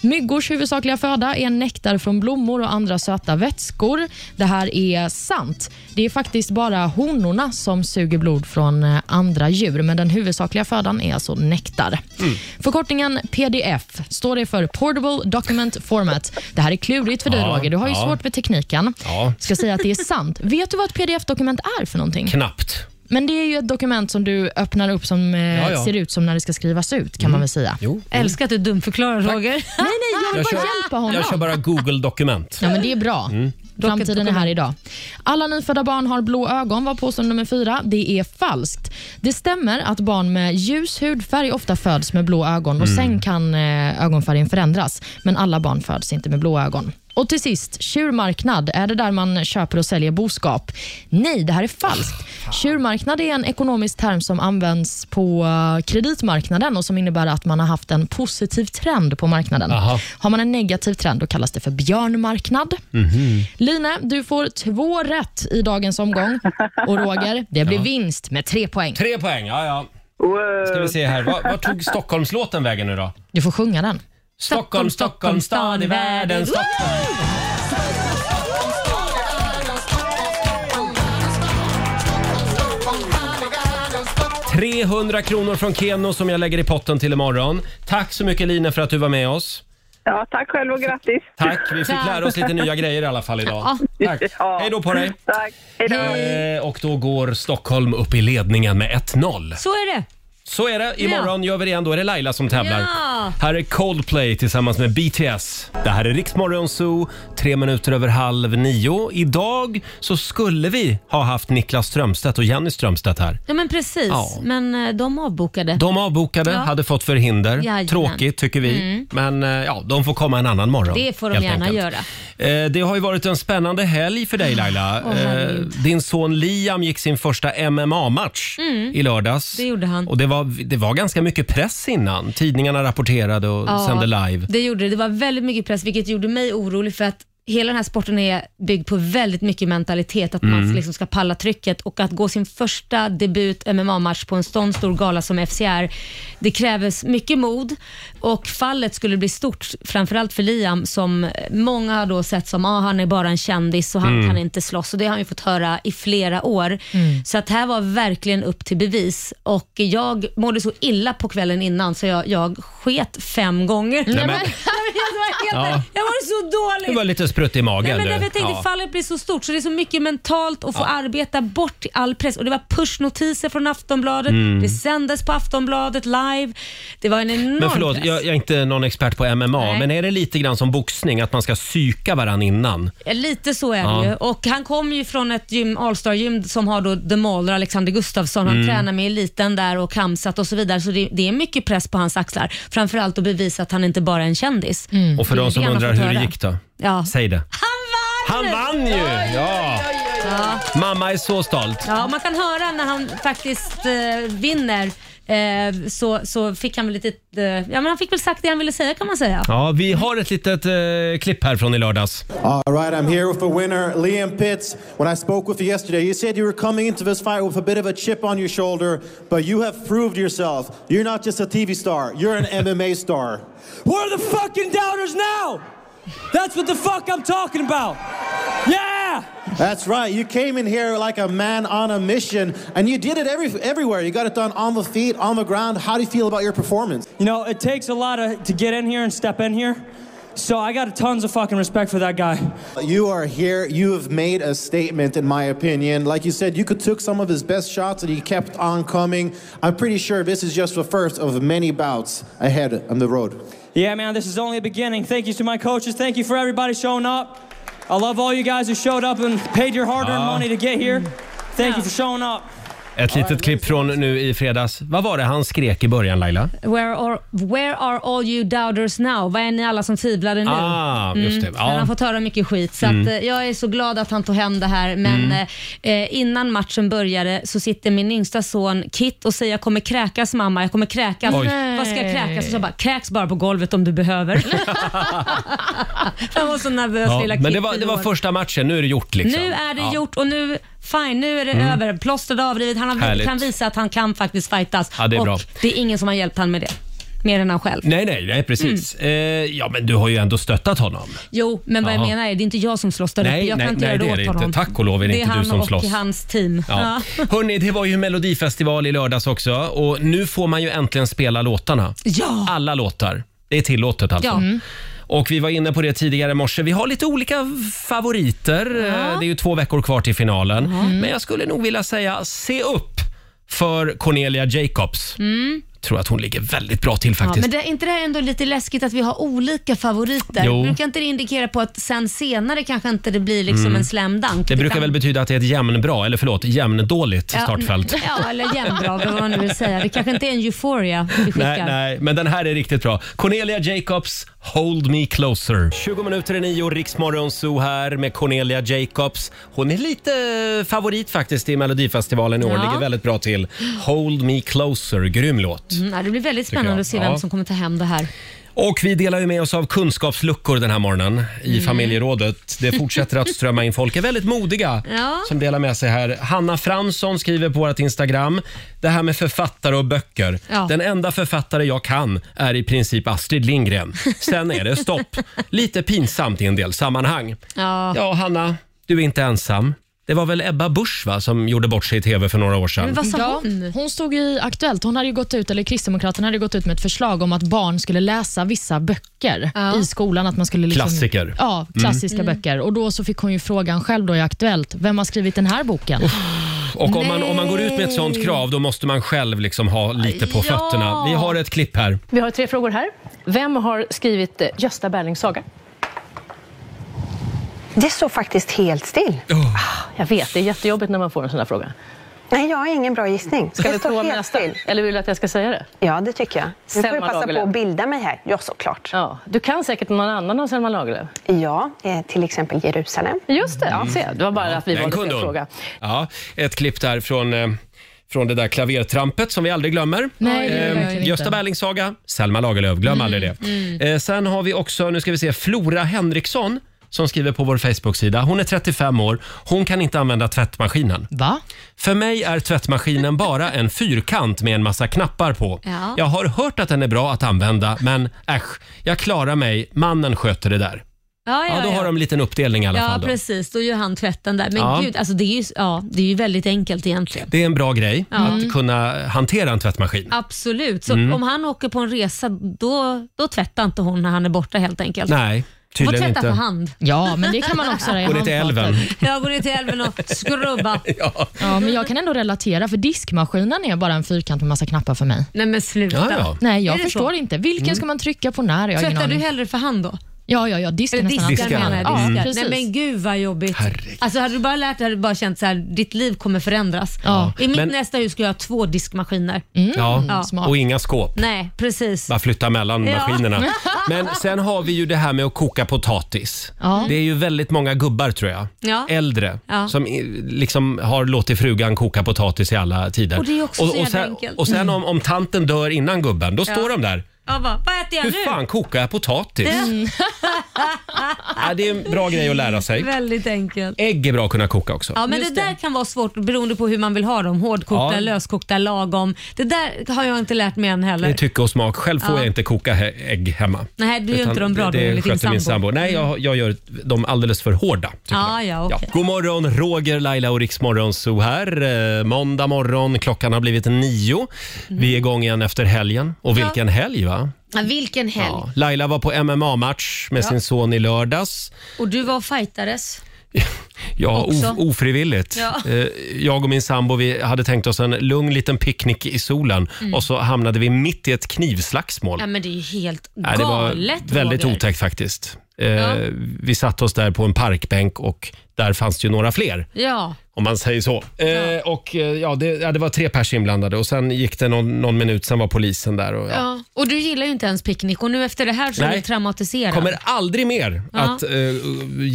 Speaker 7: Myggors huvudsakliga föda är nektar från blommor och andra söta vätskor. Det här är sant. Det är faktiskt bara honorna som suger blod från eh, andra djur, men den huvudsakliga födan är alltså nektar.
Speaker 1: Mm.
Speaker 7: Förkortningen PDF står det för Portable Document Format. Det här är klurigt för dig,
Speaker 1: Ja,
Speaker 7: Roger. Du har ju
Speaker 1: ja.
Speaker 7: svårt med tekniken.
Speaker 1: Ja.
Speaker 7: Ska säga att det är sant. Vet du vad ett PDF-dokument är för någonting?
Speaker 1: Knappt.
Speaker 7: Men det är ju ett dokument som du öppnar upp som eh,
Speaker 1: Ja, ja. Mm.
Speaker 7: ser ut som när det ska skrivas ut, kan man väl säga.
Speaker 1: Jo.
Speaker 2: Älskar att du dumförklarar Roger. Nej,
Speaker 7: nej, jag vill bara hjälpa honom.
Speaker 1: jag kör bara Google-dokument.
Speaker 7: Ja, men det är bra. Framtiden är här idag. Alla nyfödda barn har blå ögon var påstående nummer fyra. Det är falskt. Det stämmer att barn med ljus hudfärg ofta föds med blå ögon och sen kan eh, ögonfärgen förändras. Men alla barn föds inte med blå ögon. Och till sist, tjurmarknad. Är det där man köper och säljer boskap? Nej, det här är falskt. Tjurmarknad är en ekonomisk term som används på eh, kreditmarknaden och som innebär att man har haft en positiv trend på marknaden.
Speaker 1: Aha.
Speaker 7: Har man en negativ trend då kallas det för björnmarknad.
Speaker 1: Mhm.
Speaker 7: Line, du får två rätt i dagens omgång. Och Roger, det blir vinst med tre poäng.
Speaker 1: Tre poäng, ja ja. Ska vi se här. Var, var tog Stockholmslåten vägen nu då?
Speaker 7: Du får sjunga den.
Speaker 1: Stockholm, Stockholm, stad i världen. Stockholm.
Speaker 8: Stockholm.
Speaker 1: 300 kronor från Keno som jag lägger i potten till imorgon. Tack så mycket Lina för att du var med oss.
Speaker 12: Ja, tack själv och grattis.
Speaker 1: Tack, vi fick lära oss lite nya grejer i alla fall idag. Tack. Hej då på dig.
Speaker 12: Tack. Hej då.
Speaker 1: Eh, Och då går Stockholm upp i ledningen med 1-0.
Speaker 2: Så är det.
Speaker 1: Så är det. Imorgon gör vi det igen. Då är det Laila som tävlar.
Speaker 2: Ja.
Speaker 1: Här är Coldplay tillsammans med BTS. Det här är Riksmorgon Zoo, tre minuter över halv nio. Idag så skulle vi ha haft Niklas Strömstedt och Jenny Strömstedt här.
Speaker 2: Ja, men precis.
Speaker 1: Ja.
Speaker 2: Men eh, de avbokade.
Speaker 1: De avbokade,
Speaker 2: Ja.
Speaker 1: hade fått förhinder.
Speaker 2: Jajamän.
Speaker 1: Tråkigt tycker vi.
Speaker 2: Mm.
Speaker 1: Men eh, ja, de får komma en annan morgon.
Speaker 2: Det får de
Speaker 1: helt
Speaker 2: gärna
Speaker 1: enkelt.
Speaker 2: göra.
Speaker 1: Eh, Det har ju varit en spännande helg för dig Laila.
Speaker 2: Åh,
Speaker 1: Eh,
Speaker 2: herregud.
Speaker 1: Din son Liam gick sin första MMA-match
Speaker 2: Mm.
Speaker 1: i lördags.
Speaker 2: Det gjorde han.
Speaker 1: Och det var, det var ganska mycket press innan. Tidningarna rapporterade och
Speaker 2: Ja,
Speaker 1: sände live.
Speaker 2: Det gjorde det. Det var väldigt mycket press, vilket gjorde mig orolig för att hela den här sporten är byggd på väldigt mycket mentalitet, att
Speaker 1: Mm.
Speaker 2: man liksom ska palla trycket och att gå sin första debut MMA-match på en sån stor gala som FCR, det krävs mycket mod och fallet skulle bli stort, framförallt för Liam som många har då sett som ah, han är bara en kändis och han
Speaker 14: Mm.
Speaker 2: kan inte slåss och det har han ju fått höra i flera år. Så att här var verkligen upp till bevis och jag mådde så illa på kvällen innan så jag, jag sket fem gånger.
Speaker 1: Nej,
Speaker 2: Nej,
Speaker 1: men-
Speaker 2: men jag var
Speaker 1: Ja.
Speaker 2: helt- jag var så dålig.
Speaker 1: Det var lite sprutt i magen.
Speaker 2: Nej, men
Speaker 1: du.
Speaker 2: därför jag tänkte
Speaker 1: Ja.
Speaker 2: fallet blir så stort så det är så mycket mentalt att få
Speaker 1: Ja.
Speaker 2: arbeta bort all press. Och Det var pushnotiser från Aftonbladet,
Speaker 1: Mm.
Speaker 2: det sändes på Aftonbladet live. Det var en enorm
Speaker 1: Men förlåt,
Speaker 2: press.
Speaker 1: jag, jag är inte någon expert på MMA,
Speaker 2: Nej.
Speaker 1: men är det lite grann som boxning, att man ska psyka varann innan?
Speaker 2: Lite så är det
Speaker 1: Ja.
Speaker 2: ju. Och han kom ju från ett gym, Allstar-gym som har då The Mauler, Alexander Gustafsson. Han
Speaker 1: Mm.
Speaker 2: tränar med eliten där och Kamsat och så vidare. Så det, det är mycket press på hans axlar. Framförallt att bevisa att han inte bara är en kändis.
Speaker 1: Mm. Och för
Speaker 2: Det är
Speaker 1: de som
Speaker 2: han har
Speaker 1: undrar
Speaker 2: fått
Speaker 1: hur det
Speaker 2: höra.
Speaker 1: gick då?
Speaker 2: Ja.
Speaker 1: Säg det. Han vann! Han vann ju! Ja.
Speaker 2: Ja.
Speaker 1: Mamma är så stolt.
Speaker 2: Ja, man kan höra när han faktiskt eh, vinner eh, så, så fick han väl lite, eh, ja men han fick väl sagt det han ville säga kan man säga.
Speaker 1: Ja, vi har ett litet eh, klipp här från i lördags.
Speaker 15: All right, I'm here with the winner, Liam Pitts. When I spoke with you yesterday, you said you were coming into this fight with a bit of a chip on your shoulder, but you have proved yourself. You're not just a TV star, you're an MMA star.
Speaker 16: Where are the fucking doubters now? That's what the fuck I'm talking about. Yeah!
Speaker 15: That's right, you came in here like a man on a mission, and you did it every, everywhere. You got it done on the feet, on the ground. How do you feel about your performance?
Speaker 16: You know, it takes a lot of, to get in here and step in here. So I got tons of fucking respect for that guy.
Speaker 15: You are here. You have made a statement, in my opinion. Like you said, you could took some of his best shots, and he kept on coming. I'm pretty sure this is just the first of many bouts ahead on the road.
Speaker 16: Yeah, man, this is only a beginning. Thank you to my coaches. Thank you for everybody showing up. I love all you guys who showed up and paid your hard-earned
Speaker 1: Ah.
Speaker 16: money to get here. Thank you for showing up.
Speaker 1: Ett litet klipp från nu i fredags. Vad var det han skrek i början Laila?
Speaker 2: Where are, where are all you doubters now? Vad är ni alla som tvivlade nu?
Speaker 1: Ah, just det.
Speaker 2: Mm,
Speaker 1: Ja.
Speaker 2: Han har fått höra mycket skit, så
Speaker 1: Mm.
Speaker 2: att, eh, jag är så glad att han tog hem det här. Men
Speaker 1: Mm.
Speaker 2: eh, innan matchen började så sitter min yngsta son Kit och säger jag kommer kräkas mamma, jag kommer kräkas.
Speaker 1: Oj.
Speaker 2: Vad ska jag kräkas? Och så jag bara, kräks bara på golvet om du behöver. han var så nervös
Speaker 1: Ja,
Speaker 2: lilla Kit.
Speaker 1: men det var, det
Speaker 2: fyra
Speaker 1: var
Speaker 2: år.
Speaker 1: första matchen, nu är det gjort liksom.
Speaker 2: Nu är det
Speaker 1: Ja.
Speaker 2: gjort och nu, fine, nu är det
Speaker 1: Mm.
Speaker 2: över. Plåstret avrivet. Han har,
Speaker 1: Härligt.
Speaker 2: kan visa att han kan faktiskt fightas.
Speaker 1: Ja, det är
Speaker 2: och
Speaker 1: bra.
Speaker 2: det är ingen som har hjälpt han med det. Mer än han själv.
Speaker 1: Nej, nej, nej precis.
Speaker 2: Mm.
Speaker 1: Eh, ja, men du har ju ändå stöttat honom.
Speaker 2: Jo, men vad jag
Speaker 1: Ja.
Speaker 2: menar är, det är inte jag som slåss där
Speaker 1: Nej,
Speaker 2: uppe. Jag
Speaker 1: nej,
Speaker 2: kan inte
Speaker 1: nej,
Speaker 2: göra
Speaker 1: det
Speaker 2: det
Speaker 1: är
Speaker 2: åt
Speaker 1: det inte.
Speaker 2: honom.
Speaker 1: Tack och lov är det inte du som slåss.
Speaker 2: Det är han och hans team.
Speaker 1: Ja. Hörni, det var ju Melodifestivalen i lördags också och nu får man ju äntligen spela låtarna.
Speaker 2: Ja.
Speaker 1: Alla låtar. Det är tillåtet alltså.
Speaker 2: Ja. Mm.
Speaker 1: Och Vi var inne på det tidigare i morse. Vi har lite olika favoriter. Eh, Det är ju två veckor kvar till finalen. Mm.
Speaker 2: Mm.
Speaker 1: Men jag skulle nog vilja säga se upp för Cornelia Jacobs.
Speaker 2: Mm.
Speaker 1: tror att hon ligger väldigt bra till
Speaker 2: Ja,
Speaker 1: faktiskt.
Speaker 2: men det, är inte det här ändå lite läskigt att vi har olika favoriter?
Speaker 1: Jo.
Speaker 2: Brukar inte det indikera på att sen senare kanske inte det blir liksom
Speaker 1: Mm.
Speaker 2: en slam dunk?
Speaker 1: Det brukar
Speaker 2: utan-
Speaker 1: väl betyda att det är ett jämnbra, eller förlåt, jämndåligt startfält.
Speaker 2: Ja, ja, eller jämndrag eller vad man nu vill säga. Det kanske inte är en euphoria vi skickar.
Speaker 1: Nej, nej, men den här är riktigt bra. Cornelia Jacobs, Hold Me Closer. 20 minuter i nio, Riksmorgon Zoo här med Cornelia Jacobs. Hon är lite favorit faktiskt i Melodifestivalen i år,
Speaker 2: Ja.
Speaker 1: ligger väldigt bra till. Hold Me Closer, grym låt.
Speaker 2: Mm, ja, det blir väldigt
Speaker 1: Tycker
Speaker 2: spännande
Speaker 1: jag.
Speaker 2: att se
Speaker 1: Ja.
Speaker 2: vem som kommer ta hem det här.
Speaker 1: Och vi delar ju med oss av kunskapsluckor den här morgonen i
Speaker 2: Mm.
Speaker 1: familjerådet. Det fortsätter att strömma in folk. Är väldigt modiga
Speaker 2: Ja.
Speaker 1: som delar med sig här. Hanna Fransson skriver på vårt Instagram. Det här med författare och böcker.
Speaker 2: Ja.
Speaker 1: Den enda författare jag kan är i princip Astrid Lindgren. Sen är det stopp. Lite pinsamt i en del sammanhang.
Speaker 2: Ja.
Speaker 1: Ja, Hanna, du är inte ensam. Det var väl Ebba Busch va, som gjorde bort sig i tv för några år sedan?
Speaker 7: ja, Alltså, hon? stod i Aktuellt. Hon hade ju gått ut, eller Kristdemokraterna hade gått ut med ett förslag om att barn skulle läsa vissa böcker i skolan. Att man skulle liksom,
Speaker 1: Klassiker.
Speaker 7: Ja, klassiska
Speaker 1: Mm.
Speaker 7: böcker. Och Då så fick hon ju frågan själv då i Aktuellt. Vem har skrivit den här boken?
Speaker 1: Och om man, om man går ut med ett sånt krav då måste man själv liksom ha lite på
Speaker 14: Ja.
Speaker 1: fötterna. Vi har ett klipp här.
Speaker 14: Vi har tre frågor här. Vem har skrivit eh, Gösta Berlings saga?
Speaker 17: Det står faktiskt helt still.
Speaker 1: Oh,
Speaker 14: Jag vet, det är jättejobbigt när man får en sån här fråga.
Speaker 17: Nej, jag har ingen bra gissning.
Speaker 14: Ska
Speaker 17: det
Speaker 14: vi
Speaker 17: står
Speaker 14: prova med
Speaker 17: helt
Speaker 14: nästa?
Speaker 17: still.
Speaker 14: Eller vill du att jag ska säga det?
Speaker 17: Ja, det tycker jag. Nu får
Speaker 14: Selma
Speaker 17: du passa på
Speaker 14: Lagerlöf.
Speaker 17: att bilda mig här. Ja, såklart.
Speaker 14: Ja. Du kan säkert någon annan av Selma Lagerlöf.
Speaker 17: Ja, eh, till exempel Jerusalem.
Speaker 14: Just det,
Speaker 1: Mm.
Speaker 14: se. Det var bara att vi
Speaker 1: Den
Speaker 14: valde
Speaker 1: kunde
Speaker 14: fel
Speaker 1: hon.
Speaker 14: fråga.
Speaker 1: Ja, ett klipp där från, eh, från det där klavertrampet som vi aldrig glömmer. Eh,
Speaker 14: Nej, det gör vi verkligen
Speaker 1: Gösta
Speaker 14: inte.
Speaker 1: Berlings saga, Selma Lagerlöf, glöm
Speaker 14: Mm,
Speaker 1: aldrig det.
Speaker 14: mm.
Speaker 1: Eh, sen har vi också, nu ska vi se, Flora Henriksson som skriver på vår Facebook-sida. Hon är 35 år. Hon kan inte använda tvättmaskinen.
Speaker 7: Va?
Speaker 1: För mig är tvättmaskinen bara en fyrkant med en massa knappar på.
Speaker 2: Ja.
Speaker 1: Jag har hört att den är bra att använda, men äsch, jag klarar mig. Mannen sköter det där.
Speaker 2: Ja,
Speaker 1: Ja, då har de en liten uppdelning i alla
Speaker 2: ja
Speaker 1: fall. Då.
Speaker 2: precis. Då gör han tvätten där. Men
Speaker 1: Ja.
Speaker 2: gud, alltså det, är ju, ja, det är ju väldigt enkelt egentligen.
Speaker 1: Det är en bra grej
Speaker 2: Ja. Mm.
Speaker 1: att kunna hantera en tvättmaskin.
Speaker 2: Absolut. Så
Speaker 1: Mm.
Speaker 2: om han åker på en resa, då, då tvättar inte hon när han är borta helt enkelt.
Speaker 1: Nej,
Speaker 2: Hon
Speaker 1: tydligen
Speaker 2: får tvätta
Speaker 1: inte.
Speaker 2: för hand.
Speaker 7: Ja, men det kan man också göra i
Speaker 1: Går det till
Speaker 7: handfatet.
Speaker 1: älven?
Speaker 2: Jag går ner till älven och skrubbar.
Speaker 1: Ja.
Speaker 7: Ja, men jag kan ändå relatera, för diskmaskinen är bara en fyrkant med massa knappar för mig.
Speaker 2: Nej men sluta.
Speaker 7: Ja, ja. Nej, jag
Speaker 2: Är det
Speaker 7: förstår
Speaker 2: så?
Speaker 7: inte. Vilken
Speaker 1: Mm.
Speaker 7: ska man trycka på när? Jag har ingen
Speaker 2: Tvättar du
Speaker 7: aning.
Speaker 2: hellre för hand då?
Speaker 7: Ja, ja, ja. Diskar
Speaker 2: Eller
Speaker 7: nästan
Speaker 2: diskar
Speaker 7: alltid.
Speaker 2: menar jag.
Speaker 7: Ja,
Speaker 2: Diskar. Nej
Speaker 7: precis.
Speaker 2: men gud vad jobbigt. Alltså hade du bara lärt dig hade du bara känt så här, ditt liv kommer förändras.
Speaker 1: Ja.
Speaker 2: I mitt
Speaker 1: Men-
Speaker 2: nästa hus ska jag ha två diskmaskiner.
Speaker 1: Ja. Och inga skåp.
Speaker 2: Nej, precis.
Speaker 1: Bara flytta mellan
Speaker 2: Ja.
Speaker 1: maskinerna. Men sen har vi ju det här med att koka potatis.
Speaker 2: Ja.
Speaker 1: Det är ju väldigt många gubbar tror jag.
Speaker 2: Ja.
Speaker 1: Äldre
Speaker 2: Ja.
Speaker 1: som i- liksom har låtit frugan koka potatis i alla tider.
Speaker 2: Och det är också så
Speaker 1: och
Speaker 2: jävla
Speaker 1: sen,
Speaker 2: enkelt.
Speaker 1: och sen om, om tanten dör innan gubben, då
Speaker 2: Ja.
Speaker 1: står de där.
Speaker 2: Jag bara, vad äter jag nu?
Speaker 1: Hur fan kokar jag potatis?
Speaker 2: Mm.
Speaker 1: Ja, det är en bra grej att lära sig.
Speaker 2: Väldigt enkelt.
Speaker 1: Ägg är bra att kunna koka också.
Speaker 2: Ja, men det, där kan vara svårt beroende på hur man vill ha dem. Hårdkokta,
Speaker 1: Ja.
Speaker 2: löskokta, lagom. Det där har jag inte lärt mig än
Speaker 1: Det är typ-
Speaker 2: heller.
Speaker 1: tycke och smak. Själv får
Speaker 2: Ja.
Speaker 1: jag inte koka he- ägg hemma.
Speaker 2: Nej, du gör
Speaker 1: Utan
Speaker 2: inte dem bra,
Speaker 1: det,
Speaker 2: du
Speaker 1: det
Speaker 2: är lite din
Speaker 1: sköter min
Speaker 2: sambo.
Speaker 1: sambo. Nej, jag, jag gör dem alldeles för hårda. tycker
Speaker 2: Ja, ja, okej.
Speaker 1: Ja. God morgon, Roger, Laila och Riksmorgon Zoo här. Eh, Måndag morgon, klockan har blivit nio. Vi är igång igen efter helgen. Och
Speaker 2: Mhm. Ja.
Speaker 1: vilken helg va?
Speaker 2: Ja, vilken helg.
Speaker 1: Laila var på MMA-match med
Speaker 2: Ja.
Speaker 1: sin son i lördags.
Speaker 2: Och du var och fightades.
Speaker 1: Ja,
Speaker 2: Också.
Speaker 1: of, ofrivilligt.
Speaker 2: Ja.
Speaker 1: Eh, Jag och min sambo vi hade tänkt oss en lugn liten picknick i solen
Speaker 2: Mm.
Speaker 1: och så hamnade vi mitt i ett knivslagsmål.
Speaker 2: Ja, men det är ju helt galet
Speaker 1: Nej, det var väldigt
Speaker 2: Roger.
Speaker 1: otäckt faktiskt. Eh,
Speaker 2: Ja.
Speaker 1: Vi satte oss där på en parkbänk och där fanns det ju några fler.
Speaker 2: Ja.
Speaker 1: Om man säger så. Eh, Och eh, ja det, ja, det var tre pers inblandade och sen gick det någon, någon minut, sen var polisen där. Och,
Speaker 2: Ja.
Speaker 1: ja.
Speaker 2: Och du gillar ju inte ens picknick och nu efter det här så är
Speaker 1: Nej.
Speaker 2: du traumatiserad.
Speaker 1: Kommer aldrig mer
Speaker 2: Ja.
Speaker 1: att eh,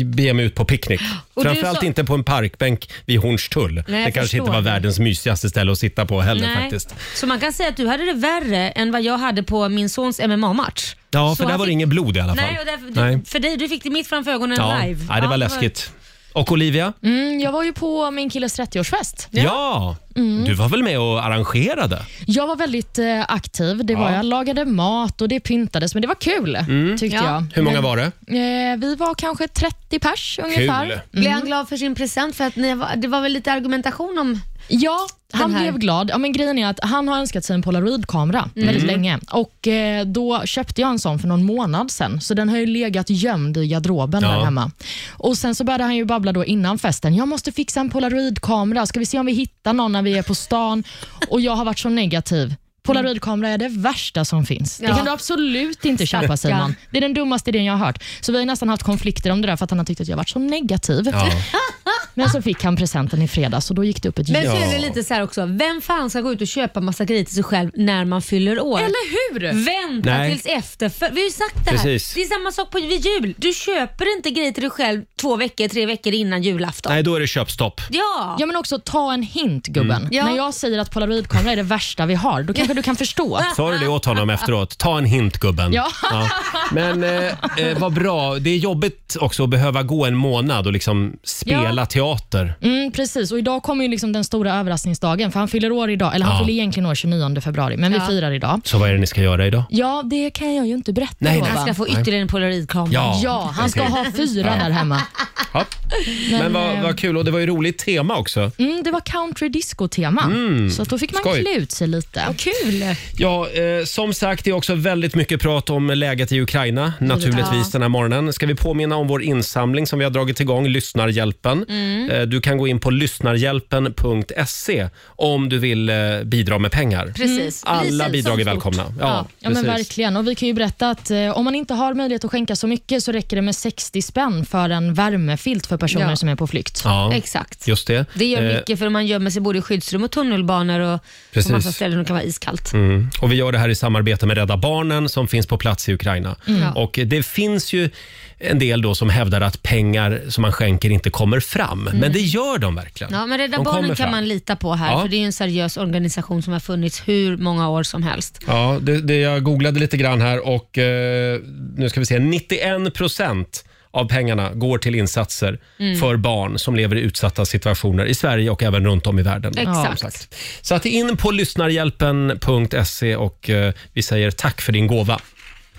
Speaker 1: bege mig ut på picknick.
Speaker 2: Och du
Speaker 1: Framförallt
Speaker 2: sa-
Speaker 1: inte på en parkbänk vid Hornstull.
Speaker 2: Nej, jag
Speaker 1: det kanske
Speaker 2: förstår
Speaker 1: inte var
Speaker 2: det.
Speaker 1: världens mysigaste ställe att sitta på heller faktiskt.
Speaker 2: Så man kan säga att du hade det värre än vad jag hade på min sons MMA-match.
Speaker 1: Ja,
Speaker 2: Så
Speaker 1: för där
Speaker 2: han
Speaker 1: var det
Speaker 2: fick-
Speaker 1: inget blod i alla fall.
Speaker 2: Nej, och därför, du, för dig, du fick det mitt framför ögonen
Speaker 1: ja.
Speaker 2: live.
Speaker 1: Nej, det var läskigt. Och Olivia?
Speaker 7: Mm, jag var ju på min killes 30-årsfest.
Speaker 1: Ja!
Speaker 7: Mm.
Speaker 1: Du var väl med och arrangerade?
Speaker 7: Jag var väldigt eh, aktiv. Det var,
Speaker 1: Ja.
Speaker 7: Jag lagade mat och det pyntades, men det var kul
Speaker 1: Mm.
Speaker 7: tyckte jag.
Speaker 1: Hur många var det?
Speaker 7: Eh, vi var kanske 30 pers ungefär.
Speaker 1: Kul.
Speaker 2: Blev han glad för sin present? För att ni var, det var väl lite argumentation om
Speaker 7: Ja, han
Speaker 2: Den här.
Speaker 7: blev glad. Ja, men grejen är att han har önskat sig en polaroidkamera
Speaker 2: Mm.
Speaker 7: väldigt länge. Och eh, Då köpte jag en sån för någon månad sen, så den har ju legat gömd i garderoben
Speaker 18: Ja.
Speaker 7: där hemma. Och Sen så började han ju babbla då innan festen. Jag måste fixa en polaroidkamera. Ska vi se om vi hittar någon när vi är på stan? Och Jag har varit så negativ. Polaroidkamera är det värsta som finns. Det
Speaker 18: Ja.
Speaker 7: kan du absolut inte köpa
Speaker 18: Stackarn.
Speaker 7: Simon. Det är den dummaste idén jag har hört. Så vi har nästan haft konflikter om det där för att han har tyckt att jag har varit så negativ.
Speaker 18: Ja.
Speaker 7: Men så fick han presenten i fredags och då gick det upp ett
Speaker 2: Men
Speaker 7: ljud.
Speaker 2: fyller lite så här också, vem fan ska gå ut och köpa massa grejer till sig själv när man fyller år?
Speaker 18: Eller hur?
Speaker 2: Vänta
Speaker 1: Nej.
Speaker 2: tills efter. För, vi har ju sagt det här.
Speaker 1: Precis.
Speaker 2: Det är samma sak på, vid jul. Du köper inte grejer till dig själv två veckor, tre veckor innan julafton.
Speaker 1: Nej, då är det köpstopp.
Speaker 2: Ja.
Speaker 7: ja, men också ta en hint gubben.
Speaker 1: Mm.
Speaker 2: Ja.
Speaker 7: När jag säger att polaroidkamera är det värsta vi har, då kanske du kan förstå.
Speaker 1: Sa du det åt honom efteråt? Ta en hint gubben.
Speaker 7: Ja.
Speaker 1: Men eh, eh, vad bra. Det är jobbigt också att behöva gå en månad och liksom spela
Speaker 7: Ja.
Speaker 1: teater.
Speaker 7: Mm, precis, och idag kommer ju liksom den stora överraskningsdagen, för han fyller år idag. Eller han
Speaker 1: Ja.
Speaker 7: fyller egentligen år 29 februari, men
Speaker 2: Ja.
Speaker 7: vi firar idag.
Speaker 1: Så vad är det ni ska göra idag?
Speaker 7: Ja, det kan jag ju inte berätta
Speaker 1: Nej,
Speaker 7: då, va?
Speaker 1: nej. Han ska få ytterligare
Speaker 2: en polaroidkamera.
Speaker 1: Ja. Mm.
Speaker 7: ja, han ska ha fyra
Speaker 1: Ja.
Speaker 7: där hemma.
Speaker 1: Ja. Men,
Speaker 7: Men,
Speaker 1: vad,
Speaker 7: eh,
Speaker 1: vad kul. Och det var ju roligt tema också.
Speaker 7: Mm, det var country disco-tema,
Speaker 1: Mm,
Speaker 7: så att då fick man
Speaker 1: skoj.
Speaker 7: klä ut sig lite. Vad
Speaker 2: kul!
Speaker 1: Ja, eh, som sagt, det är också väldigt mycket prat om läget i Ukraina naturligtvis
Speaker 2: Ja.
Speaker 1: den här morgonen. Ska vi påminna om vår insamling som vi har dragit igång, Lyssnarhjälpen.
Speaker 2: Mm.
Speaker 1: Eh, du kan gå in på lyssnarhjälpen.se om du vill eh, bidra med pengar.
Speaker 7: Precis.
Speaker 1: Alla
Speaker 7: Precis,
Speaker 1: bidrag är
Speaker 7: som
Speaker 1: välkomna. Ja,
Speaker 7: Ja, ja men
Speaker 1: precis.
Speaker 7: verkligen. Och vi kan ju berätta att eh, om man inte har möjlighet att skänka så mycket så räcker det med 60 spänn för en värmefilt för personer
Speaker 2: Ja.
Speaker 7: som är på flykt.
Speaker 1: Ja, Just det.
Speaker 2: Det gör
Speaker 1: Eh,
Speaker 2: mycket för man gömmer sig både i skyddsrum och tunnelbanor och
Speaker 1: Precis.
Speaker 2: på massa ställen och det kan vara iskallt.
Speaker 1: Mm. Och Vi gör det här i samarbete med Rädda Barnen som finns på plats i Ukraina.
Speaker 2: Mm.
Speaker 1: Och Det finns ju en del då som hävdar att pengar som man skänker inte kommer fram.
Speaker 2: Mm.
Speaker 1: Men det gör de verkligen.
Speaker 2: Ja, men Rädda
Speaker 1: de kommer
Speaker 2: Barnen kan
Speaker 1: fram.
Speaker 2: man lita på här,
Speaker 1: Ja.
Speaker 2: för det är ju en seriös organisation som har funnits hur många år som helst.
Speaker 1: Ja, det, det jag googlade lite grann här och eh, nu ska vi se. 91 procent av pengarna går till insatser
Speaker 2: Mm.
Speaker 1: för barn som lever i utsatta situationer i Sverige och även runt om i världen.
Speaker 2: Exakt.
Speaker 1: Som sagt. Så att in på lyssnarhjälpen.se och eh, vi säger tack för din gåva.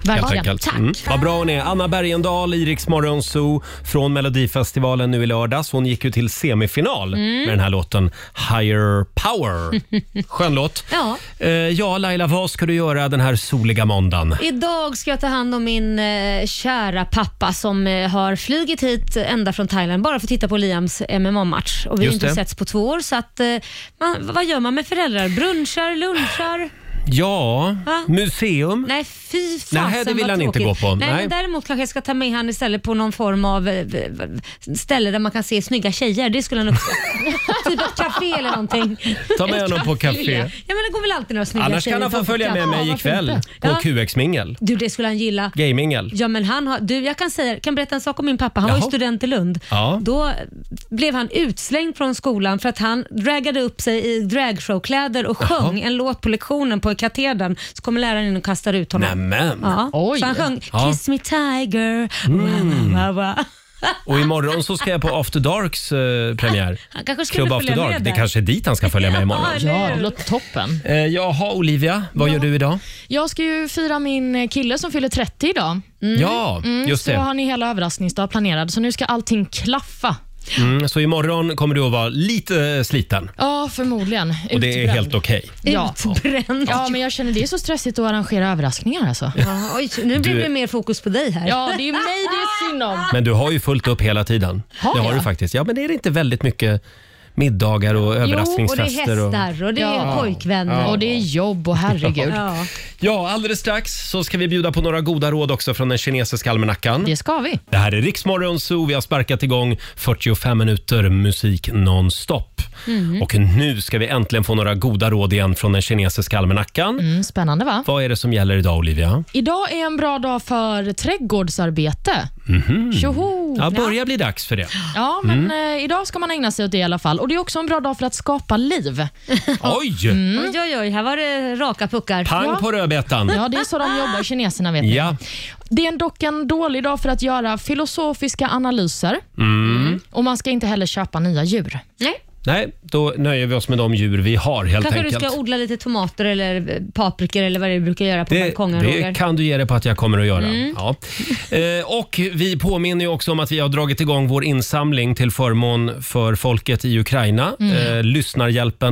Speaker 2: Verkligen.
Speaker 1: Helt enkelt. Mm.
Speaker 2: Tack.
Speaker 1: Vad bra hon är. Anna Bergendahl i Rix Morgon Zoo från Melodifestivalen nu i lördags. Hon gick ju till semifinal
Speaker 2: Mm.
Speaker 1: med den här låten Higher Power. Skön låt.
Speaker 2: Ja.
Speaker 1: Eh, ja, Laila, vad ska du göra den här soliga måndagen?
Speaker 2: Idag ska jag ta hand om min eh, kära pappa som eh, har flugit hit ända från Thailand bara för att titta på Liams MMA-match. Och Vi har
Speaker 1: Just
Speaker 2: inte
Speaker 1: det.
Speaker 2: setts på två år, så att, eh, man, vad gör man med föräldrar? Brunchar, lunchar?
Speaker 1: Ja,
Speaker 2: Va?
Speaker 1: museum.
Speaker 2: Nej, fy fasen
Speaker 1: Nej, det vill
Speaker 2: vad
Speaker 1: han inte
Speaker 2: tråkigt.
Speaker 1: gå på.
Speaker 2: Nej,
Speaker 1: Nej.
Speaker 2: Men däremot kanske jag ska ta med han istället på någon form av eh, v- v- ställe där man kan se snygga tjejer. Det skulle han uppskatta. typ ett café eller någonting.
Speaker 1: Ta med
Speaker 2: Ett
Speaker 1: honom på café.
Speaker 2: Ja, men det går väl alltid några snygga
Speaker 1: Annars
Speaker 2: tjejer
Speaker 1: kan han få
Speaker 2: framför
Speaker 1: följa med
Speaker 2: kameran.
Speaker 1: mig
Speaker 2: Ja,
Speaker 1: ikväll
Speaker 2: varför
Speaker 1: på
Speaker 2: inte? Ja.
Speaker 1: QX-mingel.
Speaker 2: Du, det skulle han gilla.
Speaker 1: Gamingel.
Speaker 2: Ja, men han har, du, jag kan, säga, kan berätta en sak om min pappa. Han var
Speaker 1: Jaha.
Speaker 2: ju student i Lund.
Speaker 1: Ja.
Speaker 2: Då blev han utslängd från skolan för att han dragade upp sig i dragshowkläder och sjöng en låt på lektionen på katedern. Så kommer läraren in och kastar ut honom.
Speaker 1: Nämen.
Speaker 2: Ja.
Speaker 1: Oj.
Speaker 2: Så han sjöng
Speaker 1: Ja.
Speaker 2: “Kiss me tiger”.
Speaker 1: Mm.
Speaker 2: Wa, wa, wa.
Speaker 1: Och imorgon så ska jag på After Darks eh, premiär.
Speaker 2: Han kanske skulle
Speaker 1: Club
Speaker 2: följa
Speaker 1: After Dark.
Speaker 2: med
Speaker 1: Det
Speaker 2: där.
Speaker 1: kanske är dit han ska följa med imorgon.
Speaker 2: Ja, eller hur? Ja, det
Speaker 7: låter toppen.
Speaker 1: Eh, jaha, Olivia. Vad gör du idag?
Speaker 7: Jag ska ju fira min kille som fyller 30 idag.
Speaker 2: Mm.
Speaker 7: Mm,
Speaker 1: Ja, just
Speaker 7: så
Speaker 1: det.
Speaker 7: har ni hela överraskningsdag planerad, så nu ska allting klaffa.
Speaker 1: Mm, så imorgon kommer du att vara lite eh, sliten.
Speaker 7: Ja, förmodligen.
Speaker 1: Och det är
Speaker 7: Utbränd.
Speaker 1: helt okej.
Speaker 7: Ja.
Speaker 2: Utbränd.
Speaker 7: Ja, men jag känner det är så stressigt att arrangera överraskningar alltså.
Speaker 2: Ja, oj, nu
Speaker 1: blir Du- det
Speaker 2: mer fokus på dig här.
Speaker 7: Ja, det är mig det är synd om.
Speaker 1: Men du har ju fullt upp hela tiden.
Speaker 7: Har
Speaker 1: det har
Speaker 7: jag?
Speaker 1: du faktiskt. Ja, men är det inte väldigt mycket middagar och överraskningsfester?
Speaker 7: Jo, och det är
Speaker 2: Där, och det är
Speaker 1: Ja.
Speaker 2: pojkvänner.
Speaker 1: Ja. Och det
Speaker 7: är jobb och herregud.
Speaker 2: Ja.
Speaker 1: Ja, alldeles strax så ska vi bjuda på några goda råd också från den kinesiska almanackan.
Speaker 7: Det ska vi.
Speaker 1: Det här är Riksmorgon Zoo. Vi har sparkat igång 45 minuter musik nonstop.
Speaker 7: Mm.
Speaker 1: Och nu ska vi äntligen få några goda råd igen från den kinesiska almanackan.
Speaker 7: Mm, spännande va?
Speaker 1: Vad är det som gäller idag, Olivia?
Speaker 7: Idag är en bra dag för trädgårdsarbete.
Speaker 1: Mhm.
Speaker 7: Tjoho!
Speaker 1: Ja, Mm. börjar bli dags för det.
Speaker 7: Ja, men eh, idag ska man ägna sig åt det i alla fall. Och Det är också en bra dag för att skapa liv.
Speaker 1: Oj!
Speaker 2: Mm. Oj, oj, oj, här var det raka puckar.
Speaker 1: Pang
Speaker 7: Ja.
Speaker 1: på rödbetan.
Speaker 7: Ja, det är så de jobbar, kineserna vet ni.
Speaker 1: Ja.
Speaker 7: Det är dock en dålig dag för att göra filosofiska analyser.
Speaker 1: Mm.
Speaker 7: Och man ska inte heller köpa nya djur.
Speaker 2: Nej.
Speaker 1: Nej, då nöjer vi oss med de djur vi har helt
Speaker 2: Kanske
Speaker 1: enkelt.
Speaker 2: du ska odla lite tomater eller paprikor eller vad det är du brukar göra på
Speaker 1: Det,
Speaker 2: balkongen,
Speaker 1: det
Speaker 2: Roger.
Speaker 1: kan du ge dig på att jag kommer att göra.
Speaker 2: Mm.
Speaker 1: Ja. Eh, och vi påminner ju också om att vi har dragit igång vår insamling till förmån för folket i Ukraina.
Speaker 11: Mm.
Speaker 1: Eh,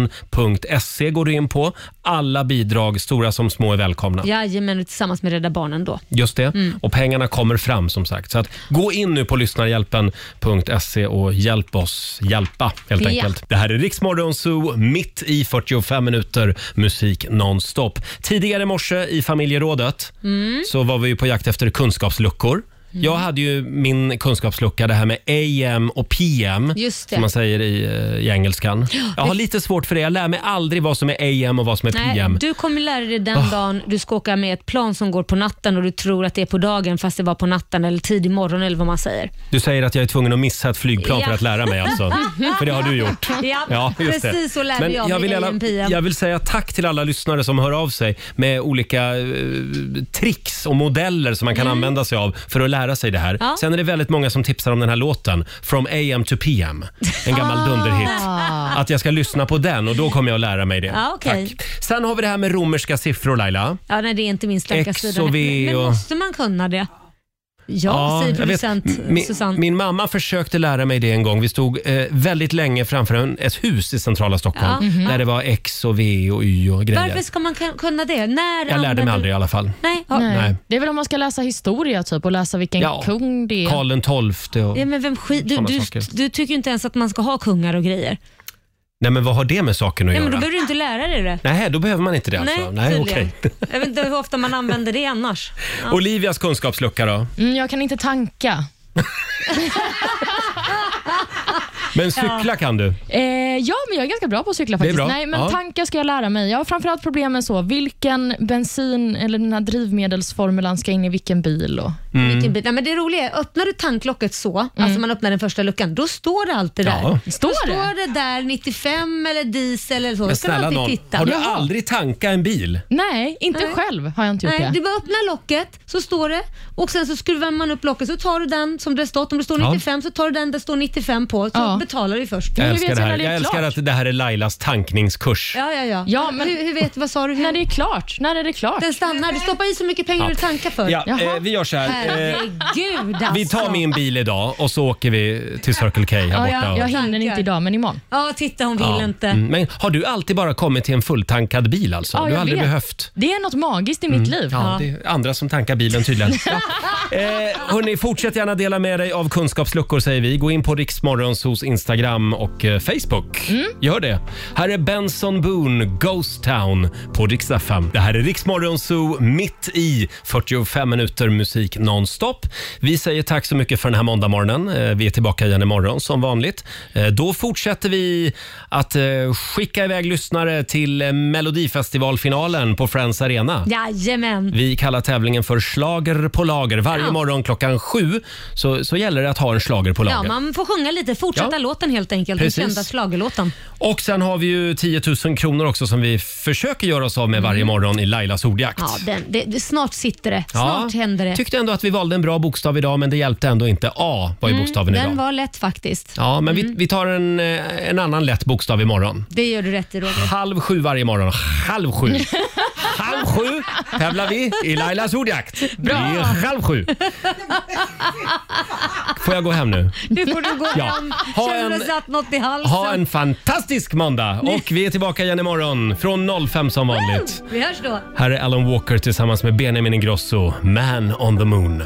Speaker 1: lyssnarhjälpen.se går du in på. Alla bidrag, stora som små, är välkomna.
Speaker 2: Jajamän, och tillsammans med Rädda Barnen då.
Speaker 1: Just det.
Speaker 2: Mm.
Speaker 1: Och pengarna kommer fram som sagt. Så att gå in nu på lyssnarhjälpen.se E och hjälp oss hjälpa helt
Speaker 2: Ja.
Speaker 1: enkelt. Det här är Riksmorgon Zoo, mitt i 45 minuter musik nonstop. Tidigare i morse i familjerådet
Speaker 2: Mm.
Speaker 1: så var vi ju på jakt efter kunskapsluckor. Jag hade ju min kunskapslucka, det här med AM och PM,
Speaker 2: Just det.
Speaker 1: som man säger i, eh, i engelskan.
Speaker 2: Ja,
Speaker 1: Jag har
Speaker 2: det-
Speaker 1: lite svårt för det. Jag lär mig aldrig vad som är AM och vad som är
Speaker 2: Nej,
Speaker 1: PM.
Speaker 2: du kommer lära dig den
Speaker 1: Ah.
Speaker 2: dagen du ska åka med ett plan som går på natten och du tror att det är på dagen fast det var på natten eller tidig morgon eller vad man säger.
Speaker 1: Du säger att jag är tvungen att missa ett flygplan
Speaker 2: Ja.
Speaker 1: för att lära mig alltså. För det har du gjort.
Speaker 2: Ja,
Speaker 1: just det.
Speaker 2: precis så lärde
Speaker 1: Men
Speaker 2: jag mig
Speaker 1: vill,
Speaker 2: AM, PM.
Speaker 1: jag vill säga tack till alla lyssnare som hör av sig med olika eh, tricks och modeller som man kan använda sig av för att lära sig det här.
Speaker 2: Mm. Ja.
Speaker 1: Sen är det väldigt många som tipsar om den här låten, From AM to PM. En gammal
Speaker 2: Ah.
Speaker 1: dunderhit.
Speaker 7: Ah.
Speaker 1: Att jag ska lyssna på den och då kommer jag att lära mig det.
Speaker 2: Ja, okej.
Speaker 1: Tack. Sen har vi det här med romerska siffror Laila.
Speaker 2: Ja, nej, det är inte min starka
Speaker 1: X och
Speaker 2: sida.
Speaker 1: V
Speaker 2: Men
Speaker 1: och-
Speaker 2: måste man kunna det? Ja, säger
Speaker 1: jag vet.
Speaker 2: producent
Speaker 1: min,
Speaker 2: Susanne.
Speaker 1: min mamma försökte lära mig det en gång. Vi stod eh, väldigt länge framför en, ett hus i centrala Stockholm
Speaker 2: Ja. Mhm.
Speaker 1: där det var X och V och Y och grejer.
Speaker 2: Varför ska man kun- kunna det? När
Speaker 1: jag lärde mig
Speaker 2: använder-
Speaker 1: aldrig i alla fall.
Speaker 2: Nej,
Speaker 7: Ah.
Speaker 2: ja.
Speaker 1: Nej. Nej.
Speaker 7: Det är väl om man ska läsa historia typ och läsa vilken
Speaker 1: Ja.
Speaker 7: kung det är.
Speaker 1: Karl den tolfte och...
Speaker 2: Ja, men vem skit, du,
Speaker 1: Såna
Speaker 2: du,
Speaker 1: saker.
Speaker 2: du tycker ju inte ens att man ska ha kungar och grejer.
Speaker 1: Nej men vad har det med saken att
Speaker 2: Nej, men
Speaker 1: göra?
Speaker 2: då behöver du inte lära dig det.
Speaker 1: Nej, då behöver man inte det alltså. Nej,
Speaker 2: tydligen.
Speaker 1: okej. Mm.
Speaker 2: Jag vet inte hur ofta man använder det annars. Ja.
Speaker 1: Olivias kunskapslucka då?
Speaker 7: Mm, jag kan inte tanka.
Speaker 1: Men cykla
Speaker 7: Ja.
Speaker 1: kan du?
Speaker 7: Eh, ja, men jag är ganska bra på att cykla
Speaker 1: Det är
Speaker 7: faktiskt.
Speaker 1: bra.
Speaker 7: Nej, men
Speaker 1: Ja.
Speaker 7: tankar ska jag lära mig. Jag har framförallt problem med så, vilken bensin eller den här drivmedelsformulan ska in i vilken bil? Och...
Speaker 1: Mm.
Speaker 2: Vilken bit. Nej, men det roliga är, öppnar du tanklocket så, alltså man öppnar den första luckan, då står det alltid där.
Speaker 1: Ja.
Speaker 2: Står då står det där 95 eller diesel eller så. Då
Speaker 1: Men
Speaker 2: ska man
Speaker 1: snälla
Speaker 2: alltid
Speaker 1: nån,
Speaker 2: titta.
Speaker 1: har du
Speaker 2: Jaha.
Speaker 1: aldrig tankat en bil?
Speaker 7: Nej, inte själv har jag inte gjort
Speaker 2: Nej,
Speaker 7: det.
Speaker 2: du bara öppnar locket, så står det och sen så skruvar man upp locket så tar du den som det har stått. Om det står
Speaker 1: Ja.
Speaker 2: 95 så tar du den det står 95 på så betalar du först.
Speaker 1: Jag älskar det här. Jag älskar att det här är Lailas tankningskurs.
Speaker 2: Ja, ja, ja. hur, hur vet Vad sa du? När
Speaker 7: det är klart. När är det klart?
Speaker 2: Den stannar. Du stoppar i så mycket pengar
Speaker 1: Ja.
Speaker 2: du tankar för.
Speaker 1: Ja, eh, vi gör så här. Eh,
Speaker 2: Herregud alltså.
Speaker 1: Vi tar min bil idag och så åker vi till Circle K här
Speaker 7: Ja,
Speaker 1: borta.
Speaker 7: jag, jag hinner inte idag, men imorgon.
Speaker 2: Ja, titta hon
Speaker 1: Ja. Mm, Men har du alltid bara kommit till en fulltankad bil alltså?
Speaker 7: Ja,
Speaker 1: du har
Speaker 7: jag
Speaker 1: aldrig
Speaker 7: vet.
Speaker 1: behövt?
Speaker 7: Det är något magiskt i
Speaker 1: Mm.
Speaker 7: mitt liv.
Speaker 1: Ja, det är andra som tankar bilen tydligen. Ja. Eh, hörni, fortsätt gärna dela med dig av kunskapsluckor säger vi. Gå in på Riksmorgons hos Instagram och eh, Facebook. Gör det. Här är Benson Boone, Ghost Town på Rix FM. Det här är Riksmorgon Zoo, mitt i 45 minuter musik nonstop. Vi säger tack så mycket för den här måndagmorgonen. Eh, Vi är tillbaka igen imorgon som vanligt. Eh, Då fortsätter vi att eh, skicka iväg lyssnare till eh, Melodifestivalfinalen på Friends Arena.
Speaker 2: Jajamän.
Speaker 1: Vi kallar tävlingen för Slager på lager. Varje
Speaker 2: Ja.
Speaker 1: morgon klockan sju så, så gäller det att ha en slager på
Speaker 2: Ja,
Speaker 1: lager.
Speaker 2: man får sjunga lite. Fortsätta
Speaker 1: Ja.
Speaker 2: låten helt enkelt. Den
Speaker 1: Precis.
Speaker 2: kända schlagerlåten.
Speaker 1: Och sen har vi ju 10 000 kronor också som vi försöker göra oss av med varje morgon i Lailas ordjakt.
Speaker 2: Mm. Ja, den, det, det, snart sitter det. Snart
Speaker 1: Ja,
Speaker 2: händer det.
Speaker 1: Tyckte ändå att vi valde en bra bokstav idag men det hjälpte ändå inte. A var ju
Speaker 2: Mm,
Speaker 1: bokstaven
Speaker 2: Den
Speaker 1: idag.
Speaker 2: var Mm. lätt faktiskt.
Speaker 1: Ja, men vi, vi tar en, eh, en annan lätt bokstav imorgon.
Speaker 2: Det gör du rätt i Roger.
Speaker 1: Halv sju varje morgon. Halv sju. halv sju tävlar vi i Lailas ordjakt. Bra. halv sju. Får jag gå hem nu?
Speaker 2: Nu får du gå
Speaker 1: Ja.
Speaker 2: hem.
Speaker 1: Ha
Speaker 2: Känner du
Speaker 1: en-
Speaker 2: satt något i halsen?
Speaker 1: Ha en fantastisk måndag och vi är tillbaka igen imorgon från 05 som vanligt.
Speaker 2: Vi hörs då.
Speaker 1: Här är Alan Walker tillsammans med Benjamin Ingrosso, Man on the Moon.